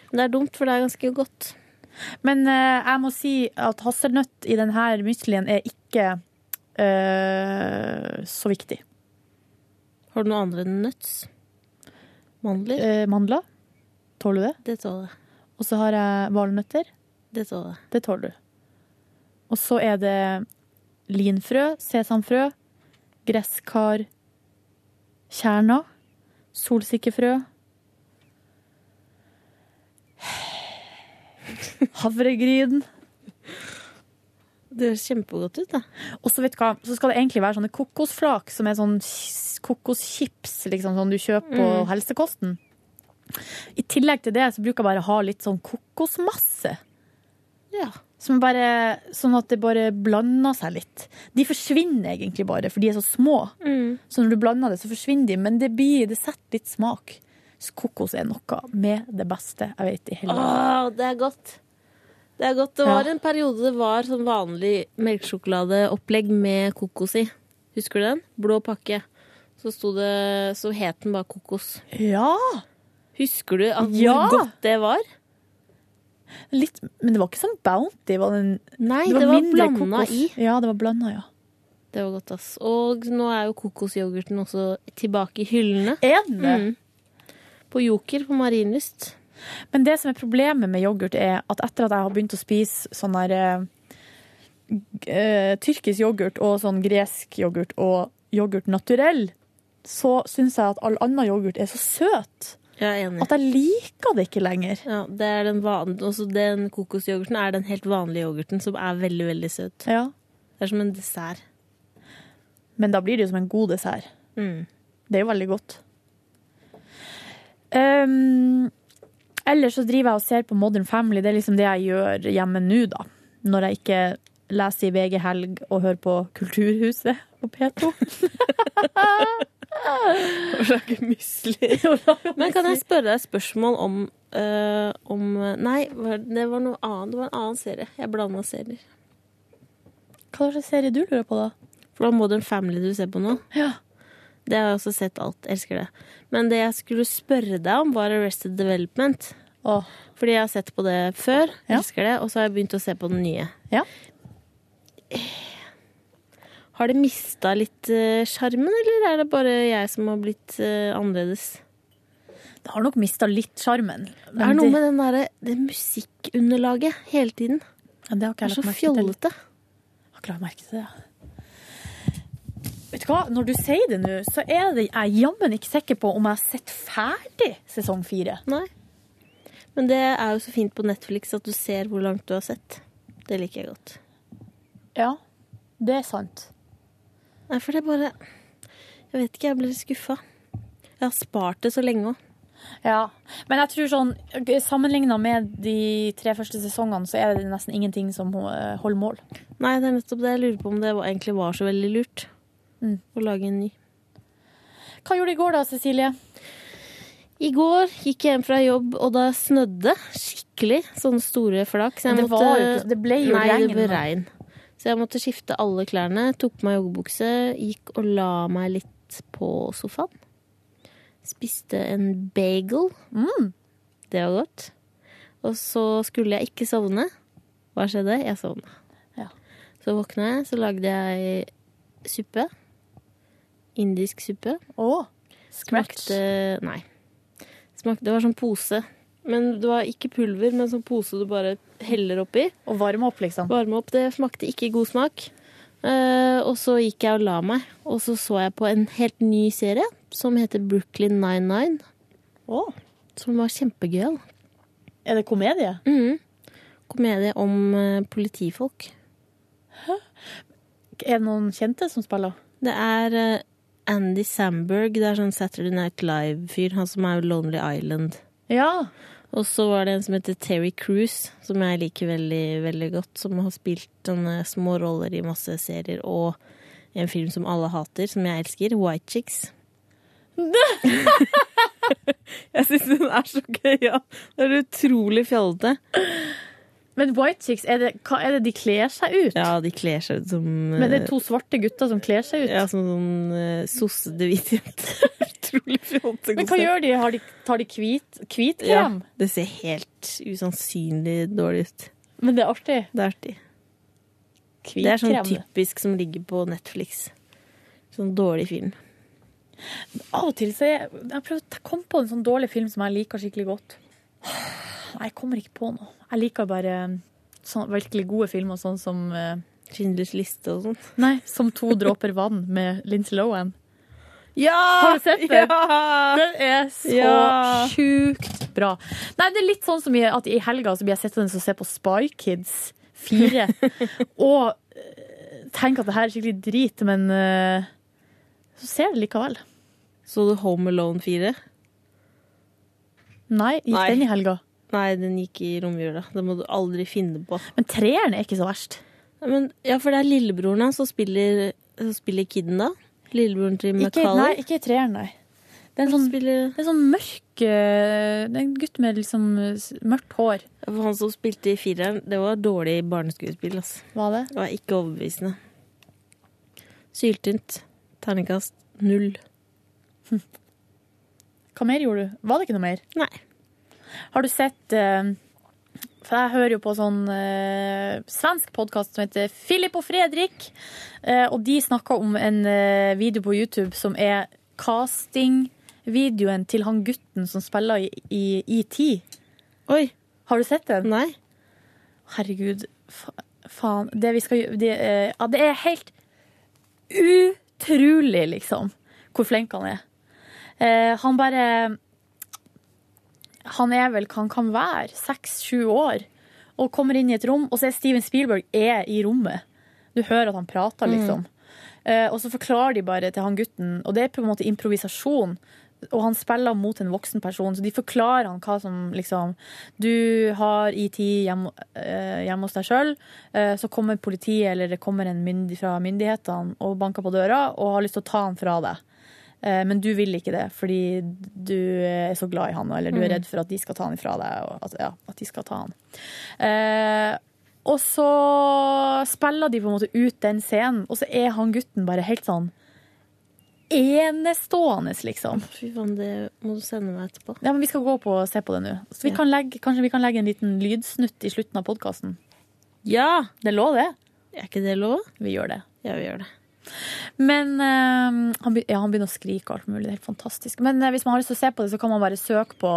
Speaker 10: Men det er dumt, for det er ganske godt.
Speaker 2: Men eh, jeg må si at hasselnøtt i denne muslien er ikke eh, så viktig.
Speaker 10: Har du noe annet enn nøtts? Mandler?
Speaker 2: Eh, mandler, tåler du det?
Speaker 10: Det tåler jeg.
Speaker 2: Og så har jeg valnøtter.
Speaker 10: Det tåler jeg.
Speaker 2: Det tåler du. Og så er det linfrø, sesamfrø, gresskar, kjerna, solsikkefrø. Havregryn.
Speaker 10: Det høres kjempegodt ut, da.
Speaker 2: Og så vet du hva, så skal det egentlig være sånne kokosflak, som er sånn s- kokoschips liksom, som du kjøper på helsekosten. I tillegg til det så bruker jeg bare ha litt sånn kokosmasse.
Speaker 10: Ja.
Speaker 2: Som bare, sånn at det bare blander seg litt. De forsvinner egentlig bare, for de er så små.
Speaker 10: Mm.
Speaker 2: Så når du blander det, så forsvinner de, men det, blir, det setter litt smak. Så kokos er noe med det beste jeg vet i hele verden.
Speaker 10: Åh, det er godt. Det er godt. Det var
Speaker 2: Ja.
Speaker 10: en periode det var sånn vanlig melkesjokoladeopplegg med kokos i. Husker du den? Blå pakke. Så, sto det, så het den bare kokos.
Speaker 2: Ja!
Speaker 10: Husker du at
Speaker 2: Ja!
Speaker 10: hvor godt det var?
Speaker 2: Litt, men det var ikke sånn bounty. Var den,
Speaker 10: Nei, det var,
Speaker 2: mindre
Speaker 10: blandet blanda
Speaker 2: kokos.
Speaker 10: i.
Speaker 2: Ja, det var blanda, ja.
Speaker 10: Det var godt, ass. Og nå er jo kokosyoghurten også tilbake i hyllene.
Speaker 2: Er den det?
Speaker 10: Mm. På Joker på Marienlyst.
Speaker 2: Men det som er problemet med yoghurt, er at etter at jeg har begynt å spise sånn der eh, g- eh, Tyrkisk yoghurt og sånn gresk yoghurt og yoghurt naturell, så syns jeg at all annen yoghurt er så søt
Speaker 10: Jeg er enig.
Speaker 2: at jeg liker det ikke lenger.
Speaker 10: Ja, det er den, van... også den kokosyoghurten er den helt vanlige yoghurten som er veldig, veldig søt.
Speaker 2: Ja.
Speaker 10: Det er som en dessert.
Speaker 2: Men da blir det jo som en god dessert.
Speaker 10: Mm.
Speaker 2: Det er jo veldig godt. Um, ellers så driver jeg og ser på Modern Family. Det er liksom det jeg gjør hjemme nå, da. Når jeg ikke leser i VG Helg og hører på Kulturhuset på P2.
Speaker 10: Men kan jeg spørre deg et spørsmål om, eh, om Nei, var- det var noe annet. Det var en annen serie. Jeg blanda serier.
Speaker 2: Hva slags serie du lurer på, da?
Speaker 10: For det er Modern Family du ser på nå.
Speaker 2: Ja.
Speaker 10: Det har jeg også sett alt. Elsker det. Men det jeg skulle spørre deg om, var Arrested Development.
Speaker 2: Åh,
Speaker 10: Fordi jeg har sett på det før.
Speaker 2: Ja.
Speaker 10: Elsker det. Og så har jeg begynt å se på den nye. Eh,
Speaker 2: Ja.
Speaker 10: Har det mista litt eh, sjarmen, eller er det bare jeg som har blitt eh, annerledes?
Speaker 2: det har nok mista litt sjarmen.
Speaker 10: Det er noe med den derre- det musikkunderlaget hele tiden.
Speaker 2: ja, det har
Speaker 10: Det
Speaker 2: ikke
Speaker 10: er
Speaker 2: jeg
Speaker 10: så
Speaker 2: lagt merke til.
Speaker 10: fjollete.
Speaker 2: Jeg har ikke lagt merke til det. ja. Vet du hva, når du sier det nå, så er det, jeg er jammen ikke sikker på om jeg har sett ferdig sesong fire.
Speaker 10: Nei. Men det er jo så fint på Netflix at du ser hvor langt du har sett. Det liker jeg godt.
Speaker 2: Ja, det er sant.
Speaker 10: Nei, for det er bare Jeg vet ikke, jeg blir skuffa. Jeg har spart det så lenge òg.
Speaker 2: Ja. Men jeg tror sånn, sammenligna med de tre første sesongene, så er det nesten ingenting som eh, holder mål.
Speaker 10: Nei, det er nettopp det. Jeg lurer på om det var- egentlig var så veldig lurt
Speaker 2: Mm.
Speaker 10: å lage en ny.
Speaker 2: Hva gjorde du i går da, Cecilie?
Speaker 10: I går gikk jeg hjem fra jobb, og da snødde skikkelig. Sånne store flak. Så jeg
Speaker 2: Men det
Speaker 10: måtte,
Speaker 2: var jo ikke- det ble jo
Speaker 10: nei,
Speaker 2: regn,
Speaker 10: det ble
Speaker 2: men-
Speaker 10: regn. Så jeg måtte skifte alle klærne, tok på meg joggebukse, gikk og la meg litt på sofaen. Spiste en bagel.
Speaker 2: Mm.
Speaker 10: Det var godt. Og så skulle jeg ikke sovne. Hva skjedde? Jeg sovna.
Speaker 2: Ja.
Speaker 10: Så våkna jeg, så lagde jeg suppe. Indisk suppe.
Speaker 2: Å, scratch.
Speaker 10: Smakte eh, Nei. Smakte, det var sånn pose. Men det var ikke pulver, men sånn pose du bare heller oppi.
Speaker 2: Og varme opp, liksom.
Speaker 10: Varme opp. Det smakte ikke god smak. Eh, og så gikk jeg og la meg, og så så jeg på en helt ny serie som heter Brooklyn Nine-Nine. Som var kjempegøyal.
Speaker 2: Er det komedie?
Speaker 10: Mhm. Komedie om eh, politifolk.
Speaker 2: Er det noen kjente som spiller?
Speaker 10: Det er eh, Andy Samberg, det er sånn Saturday Night Live-fyr, han som er Lonely Island.
Speaker 2: Ja.
Speaker 10: Og så var det en som heter Terry Cruise, som jeg liker veldig, veldig godt, som har spilt sånne små roller i masse serier, og en film som alle hater, som jeg elsker, White Chicks. jeg syns den er så gøyal. Det er utrolig fjollete.
Speaker 2: Men White Chicks, er det, hva er det de kler seg ut?
Speaker 10: Ja, de kler seg ut som
Speaker 2: Men det
Speaker 10: eh,
Speaker 2: er to svarte gutter som kler seg ut.
Speaker 10: ja, som sånn uh, sossete hvite jenter. Utrolig fjollete.
Speaker 2: Men hva
Speaker 10: konsept.
Speaker 2: gjør de? Har de tar de hvit, hvit
Speaker 10: Ja,
Speaker 2: krem?
Speaker 10: det ser helt usannsynlig dårlig ut.
Speaker 2: Men det er artig.
Speaker 10: Det er artig.
Speaker 2: Hvit
Speaker 10: Det er sånn
Speaker 2: krem.
Speaker 10: typisk som ligger på Netflix. Sånn dårlig film.
Speaker 2: Av og til så er Jeg prøver å ta- komme på en sånn dårlig film som jeg liker skikkelig godt. Nei, jeg kommer ikke på noe. Jeg liker bare sånn, virkelig gode filmer, sånn som eh,
Speaker 10: Schindlers liste og sånn.
Speaker 2: Nei, som To dråper vann med Lindsay Lohan.
Speaker 10: Ja!
Speaker 2: Har du sett det?
Speaker 10: Ja!
Speaker 2: Den er så
Speaker 10: Ja.
Speaker 2: sjukt bra. Nei, det er litt sånn som i- at i helga så blir jeg sittende og se på Spy Kids 4 og eh, tenker at det her er skikkelig drit, men eh, så ser jeg det likevel.
Speaker 10: Så du Home Alone 4?
Speaker 2: Nei, gikk
Speaker 10: Nei.
Speaker 2: den i helga.
Speaker 10: Nei, den gikk i romjula. Det må du aldri finne på.
Speaker 2: Men treeren er ikke så verst.
Speaker 10: Nei, Men, ja, for det er lillebroren hans som spiller, som spiller kidden, da. Lillebroren til
Speaker 2: Ikke, nei,
Speaker 10: Macaulay.
Speaker 2: ikke i treeren, nei. Det er en
Speaker 10: Han
Speaker 2: sånn,
Speaker 10: spiller-
Speaker 2: det er en sånn mørk eh, Det er en gutt med liksom s- mørkt hår.
Speaker 10: Han som spilte i fireren, det var dårlig barneskuespill, altså.
Speaker 2: Var det?
Speaker 10: Det var ikke overbevisende. Syltynt. Terningkast null.
Speaker 2: Hva mer gjorde du? Var det ikke noe mer?
Speaker 10: Nei.
Speaker 2: Har du sett eh, For jeg hører jo på sånn eh, svensk podkast som heter Filip og Fredrik. eh, og de snakker om en eh, video på YouTube som er castingvideoen til han gutten som spiller i ET.
Speaker 10: Oi,
Speaker 2: Har du sett den?
Speaker 10: nei.
Speaker 2: Herregud, fa faen. Det vi skal gjøre det, eh, ja, det er helt utrolig, liksom, hvor flink han er. Eh, han bare Han er vel hva han kan være. Seks-sju år. Og kommer inn i et rom, og så er Steven Spielberg er i rommet. Du hører at han prater, liksom. Eh, og så forklarer de bare til han gutten, og det er på en måte improvisasjon. Og han spiller mot en voksen person, så de forklarer han hva som liksom du har IT hjemme, eh, hjemme hos deg sjøl. Så kommer politiet eller det kommer en myndig fra myndighetene og banker på døra og har lyst til å ta han fra deg. Eh, Men du vil ikke det, fordi du er så glad i han, eller du er redd for at de skal ta han ifra deg. Og at, ja, at de skal ta han. Eh, og så spiller de på en måte ut den scenen, og så er han gutten bare helt sånn enestående, liksom.
Speaker 10: Fy faen, det må du sende meg etterpå.
Speaker 2: Ja, men Vi skal gå på og se på det nå. Så vi
Speaker 10: Ja.
Speaker 2: kan legge, Kanskje vi kan legge en liten lydsnutt i slutten av podkasten.
Speaker 10: Ja!
Speaker 2: Det lå det.
Speaker 10: Er ikke det lov?
Speaker 2: Vi gjør det.
Speaker 10: Ja, vi gjør det.
Speaker 2: Men eh, han, be- ja, han begynner å skrike og alt mulig. Det er helt fantastisk. Men eh, hvis man har lyst til å se på det, så kan man bare søke på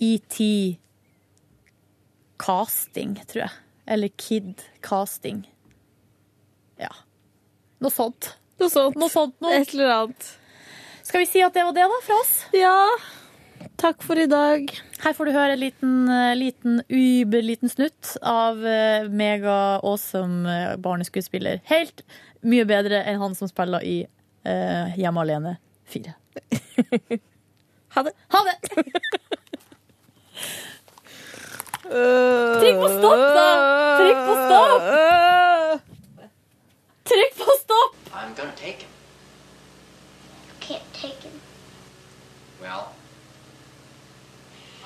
Speaker 2: ET casting, tror jeg. Eller Kid casting. Ja. Noe sånt.
Speaker 10: Noe sånt.
Speaker 2: Noe sånt noe.
Speaker 10: Et eller annet.
Speaker 2: Skal vi si at det var det, da, fra oss?
Speaker 10: Ja. Takk for i dag.
Speaker 2: Her får du høre en liten, eh, liten überliten snutt av eh, mega-awesome eh, barneskuespiller. Helt mye bedre enn han som spiller i eh, Hjemme alene 4.
Speaker 10: Ha det.
Speaker 2: Ha det! Trykk på stopp, da! Trykk på stopp! Trykk på stopp!
Speaker 1: I'm gonna take him.
Speaker 13: can't take him.
Speaker 9: Well,